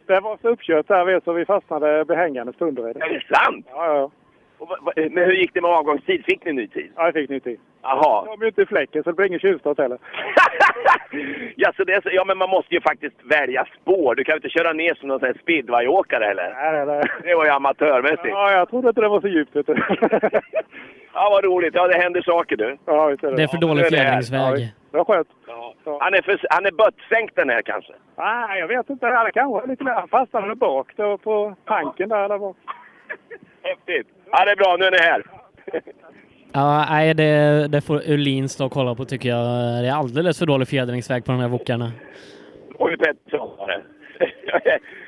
Speaker 17: Det var så uppkört där vet du, så vi fastnade behängande stunder vid
Speaker 1: Är det sant?
Speaker 17: Ja, ja.
Speaker 1: Och va- va- Men hur gick det med avgångstid? Fick ni ny tid?
Speaker 17: Ja, jag fick ny tid.
Speaker 1: Jaha.
Speaker 17: De är ju inte i fläcken så det blir ingen tjuvstart heller.
Speaker 1: Ja, så det är så, ja, men man måste ju faktiskt välja spår. Du kan ju inte köra ner som någon sån här speedwayåkare heller.
Speaker 17: Nej, nej, nej.
Speaker 1: Det var ju amatörmässigt.
Speaker 17: Ja,
Speaker 1: Ja,
Speaker 17: jag trodde inte det var så djupt vet du.
Speaker 1: vad roligt. Ja, det händer saker du.
Speaker 17: Ja, visst är det.
Speaker 8: det är för dålig fjädringsväg.
Speaker 17: Det var skönt.
Speaker 1: Han är, för, han är böttsänkt den här kanske.
Speaker 17: Nej, jag vet inte. Det kanske var lite mer. Han fastnade nog bak då på tanken där. eller vad.
Speaker 1: Häftigt. Ja, det är bra. Nu är ni här.
Speaker 8: Ja, nej, det, det får Ulin stå och kolla på tycker jag. Det är alldeles för dålig fjädringsväg på de här wokarna.
Speaker 1: Oj, Pettersson var det.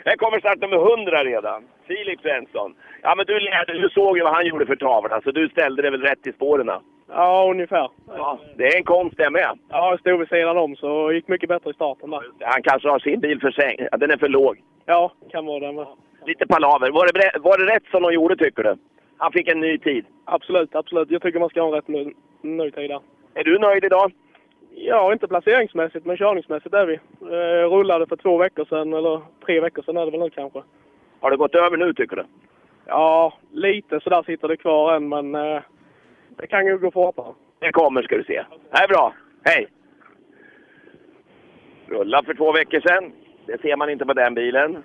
Speaker 1: Här kommer start nummer 100 redan. Filip Svensson. Ja, men du, lärde, du såg ju vad han gjorde för tavlan, så du ställde dig väl rätt i spåren?
Speaker 23: Ja, ungefär.
Speaker 1: Ja, det är en konst det med.
Speaker 23: Ja, jag stod vid sidan om så det gick mycket bättre i starten där.
Speaker 1: Han kanske har sin bil för säng. Ja, Den är för låg.
Speaker 23: Ja, kan vara det med.
Speaker 1: Lite palaver. Var det, bre- var det rätt som de gjorde, tycker du? Han fick en ny tid.
Speaker 23: Absolut, absolut. Jag tycker man ska ha en rätt nu, nu tid där.
Speaker 1: Är du nöjd idag?
Speaker 23: Ja, inte placeringsmässigt, men körningsmässigt är vi. Eh, rullade för två veckor sedan, eller tre veckor sedan är det väl nu kanske.
Speaker 1: Har det gått över nu, tycker du?
Speaker 23: Ja, lite sådär sitter det kvar än, men eh, det kan ju gå fortare.
Speaker 1: Det kommer ska du se. Det är bra. Hej! Rulla för två veckor sedan. Det ser man inte på den bilen.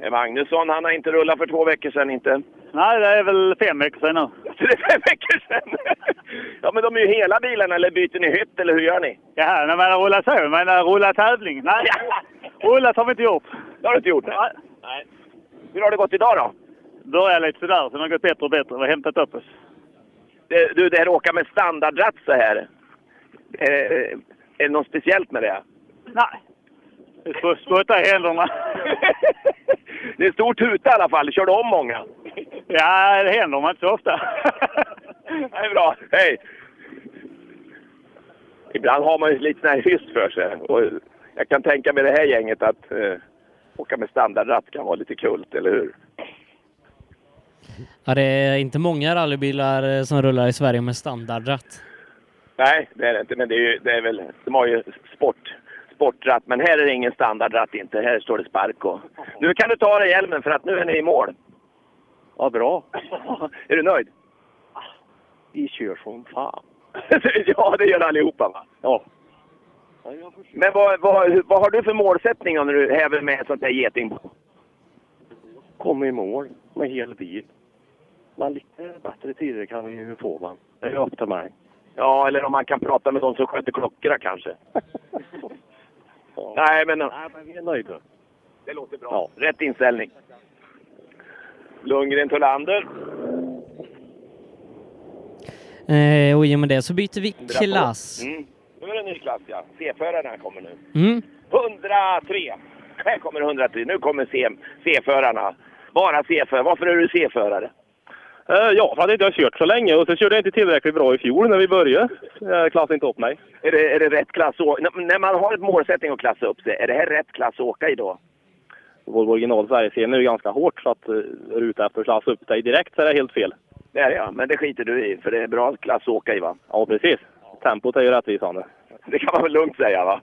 Speaker 1: Eh, Magnusson, han har inte rullat för två veckor sedan inte.
Speaker 5: Nej, det är väl fem veckor sedan nu.
Speaker 1: Så det är fem veckor sedan! ja, men de är ju hela bilarna, eller byter ni hytt, eller hur gör ni?
Speaker 5: Ja, när man rullar så. Men eh, rulla tävling. Nej, rullat har vi inte gjort.
Speaker 1: Det har du inte gjort?
Speaker 5: Nej.
Speaker 1: Hur har det gått idag då?
Speaker 5: Börjar lite sådär, sen har det gått bättre och bättre. Vi har hämtat upp oss.
Speaker 1: Det, du, det här att åka med standardratt så här. Är, det- är det något speciellt med det?
Speaker 5: Nej. Vi sp- Spottar i händerna.
Speaker 1: Det är en stor tuta i alla fall. Kör du om många?
Speaker 5: Ja, det händer man inte så ofta.
Speaker 1: Det är bra. Hej! Ibland har man ju lite sån här hyss för sig. Och jag kan tänka mig det här gänget att eh, åka med standardratt kan vara lite kult, eller hur?
Speaker 8: Ja, det är inte många rallybilar eh, som rullar i Sverige med standardratt.
Speaker 1: Nej, det är det inte. Men det är, ju, det är väl, de har ju sport, sportratt. Men här är det ingen standardratt inte. Här står det spark och... Nu kan du ta av dig hjälmen för att nu är ni i mål. Ja, bra. är du nöjd?
Speaker 24: Vi kör som fan.
Speaker 1: ja, det gör allihopa va? Ja. Men vad, vad, hur- vad har du för målsättning då när du häver med ett sånt här getingbo?
Speaker 24: Kom i mål med hel bil. Men lite bättre tider kan vi ju få man. Det är upp till mig.
Speaker 1: Ja, eller om man kan prata med de som sköter klockorna kanske. Nej, men... Nej, men vi är nöjda. Det låter bra. Ja. Rätt inställning. Lundgren, Tholander.
Speaker 8: Eh, och i och med det så byter vi klass.
Speaker 1: Mm. Nu är det en ny klass, ja. C-förarna kommer nu.
Speaker 8: Mm.
Speaker 1: 103! Här kommer 103. Nu kommer C- C-förarna. Bara C-förare. Varför är du C-förare?
Speaker 4: Eh, Ja, för att jag inte har kört så länge och sen körde jag inte tillräckligt bra i fjol när vi började. Jag klassade inte upp mig.
Speaker 1: Är det, är det rätt klass å- N- När man har ett målsättning att klassa upp sig, är det här rätt klass att åka i då?
Speaker 4: Vår original Sverigescen är ju ganska hårt så att eh, är du ute efter att klassa upp dig direkt så är det helt fel.
Speaker 1: Det är det ja, men det skiter du i för det är bra klass att åka i va?
Speaker 4: Ja, precis. Tempot är ju rättvisande.
Speaker 1: Det kan man väl lugnt säga va?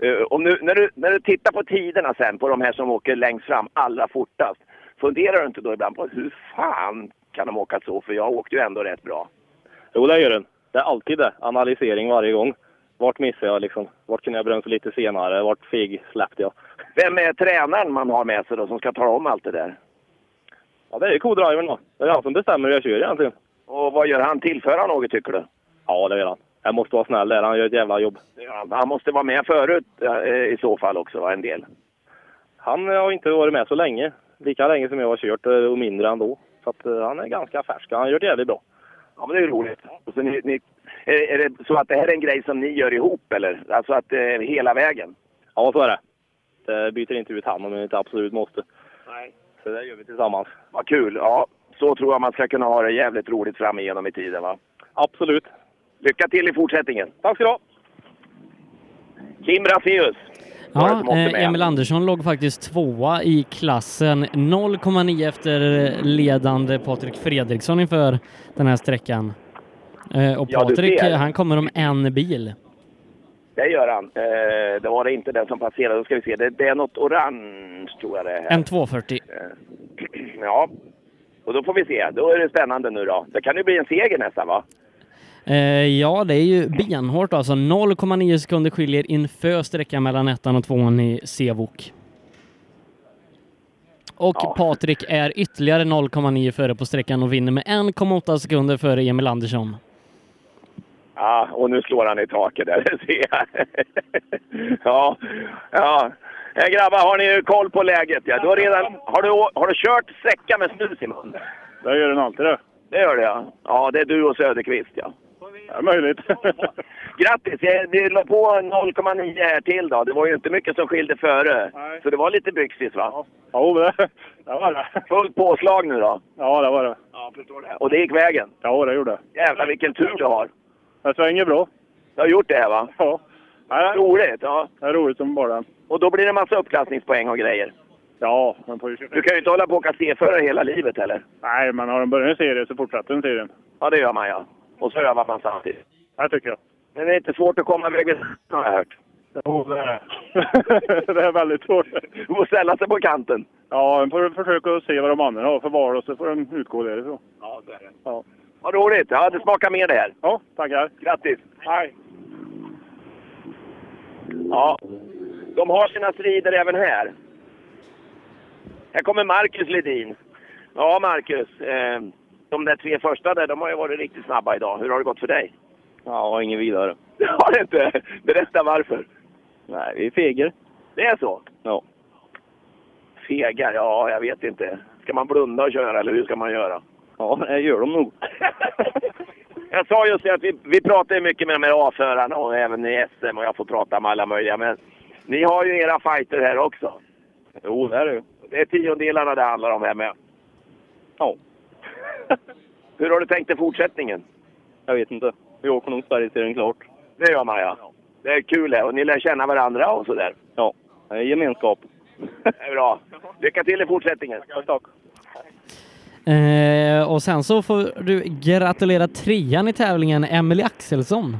Speaker 1: Eh, Om nu, när, du, när du tittar på tiderna sen på de här som åker längst fram allra fortast. Funderar du inte då ibland på hur fan kan de åka så? För jag åkte ju ändå rätt bra.
Speaker 4: Jo, det gör den. Det är alltid det. Analysering varje gång. Vart missade jag liksom? Vart kunde jag bromsa lite senare? Vart feg släppte jag?
Speaker 1: Vem är tränaren man har med sig då som ska ta om allt det där?
Speaker 4: Ja, det är ju co-drivern då. Det är han som bestämmer hur jag kör egentligen.
Speaker 1: Och vad gör han? Tillför han något tycker du?
Speaker 4: Ja, det gör han. Jag måste vara snäll där. Han gör ett jävla jobb.
Speaker 1: Ja, Han måste vara med förut eh, i så fall också va, en del.
Speaker 4: Han har inte varit med så länge. Lika länge som jag har kört eh, och mindre ändå. Så att eh, han är ganska färsk. Han har gjort det jävligt bra.
Speaker 1: Ja, men det är ju roligt. Och så ni, ni, är, är det så att det här är en grej som ni gör ihop eller? Alltså att eh, hela vägen?
Speaker 4: Ja, så är det. Det byter inte ut han om jag inte absolut måste.
Speaker 1: Nej.
Speaker 4: Så det gör vi tillsammans.
Speaker 1: Vad kul! Ja, så tror jag man ska kunna ha det jävligt roligt fram igenom i tiden va?
Speaker 4: Absolut.
Speaker 1: Lycka till i fortsättningen! Tack ska du ha! Kim Brasseus. Var det som
Speaker 8: Ja,
Speaker 1: åkte
Speaker 8: eh,
Speaker 1: med?
Speaker 8: Emil Andersson låg faktiskt tvåa i klassen. 0,9 efter eh, ledande Patrik Fredriksson inför den här sträckan. Eh, och
Speaker 1: Ja, du
Speaker 8: Patrik,
Speaker 1: ser.
Speaker 8: eh, han kommer om en bil.
Speaker 1: Det gör han. Eh, det var det inte den som passerade. Då ska vi se. Det, det är något orange tror jag det är. Eh,
Speaker 8: En 240.
Speaker 1: Ja. Och då får vi se. Då är det spännande nu då. Det kan ju bli en seger nästan va?
Speaker 8: Eh, ja, det är ju benhårt alltså. 0,9 sekunder skiljer inför sträckan mellan ettan och tvåan i Sevok. Och Patrik är ytterligare 0,9 före på sträckan och vinner med 1,8 sekunder före Emil Andersson.
Speaker 1: Ja, och nu slår han i taket där, det ser jag. ja, ja. Eh, grabbar, har ni koll på läget? Ja, du har, redan, har, du, å- har du kört säckar med snus i mun?
Speaker 25: Det gör den alltid det.
Speaker 1: Det gör det, ja. Ja, det är du och Söderqvist, ja.
Speaker 26: Ja, möjligt.
Speaker 1: Grattis! Jag, du la på 0,9 här till då. Det var ju inte mycket som skilde före. Så det var lite byxigt, va? Ja,
Speaker 5: det, det var det.
Speaker 1: Fullt påslag nu då.
Speaker 5: Ja, det var det.
Speaker 1: Ja, förstår det. Och det gick vägen?
Speaker 5: Ja, det gjorde det.
Speaker 1: Jävlar vilken tur du har!
Speaker 5: Det svänger bra.
Speaker 1: Du har gjort det här, va?
Speaker 5: Ja.
Speaker 1: Roligt, ja.
Speaker 5: Det är roligt som bara den.
Speaker 1: Och då blir det en massa uppklassningspoäng och grejer.
Speaker 5: Ja, man får ju
Speaker 1: Du kan ju inte hålla på och åka C-förare hela livet heller.
Speaker 5: Nej, man har en början i serien så fortsätter en serien.
Speaker 1: Ja, det gör man ja. Och så övar man samtidigt.
Speaker 5: Det tycker jag.
Speaker 1: Men det är inte svårt att komma iväg vid har jag hört.
Speaker 5: Jo, det är det. det är väldigt svårt.
Speaker 1: Du får ställa sig på kanten.
Speaker 5: Ja, man får försöka se vad de andra har för val och så får de utgå därifrån.
Speaker 1: Ja, så är det.
Speaker 5: Ja.
Speaker 1: Vad roligt! Ja, det smakar mer det här.
Speaker 5: Ja, tackar.
Speaker 1: Grattis! Hej! Ja, de har sina strider även här. Här kommer Marcus Ledin. Ja, Marcus. Eh, de där tre första där, de har ju varit riktigt snabba idag. Hur har det gått för dig?
Speaker 4: Ja, ingen vidare.
Speaker 1: Det har det inte! Berätta varför.
Speaker 4: Nej, vi är feger.
Speaker 1: Det är så?
Speaker 4: Ja.
Speaker 1: Fegar? Ja, jag vet inte. Ska man blunda och köra eller hur ska man göra?
Speaker 4: Ja, det gör de nog.
Speaker 1: Jag sa just det att vi, vi pratar ju mycket med de här A-förarna och även i SM och jag får prata med alla möjliga. Men ni har ju era fighter här också.
Speaker 4: Jo, det är det ju.
Speaker 1: Det är tiondelarna det handlar om här med.
Speaker 4: Ja.
Speaker 1: Hur har du tänkt i fortsättningen?
Speaker 4: Jag vet inte. Vi åker nog Sverigeserien klart.
Speaker 1: Det gör man ja. Det är kul här och ni lär känna varandra och sådär.
Speaker 4: Ja, det är gemenskap.
Speaker 1: Det är bra. Lycka till i fortsättningen.
Speaker 4: Tack.
Speaker 8: Eh, och sen så får du gratulera trean i tävlingen, Emily Axelsson.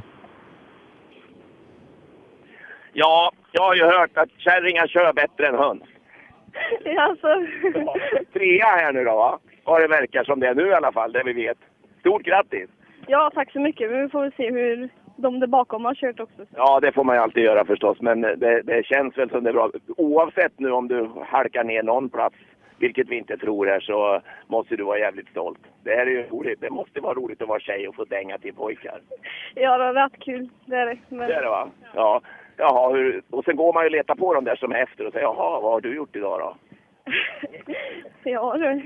Speaker 1: Ja, jag har ju hört att kärringar kör bättre än höns.
Speaker 10: Alltså,
Speaker 1: Trea här nu då va? Vad det verkar som det är nu i alla fall, det vi vet. Stort grattis!
Speaker 10: ja, tack så mycket. Men vi får väl se hur de där bakom har kört också.
Speaker 1: Ja, det får man ju alltid göra förstås, men det, det känns väl som det är bra. Oavsett nu om du halkar ner någon plats, vilket vi inte tror här, så måste du vara jävligt stolt. Det här är ju roligt. Det måste vara roligt att vara tjej och få dänga till pojkar.
Speaker 10: Ja, det har varit kul. Det är det. Men...
Speaker 1: Det är det va? Ja. Jaha, hur... och sen går man ju och letar på de där som är efter och säger jaha, vad har du gjort idag då?
Speaker 10: Ja, det...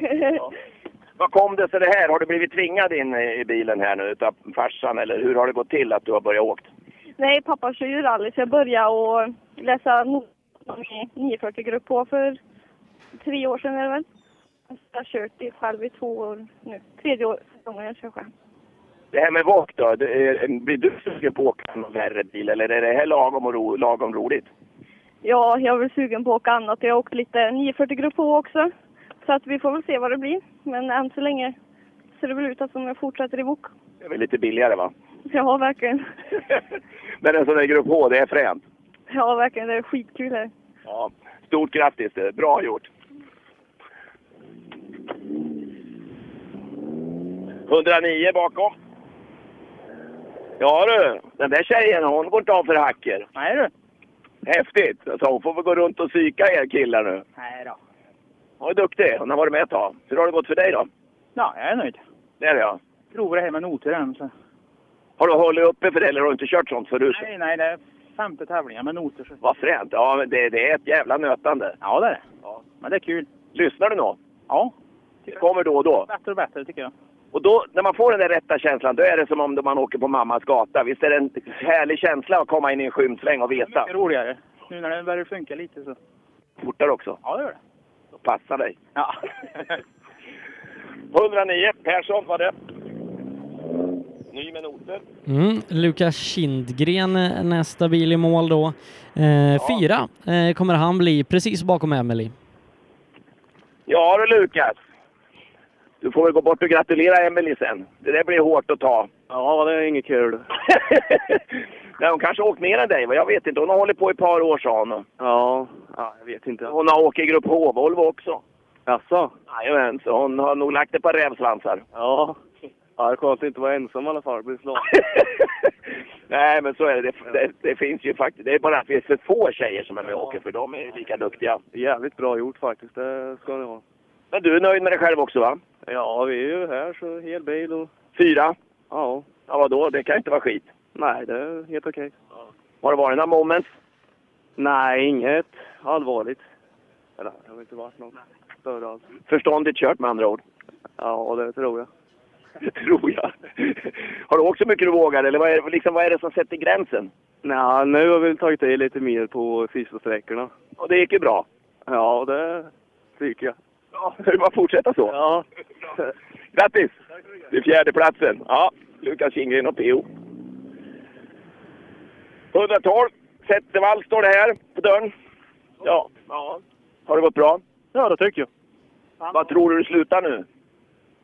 Speaker 1: Vad kom det sig det här? Har du blivit tvingad in i i bilen här nu utav farsan eller hur har det gått till att du har börjat åkt?
Speaker 10: Nej, pappa kör ju rally så jag började och läsa notan i 940-grupp på för tre år sedan är det väl. Så jag har kört det själv i två år nu. Tredje år- säsongen jag kör själv.
Speaker 1: Det här med vak då, det är- blir du sugen på att åka någon värre bil eller är det här lagom, och ro, lagom roligt?
Speaker 10: Ja, jag är väl sugen på att åka annat. Jag har åkt lite 940-grupp på också. Så att vi får väl se vad det blir. Men än så länge ser det väl ut att som jag fortsätter i bok.
Speaker 1: Det är väl lite billigare va?
Speaker 10: Ja, verkligen.
Speaker 1: Men en sån där Grupp H, det är fränt.
Speaker 10: Ja, verkligen. Det är skitkul här.
Speaker 1: Ja, stort grattis, det är bra gjort. 109 bakom. Ja du, den där tjejen hon går inte av för hacker.
Speaker 27: Nej du.
Speaker 1: Häftigt! Alltså, hon får väl gå runt och psyka er killar nu.
Speaker 27: Nej då.
Speaker 1: Hon är duktig, hon har varit med ett tag. Hur har det gått för dig då?
Speaker 27: Ja, jag är nöjd.
Speaker 1: Det är det ja.
Speaker 27: Provar det här med noter än. Så.
Speaker 1: Har du hållit uppe för det eller har du inte kört sånt förut?
Speaker 27: Nej, nej, det är femte tävlingen med noter. Så.
Speaker 1: Vad fränt! Ja, men det, det är ett jävla nötande.
Speaker 27: Ja, det är det.
Speaker 1: Ja.
Speaker 27: Men det är kul.
Speaker 1: Lyssnar du nå?
Speaker 27: Ja.
Speaker 1: Det kommer då och då.
Speaker 27: Bättre och bättre tycker jag.
Speaker 1: Och då, när man får den där rätta känslan, då är det som om man åker på mammas gata. Visst är det en härlig känsla att komma in i en skymsläng och veta?
Speaker 27: Mycket roligare. Nu när det börjar funka lite så.
Speaker 1: Fortare också.
Speaker 27: Ja, det gör det.
Speaker 1: Då passar dig.
Speaker 27: Ja.
Speaker 1: 109, Persson var det. Ny med noter.
Speaker 8: Mm. Lukas Kindgren eh, nästa bil i mål då. Eh, Fyra eh, kommer han bli, precis bakom Emily.
Speaker 1: Ja du Lukas. Du får väl gå bort och gratulera Emelie sen. Det där blir hårt att ta.
Speaker 4: Ja, det är inget kul.
Speaker 1: Nej, hon kanske har åkt mer än dig, vad jag vet inte. Hon har hållit på i ett par år sa hon.
Speaker 4: Ja, ja jag vet inte.
Speaker 1: Hon har åkt i Grupp H-Volvo också.
Speaker 4: Jaså?
Speaker 1: Jajamän, så hon har nog lagt ett par rävsvansar.
Speaker 4: Ja. Ja, det är skönt att inte vara ensam i alla fall. Bli slagen.
Speaker 1: Nej, men så är det. Det, det. det finns ju faktiskt. Det är bara att vi är för få tjejer som är med och åker, för de är lika duktiga.
Speaker 4: Jävligt bra gjort faktiskt. Det ska ni ha.
Speaker 1: Men du är nöjd med dig själv också, va?
Speaker 4: Ja, vi är ju här så hel bil och...
Speaker 1: Fyra?
Speaker 4: Ja.
Speaker 1: Ja, vadå? Det kan ju inte vara skit.
Speaker 4: Nej, det är helt okej.
Speaker 1: Har det varit några moments?
Speaker 4: Nej, inget allvarligt. Eller, det har väl inte varit något större alls.
Speaker 1: Förståndigt kört med andra ord?
Speaker 4: Ja, det tror jag.
Speaker 1: tror jag. Har du åkt så mycket du vågar eller vad är, det- liksom, vad är det som sätter gränsen?
Speaker 28: Nej, nu har vi tagit i lite mer på sista sträckorna.
Speaker 1: Och det gick ju bra.
Speaker 28: Ja, det tycker jag.
Speaker 1: Ja, det är bara att fortsätta så.
Speaker 28: Ja.
Speaker 1: Grattis! Till fjärdeplatsen. Ja, Lukas Kindgren och PO. 112. Zettervall står det här på dörren. Ja. Har det gått bra?
Speaker 5: Ja, det tycker jag.
Speaker 1: Vad tror du du slutar nu?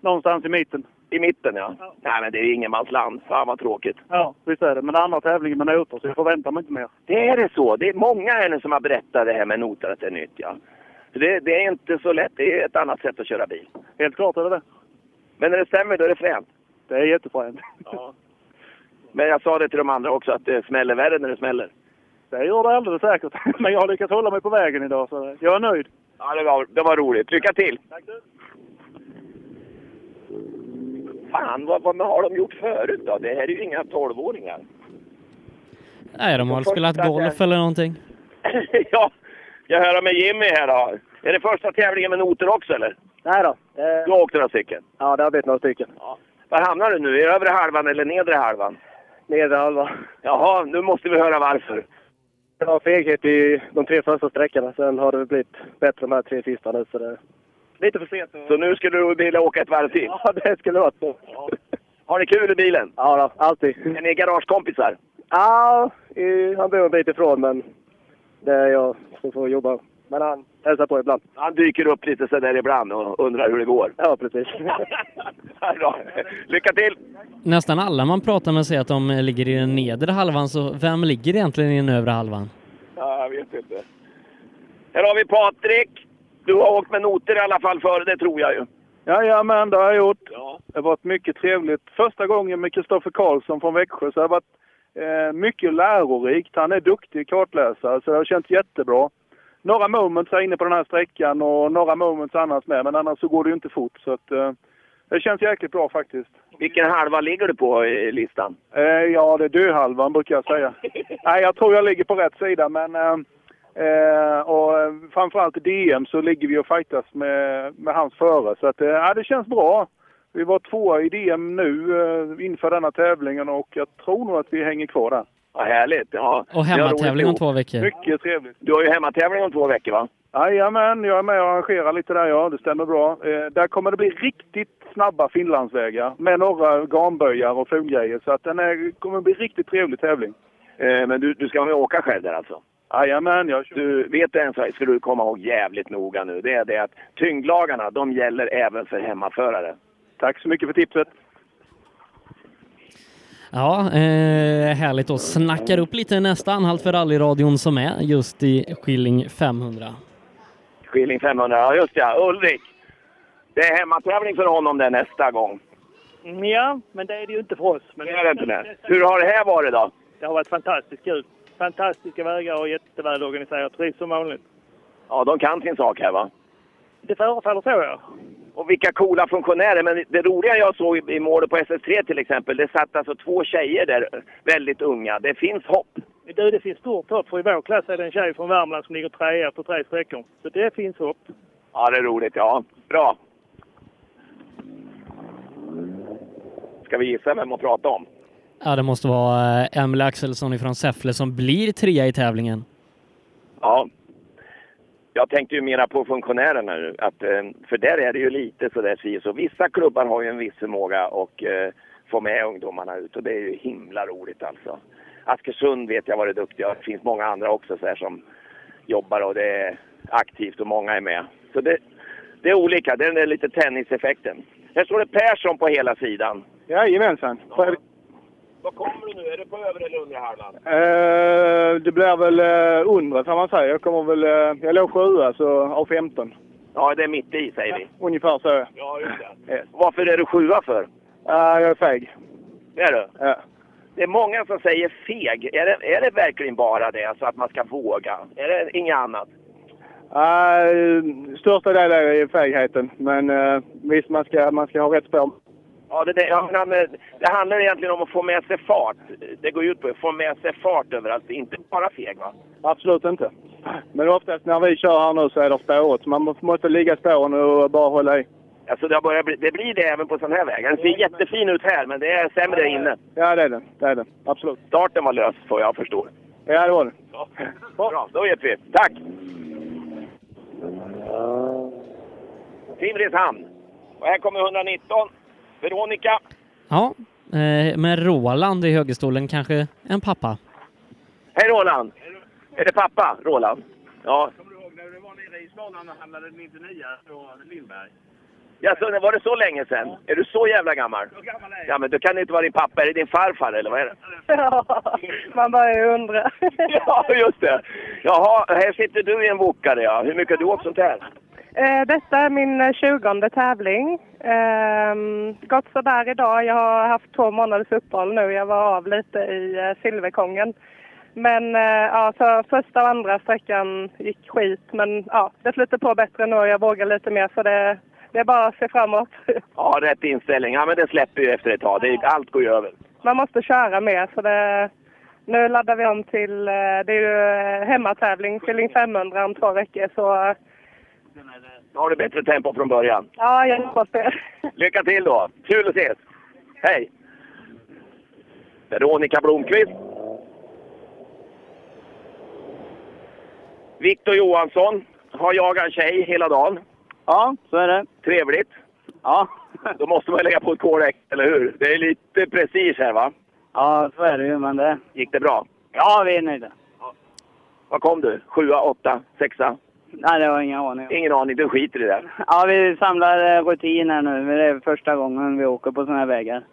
Speaker 5: Någonstans i mitten.
Speaker 1: I mitten, ja. Nej, men det är ju ingenmansland. Fan vad tråkigt.
Speaker 5: Ja, visst är det. Men det är andra tävlingen med noter, så jag förväntar mig inte mer.
Speaker 1: Det är det så. Det är många här nu som har berättat det här med noter att det är nytt, ja. För Det, det är inte så lätt. Det är ett annat sätt att köra bil.
Speaker 5: Helt klart är det det.
Speaker 1: Men när det stämmer, då är det fränt.
Speaker 5: Det är jättefränt.
Speaker 1: Men jag sa det till de andra också, att det smäller värre när det smäller.
Speaker 5: Det gör det alldeles säkert. Men jag har lyckats hålla mig på vägen idag, så jag är nöjd.
Speaker 1: Ja, det var, det var roligt. Lycka till! Tack du! Fan, vad, vad har de gjort förut då? Det här är ju inga tolvåringar.
Speaker 8: Nej, de har väl spelat golf eller någonting.
Speaker 1: ja, jag hör med Jimmy här då. Är det första tävlingen med noter också eller?
Speaker 29: Nej då.
Speaker 1: Du har åkt några stycken.
Speaker 29: Ja, det har blivit några stycken.
Speaker 1: Var hamnar du nu? I övre halvan eller nedre halvan?
Speaker 29: Nedre halva.
Speaker 1: Jaha, nu måste vi höra varför.
Speaker 29: Det var feghet i de tre första sträckorna. Sen har det blivit bättre de här tre sista nu. Så det...
Speaker 1: Lite för sent. Så nu skulle du vilja åka ett varv till?
Speaker 29: Ja, det skulle vara så.
Speaker 1: Har ni kul i bilen?
Speaker 29: Ja, då, alltid.
Speaker 1: Är ni garagekompisar?
Speaker 29: Ja, i, han bor en bit ifrån, men det är jag som får jobba. Men han hälsar på ibland.
Speaker 1: Han dyker upp lite sådär ibland och undrar hur det går.
Speaker 29: Ja, precis.
Speaker 1: Bra. Lycka till!
Speaker 8: Nästan alla man pratar med säger att de ligger i den nedre halvan, så vem ligger egentligen i den övre halvan?
Speaker 1: Ja, jag vet inte. Här har vi Patrik. Du har åkt med noter i alla fall före det tror jag ju.
Speaker 4: Jajamän, det har jag gjort. Det har varit mycket trevligt. Första gången med Kristoffer Karlsson från Växjö så det har varit eh, mycket lärorikt. Han är duktig kartläsare så det har känts jättebra. Några moments här inne på den här sträckan och några moments annars med men annars så går det ju inte fort så att eh, det känns jäkligt bra faktiskt.
Speaker 1: Vilken halva ligger du på i listan?
Speaker 4: Eh, ja, det är döhalvan brukar jag säga. Nej, jag tror jag ligger på rätt sida men eh, eh, och eh, framförallt i DM så ligger vi och fightas med, med hans före. Så att, eh, ja, det känns bra. Vi var tvåa i DM nu eh, inför denna tävlingen och jag tror nog att vi hänger kvar där.
Speaker 1: Vad härligt! Ja.
Speaker 8: Och hemmatävling om två veckor.
Speaker 4: Mycket trevligt.
Speaker 1: Du har ju hemmatävling om två veckor va?
Speaker 4: Jajamän, jag är med och arrangerar lite där ja, det stämmer bra. Eh, där kommer det bli riktigt snabba finlandsvägar med några gamböjar och fulgrejer. Så att den är, kommer bli riktigt trevlig tävling.
Speaker 1: Eh, men du, du ska med och åka själv där alltså?
Speaker 4: Jajamän, jag kör.
Speaker 1: Du vet en sak, ska du komma ihåg jävligt noga nu. Det är det att tyngdlagarna, de gäller även för hemmaförare.
Speaker 4: Tack så mycket för tipset.
Speaker 8: Ja, eh, härligt och snackar upp lite nästa anhalt för rallyradion som är just i Skilling 500.
Speaker 1: Skilling 500, ja just ja, Ulrik! Det är hemmatävling för honom där nästa gång.
Speaker 10: Mm, Ja, men det är det ju inte för oss. Men
Speaker 1: Det är det inte det. Hur har det här varit då?
Speaker 10: Det har varit fantastiskt kul. Fantastiska vägar och jätteväl organiserat, precis som vanligt.
Speaker 1: Ja, de kan sin sak här va?
Speaker 10: Det förefaller så, ja.
Speaker 1: Och vilka coola funktionärer. Men det roliga jag såg i- i målet på SS3 till exempel, det satt alltså två tjejer där, väldigt unga. Det finns hopp.
Speaker 10: Du, det finns stort hopp, för i vår klass är det en tjej från Värmland som ligger trea på tre sträckor. Så det finns hopp.
Speaker 1: Ja, det är roligt. Ja, bra. Ska vi gissa vem man pratar om?
Speaker 8: Ja, det måste vara eh, Emil Axelsson ifrån Säffle som blir trea i tävlingen.
Speaker 1: Ja. Jag tänkte ju mera på funktionärerna nu. Att, eh, för där är det ju lite sådär si och så. Vissa klubbar har ju en viss förmåga och eh, få med ungdomarna ut och det är ju himla roligt alltså. Askersund vet jag var det duktiga. Det finns många andra också så här som jobbar och det är aktivt och många är med. Så det, det är olika. Det är den där lite tenniseffekten. Här står det Persson på hela sidan.
Speaker 4: Jajamensan. Fredrik-
Speaker 1: Vad kommer du nu? Är det på övre eller undre halvan?
Speaker 4: Eh, det blir väl eh, undre kan man säga. Jag kommer väl... Eh, jag låg sjua så av 15.
Speaker 1: Ja, det är mitt i säger vi.
Speaker 4: Ungefär så. Eh,
Speaker 1: Ja, just det. Varför är du sjua för?
Speaker 4: jag är feg.
Speaker 1: Det är du?
Speaker 4: Ja.
Speaker 1: Det är många som säger feg. Är det, är det verkligen bara det, alltså att man ska våga? Är det inget annat?
Speaker 4: Eh, största delen är fegheten. Men eh, visst, man ska, man ska ha rätt spår.
Speaker 1: Ja, det, det, jag menar, det handlar egentligen om att få med sig fart. Det går ju ut på att få med sig fart överallt, inte bara feg va?
Speaker 4: Absolut inte. Men oftast när vi kör här nu så är det spåret. Så man må- måste ligga i spåren och bara hålla i.
Speaker 1: Alltså det, börjar bli, det blir det även på sån här väg. Den ser jättefin ut här, men det är sämre inne.
Speaker 30: Ja, det är den. Det är den. Absolut.
Speaker 1: Starten var lös, får jag förstå.
Speaker 30: Ja, det var det.
Speaker 1: Bra, då vet vi. Tack! Simrishamn. Och här kommer 119. Veronica.
Speaker 8: Ja, eh, med Roland i högerstolen kanske en pappa.
Speaker 1: Hej Roland! Är det pappa, Roland? Ja.
Speaker 7: I Småland och handlade 99 på Lindberg.
Speaker 1: ja så, var det så länge sedan? Är du så jävla gammal? Ja, men du kan inte vara din pappa. Är det din farfar eller vad är det?
Speaker 13: Man börjar undra.
Speaker 1: Ja, just det. Jaha, här sitter du i en wokare ja. Hur mycket har du åkt sånt här?
Speaker 12: Eh, Detta är min tjugonde tävling. Ehm, Gått sådär idag. Jag har haft två månaders uppehåll nu. Jag var av lite i eh, Silverkongen. Men eh, ja, så första och andra sträckan gick skit. Men ja, det flyter på bättre nu och jag vågar lite mer. Så det, det är bara att se framåt.
Speaker 1: Ja, rätt inställning. Ja, men det släpper ju efter ett tag. Det, allt går ju över.
Speaker 12: Man måste köra mer. Så det, nu laddar vi om till, eh, det är ju eh, hemmatävling, Skilling 500 om två veckor. Så
Speaker 1: Då har du bättre tempo från början.
Speaker 12: ja, jag hoppas det.
Speaker 1: Lycka till då! Kul att ses! Hej! Veronica Blomqvist. Viktor Johansson har jagat en tjej hela dagen.
Speaker 10: Ja, så är det.
Speaker 1: Trevligt.
Speaker 10: Ja.
Speaker 1: Då måste man ju lägga på ett kol extra, eller hur? Det är lite prestige här, va?
Speaker 10: Ja, så är det ju, men det...
Speaker 1: Gick det bra?
Speaker 10: Ja, vi är nöjda.
Speaker 1: Vad kom du? Sjua, åtta, sexa?
Speaker 10: Nej, det var ingen aning.
Speaker 1: Ingen aning, du skiter i det.
Speaker 10: Ja, vi samlar eh, rutin här nu. Det är första gången vi åker på såna här vägar.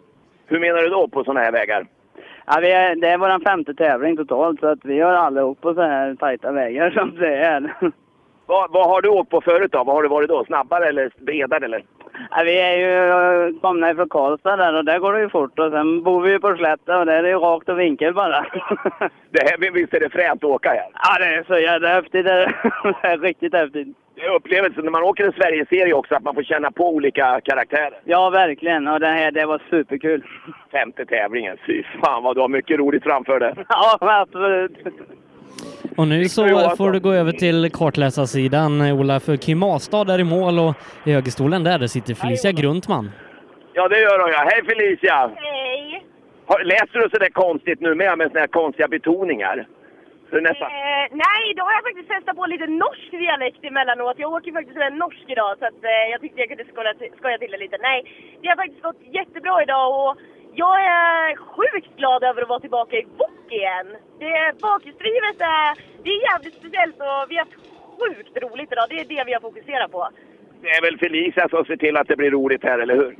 Speaker 1: Hur menar du då på sådana här vägar?
Speaker 10: Ja, vi är, det är vår femte tävling totalt, så att vi har aldrig åkt på så här tajta vägar som det är.
Speaker 1: Vad, vad har du åkt på förut då? Vad har du varit då? Snabbare eller bredare eller?
Speaker 10: Ja, vi är ju eh, komna ifrån Karlstad där och där går det ju fort. Och sen bor vi ju på slätten och där är det ju rakt och vinkel bara.
Speaker 1: Det här, men visst är det fränt att åka här?
Speaker 10: Ja, det är så jävla häftigt. Det är, det är riktigt häftigt.
Speaker 1: Det är upplevelsen när man åker en Sverigeserie också, att man får känna på olika karaktärer.
Speaker 10: Ja, verkligen. Och det här, det var superkul.
Speaker 1: Femte tävlingen, fy fan vad du har mycket roligt framför dig.
Speaker 10: Ja, absolut.
Speaker 8: Och nu så får du gå över till kartläsarsidan, eh, Ola, för Kim Astad är i mål och i högerstolen där, där sitter Felicia Grundman.
Speaker 1: Ja, det gör hon ja. Hej Felicia! Hej! Läser du sådär konstigt nu med, med sådana här konstiga betoningar? Så det är nästan...
Speaker 20: Eh, nej, då har jag faktiskt testat på lite norsk dialekt emellanåt. Jag åker faktiskt med en norsk idag så att, eh, jag tyckte jag kunde skoja, till- skoja till det lite. Nej, det har faktiskt gått jättebra idag och jag är sjukt glad över att vara tillbaka i bok igen. Det bakhjulsdrivet är, det är jävligt speciellt och vi har haft sjukt roligt idag. Det är det vi har fokuserat på.
Speaker 1: Det är väl Felicia som ser till att det blir roligt här, eller hur?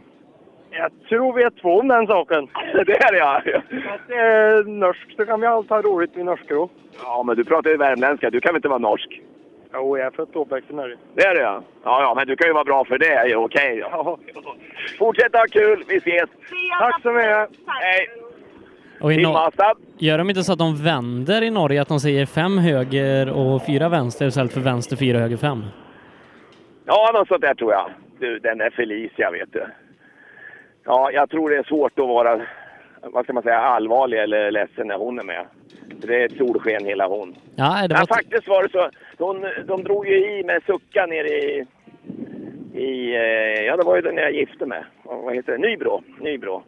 Speaker 30: Jag tror vi är två om den saken.
Speaker 1: Det är det ja!
Speaker 30: Fast det är norskt så kan vi allt ha roligt vid norskro.
Speaker 1: Ja, men du pratar ju värmländska. Du kan väl inte vara norsk?
Speaker 30: Jo, jag är född och uppvuxen här.
Speaker 1: Det är det ja. Ja, ja, men du kan ju vara bra för det. Okej ja. Fortsätt ha kul. Vi ses.
Speaker 30: Tack så mycket.
Speaker 1: Hej.
Speaker 8: Och i
Speaker 1: Kim
Speaker 8: Nor-
Speaker 1: Astad.
Speaker 8: Gör de inte så att de vänder i Norge, att de säger fem höger och fyra vänster istället för vänster, fyra, höger, fem?
Speaker 1: Ja, något sånt där tror jag. Du, den är Felicia, vet du. Ja, jag tror det är svårt att vara, vad ska man säga, allvarlig eller ledsen när hon är med. Det är ett solsken hela hon.
Speaker 8: Ja, det
Speaker 1: Men
Speaker 8: var...
Speaker 1: faktiskt var det så. Hon, de drog ju i med Sucka nere i... i eh, ja, det var ju den jag gifte mig. Vad vad heter det? Nybro. Nybro.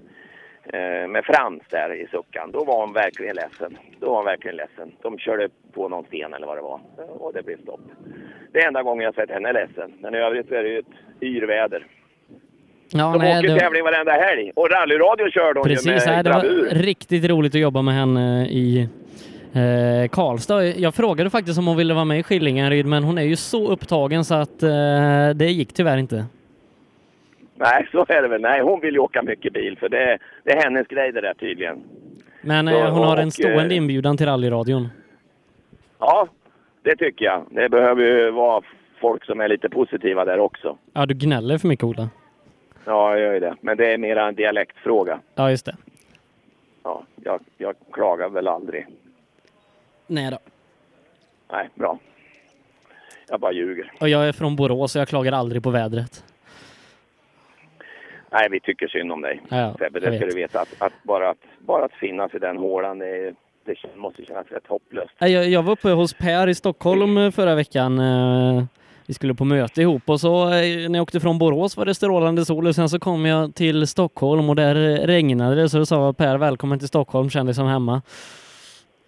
Speaker 1: Eh, med Frans där i Suckan. Då var hon verkligen ledsen. Då var hon verkligen ledsen. De körde på någon sten eller vad det var. Och det blev stopp. Det är enda gången jag sett henne ledsen. Men i övrigt är det ju ett yrväder.
Speaker 8: Ja,
Speaker 1: De
Speaker 8: nej,
Speaker 1: åker
Speaker 8: det...
Speaker 1: tävling varenda helg. Och rallyradion körde hon ju med
Speaker 8: Precis, nej, det var
Speaker 1: bravur.
Speaker 8: riktigt roligt att jobba med henne i eh, Karlstad. Jag frågade faktiskt om hon ville vara med i Skillingaryd, men hon är ju så upptagen så att eh, det gick tyvärr inte.
Speaker 1: Nej, så är det väl. Nej, hon vill ju åka mycket bil. För det, det är hennes grej det där tydligen.
Speaker 8: Men
Speaker 1: Ja,
Speaker 8: eh, hon har en
Speaker 1: och,
Speaker 8: stående
Speaker 1: eh,
Speaker 8: inbjudan till rallyradion.
Speaker 1: Ja, det tycker jag. Det behöver ju vara folk som är lite positiva där också.
Speaker 8: Ja, du gnäller för mycket, Ola.
Speaker 1: Ja, jag gör ju det. Men det är mera en dialektfråga.
Speaker 8: Ja, just det.
Speaker 1: Ja, jag, jag klagar väl aldrig.
Speaker 8: Nej då.
Speaker 1: Nej, bra. Jag bara ljuger.
Speaker 8: Och jag är från Borås och jag klagar aldrig på vädret.
Speaker 1: Nej, vi tycker synd om dig.
Speaker 8: Ja,
Speaker 1: Sebbe,
Speaker 8: jag
Speaker 1: det ska
Speaker 8: vet.
Speaker 1: du veta. Att, att bara, att, bara att finnas i den hålan, det, det måste kännas rätt hopplöst.
Speaker 8: Nej, Jag, jag var uppe hos Per i Stockholm eh, förra veckan eh, vi skulle på möte ihop och så eh, när jag åkte från Borås var det strålande sol och sen så kom jag till Stockholm och där eh, regnade det så då sa Per välkommen till Stockholm, känn dig som hemma.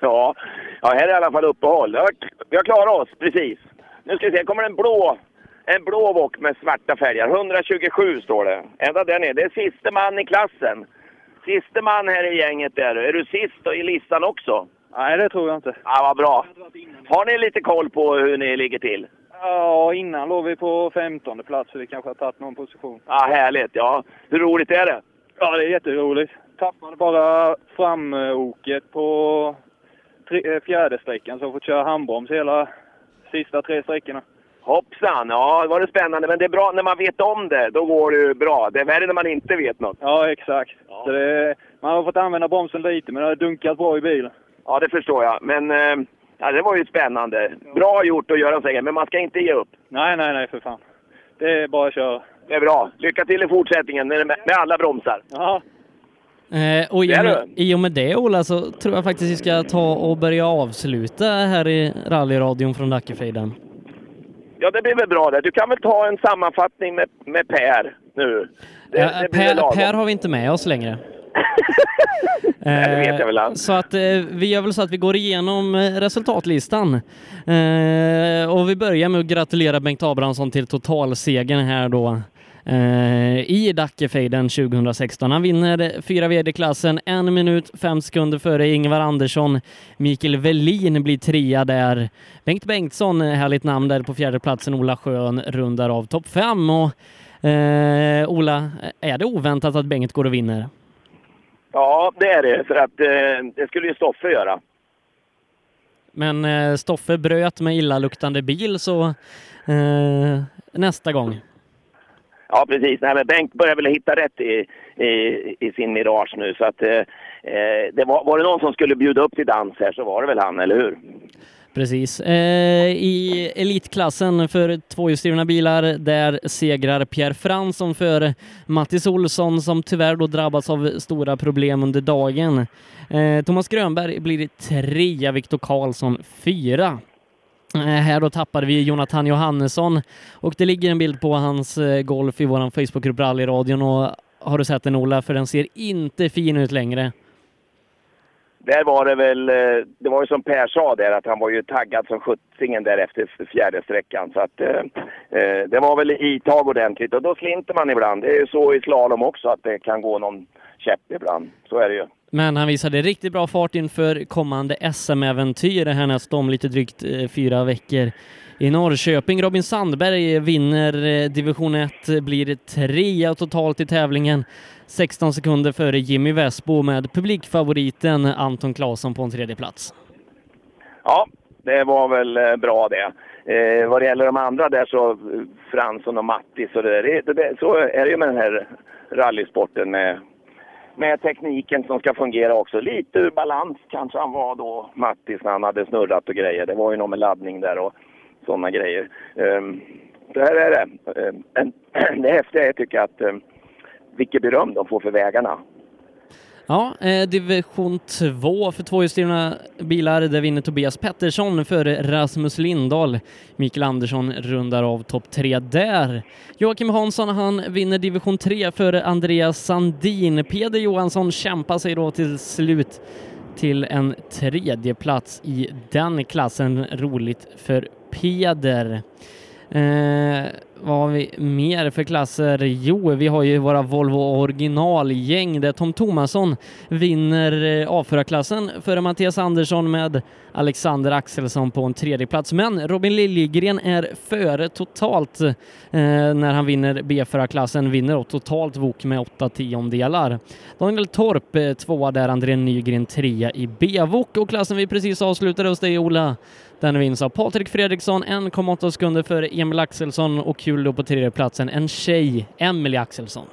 Speaker 1: Ja. ja, här är i alla fall uppehåll. Vi har, vi har klarat oss, precis. Nu ska vi se, kommer en blå, en blå bock med svarta fälgar. 127 står det. Ända där nere. Det är siste man i klassen. Siste man här i gänget där. Är du sist då i listan också?
Speaker 3: Nej, det tror jag inte.
Speaker 1: Ja, vad bra. Har ni lite koll på hur ni ligger till?
Speaker 3: Ja, innan låg vi på 15 plats så vi kanske har tagit någon position.
Speaker 1: Ja, härligt. Ja, hur roligt är det?
Speaker 3: Ja, det är jätteroligt. Tappade bara framoket på tre, eh, fjärde sträckan så jag har fått köra handbroms hela sista tre sträckorna.
Speaker 1: Hoppsan! Ja, det var det spännande. Men det är bra när man vet om det. Då går det ju bra. Det är värre när man inte vet något.
Speaker 3: Ja, exakt. Så det, man har fått använda bromsen lite men det har dunkat bra i bilen.
Speaker 1: Ja, det förstår jag. Men eh, ja, det var ju spännande. Bra gjort att göra en seger, men man ska inte ge upp.
Speaker 3: Nej, nej, nej för fan. Det är bara att köra.
Speaker 1: Det är bra. Lycka till i fortsättningen med, med alla bromsar.
Speaker 3: Ja.
Speaker 8: Eh, och i
Speaker 1: Det
Speaker 8: och,
Speaker 1: är
Speaker 8: med, i och med det Ola så tror jag faktiskt vi ska ta och börja avsluta här i rallyradion från Dackefejden.
Speaker 1: Ja, det blir väl bra det. Du kan väl ta en sammanfattning med, med Per nu? Det,
Speaker 8: Eh,
Speaker 1: det blir väl
Speaker 8: per,
Speaker 1: lagom.
Speaker 8: per har vi inte med oss längre.
Speaker 1: Nej, det vet jag väl.
Speaker 8: Eh, Så att eh, vi gör väl så att vi går igenom eh, resultatlistan. Eh, och vi börjar med att gratulera Bengt Abrahamsson till totalsegern här då. eh, I Dackefejden 2016. Han vinner fyra vd-klassen, en minut, fem sekunder före Ingvar Andersson. Mikael Velin blir trea där. Bengt Bengtsson, eh, härligt namn där på fjärde platsen. Ola Schön rundar av topp fem. Och, eh, Ola, är det oväntat att Bengt går och vinner?
Speaker 1: Ja, det är det. För att eh, det skulle ju Stoffe göra.
Speaker 8: Men eh, Stoffe bröt med illaluktande bil så eh, nästa gång.
Speaker 1: Ja, precis. Nej, men Bengt börjar väl hitta rätt i, i, i sin mirage nu. Så att, eh, eh, det var, var det någon som skulle bjuda upp till dans här så var det väl han, eller hur?
Speaker 8: Precis. Eh, I elitklassen för tvåhjulsdrivna bilar där segrar Pierre Fransson för Mattis Olsson som tyvärr då drabbats av stora problem under dagen. Eh, Thomas Grönberg blir trea, Viktor Karlsson fyra. Eh, Här då tappade vi Jonathan Johannesson och det ligger en bild på hans eh, golf i vår Facebookgrupp Rallyradion och har du sett den Ola? För den ser inte fin ut längre.
Speaker 1: Där var det väl, eh, det var ju som Per sa där att han var ju taggad som sjuttsingen där efter fjärde sträckan. Så att eh, eh, det var väl i tag ordentligt och då slinter man ibland. Det är ju så i slalom också att det kan gå någon käpp ibland. Så är det ju.
Speaker 8: Men han visade riktigt bra fart inför kommande SM-äventyr härnäst om lite drygt eh, fyra veckor i Norrköping. Robin Sandberg vinner eh, division 1, blir trea totalt i tävlingen. 16 sekunder före Jimmy Westbo med publikfavoriten Anton Claesson på en tredje plats.
Speaker 1: Ja, det var väl eh, bra det. Eh, vad det gäller de andra där så, eh, Fransson och Mattis och det där, det, det- det, så är det ju med den här rallysporten med, med tekniken som ska fungera också. Lite ur balans kanske han var då, Mattis, när han hade snurrat och grejer. Det var ju någon med laddning där och sådana grejer. Ehm, det här är det. Ehm, en- det häftiga är tycker jag att um, vilket beröm de får för vägarna.
Speaker 8: Ja, eh, division 2 för tvåhjulsdrivna bilar. Där vinner Tobias Pettersson före Rasmus Lindahl. Mikael Andersson rundar av topp tre där. Joakim Hansson, han vinner division 3 före Andreas Sandin. Peder Johansson kämpar sig då till slut till en tredje plats i den klassen. Roligt för Peder. Eh, vad har vi mer för klasser? Jo, vi har ju våra Volvo originalgäng där Tom Thomasson vinner eh, avförarklassen före Mattias Andersson med Alexander Axelsson på en tredje plats. Men Robin Liljegren är före totalt eh, när han vinner B-förarklassen, vinner då totalt VOK med åtta tiondelar. Daniel Torp eh, tvåa där, André Nygren trea i B-VOK och klassen vi precis avslutade hos dig Ola, den vinns av Patrik Fredriksson 1,8 sekunder före Emil Axelsson och kul då på tredje platsen en tjej, Emelie Axelsson.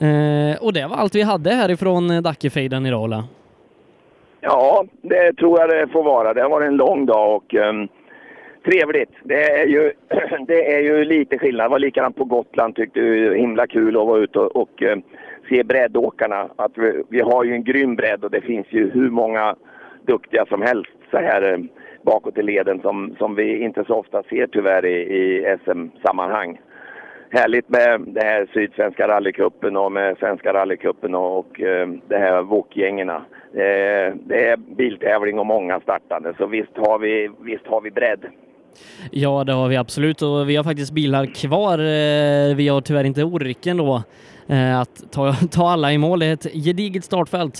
Speaker 8: Eh, och det var allt vi hade härifrån eh, Dackefejden idag Ola.
Speaker 1: Ja, det tror jag det får vara. Det har varit en lång dag och ehm, trevligt. Det är, ju, det är ju lite skillnad. Det var likadant på Gotland tyckte det var himla kul att vara ute och, och ehm, se breddåkarna. Att vi, vi har ju en grym bredd och det finns ju hur många duktiga som helst så här eh, bakåt i leden som, som vi inte så ofta ser tyvärr i, i SM-sammanhang. Härligt med det här Sydsvenska rallycupen och med Svenska rallycupen och, och eh, det här VOK-gängerna. Eh, det är biltävling och många startande så visst har vi, visst har vi bredd.
Speaker 8: Ja, det har vi absolut och vi har faktiskt bilar kvar. Eh, Vi har tyvärr inte orken då eh, att ta, ta alla i mål. Det är ett gediget startfält.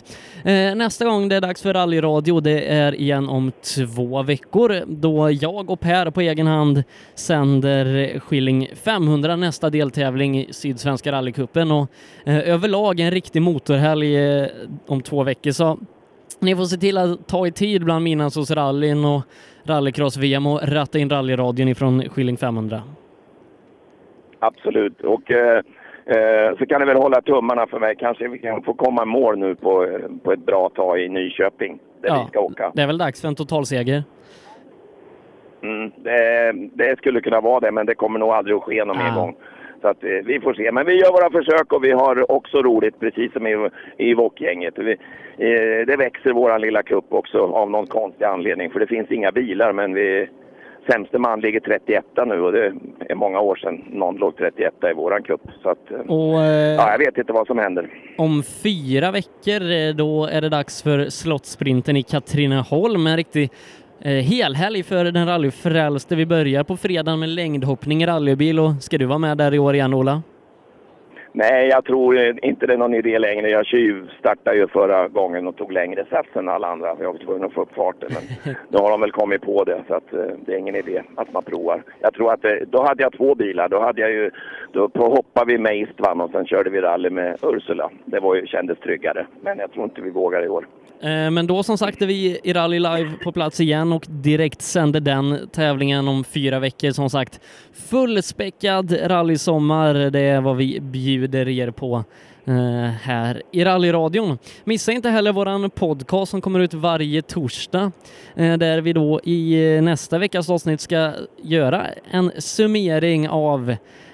Speaker 8: Eh, Nästa gång det är dags för rallyradio, det är igen om två veckor då jag och Per på egen hand sänder Skilling 500 nästa deltävling i Sydsvenska rallycupen och eh, överlag en riktig motorhelg eh, om två veckor. Så ni får se till att ta i tid bland midnattsåsrallyn och rallycross-VM och ratta in rallyradion ifrån Skilling 500.
Speaker 1: Absolut. Och eh, eh, så kan ni väl hålla tummarna för mig. Kanske vi kan få komma i mål nu på, eh, på ett bra tag i Nyköping, där
Speaker 8: Ja,
Speaker 1: vi ska åka.
Speaker 8: Det är väl dags för en totalseger?
Speaker 1: Mm, det, det skulle kunna vara det, men det kommer nog aldrig att ske någon mer gång. Så att, eh, vi får se. Men vi gör våra försök och vi har också roligt, precis som i, i Wok-gänget. Vi, eh, det växer vår lilla kupp också av någon konstig anledning, för det finns inga bilar. Men vi, sämste man ligger 31 nu och det är många år sedan någon låg 31 i våran kupp. Så att, eh,
Speaker 8: Och eh,
Speaker 1: ja, jag vet inte vad som händer.
Speaker 8: om fyra veckor eh, då är det dags för slottsprinten i Katrineholm. En riktig eh, helhelg för den rallyfrälste. Vi börjar på fredag med längdhoppning i rallybil och ska du vara med där i år igen Ola?
Speaker 1: Nej, jag tror eh, inte det är någon idé längre. Jag tjuvstartade ju förra gången och tog längre sats än alla andra. Jag var tvungen att få upp farten. Men nu har de väl kommit på det, så att, eh, det är ingen idé att man provar. Jag tror att eh, då hade jag två bilar. Då, hade jag ju, då på- hoppade vi med Istvan och sen körde vi rally med Ursula. Det var ju, kändes tryggare, men jag tror inte vi vågar i år.
Speaker 8: Eh, Men då som sagt är vi i Rally Live på plats igen och direkt sänder den tävlingen om fyra veckor. Som sagt, fullspäckad rallysommar. Det är vad vi bjuder er på eh, här i rallyradion. Missa inte heller våran podcast som kommer ut varje torsdag eh, där vi då i eh, nästa veckas avsnitt ska göra en summering av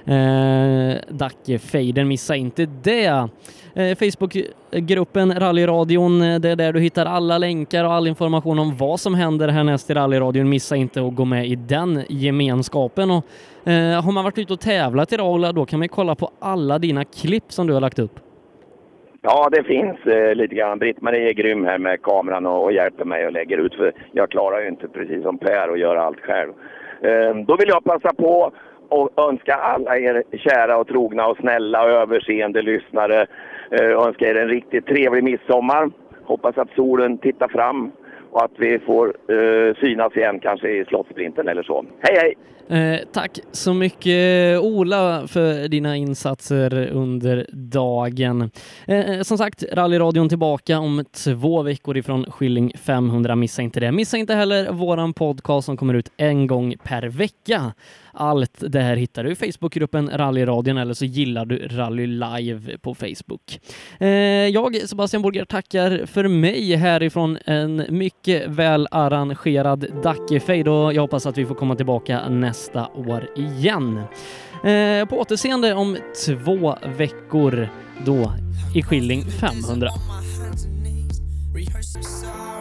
Speaker 8: eh, Dacke-fejden. Missa inte det. Eh, Facebookgruppen Rallyradion, eh, det är där du hittar alla länkar och all information om vad som händer härnäst i rallyradion. Missa inte att gå med i den gemenskapen. Och, eh, har man varit ute och tävlat idag Ola, då kan man ju kolla på alla dina klipp som du har lagt upp.
Speaker 1: Ja, det finns eh, lite grann. Britt-Marie är grym här med kameran och, och hjälper mig och lägger ut. För jag klarar ju inte, precis som Per, att göra allt själv. Eh, då vill jag passa på och önska alla er kära och trogna och snälla och överseende lyssnare. Eh, önska er en riktigt trevlig midsommar. Hoppas att solen tittar fram och att vi får eh, synas igen kanske i slottsprinten eller så. Hej hej!
Speaker 8: Eh, tack så mycket Ola för dina insatser under dagen. Eh, som sagt, rallyradion tillbaka om två veckor ifrån Skilling 500. Missa inte det. Missa inte heller våran podcast som kommer ut en gång per vecka. Allt det här hittar du i Facebookgruppen Rallyradion eller så gillar du Rally Live på Facebook. Eh, jag, Sebastian Borger, tackar för mig härifrån en mycket väl arrangerad Dackefejd och jag hoppas att vi får komma tillbaka nästa år igen. Eh, på återseende om två veckor då i Skilling 500.
Speaker 14: hands and knees, rehearsing sorrow.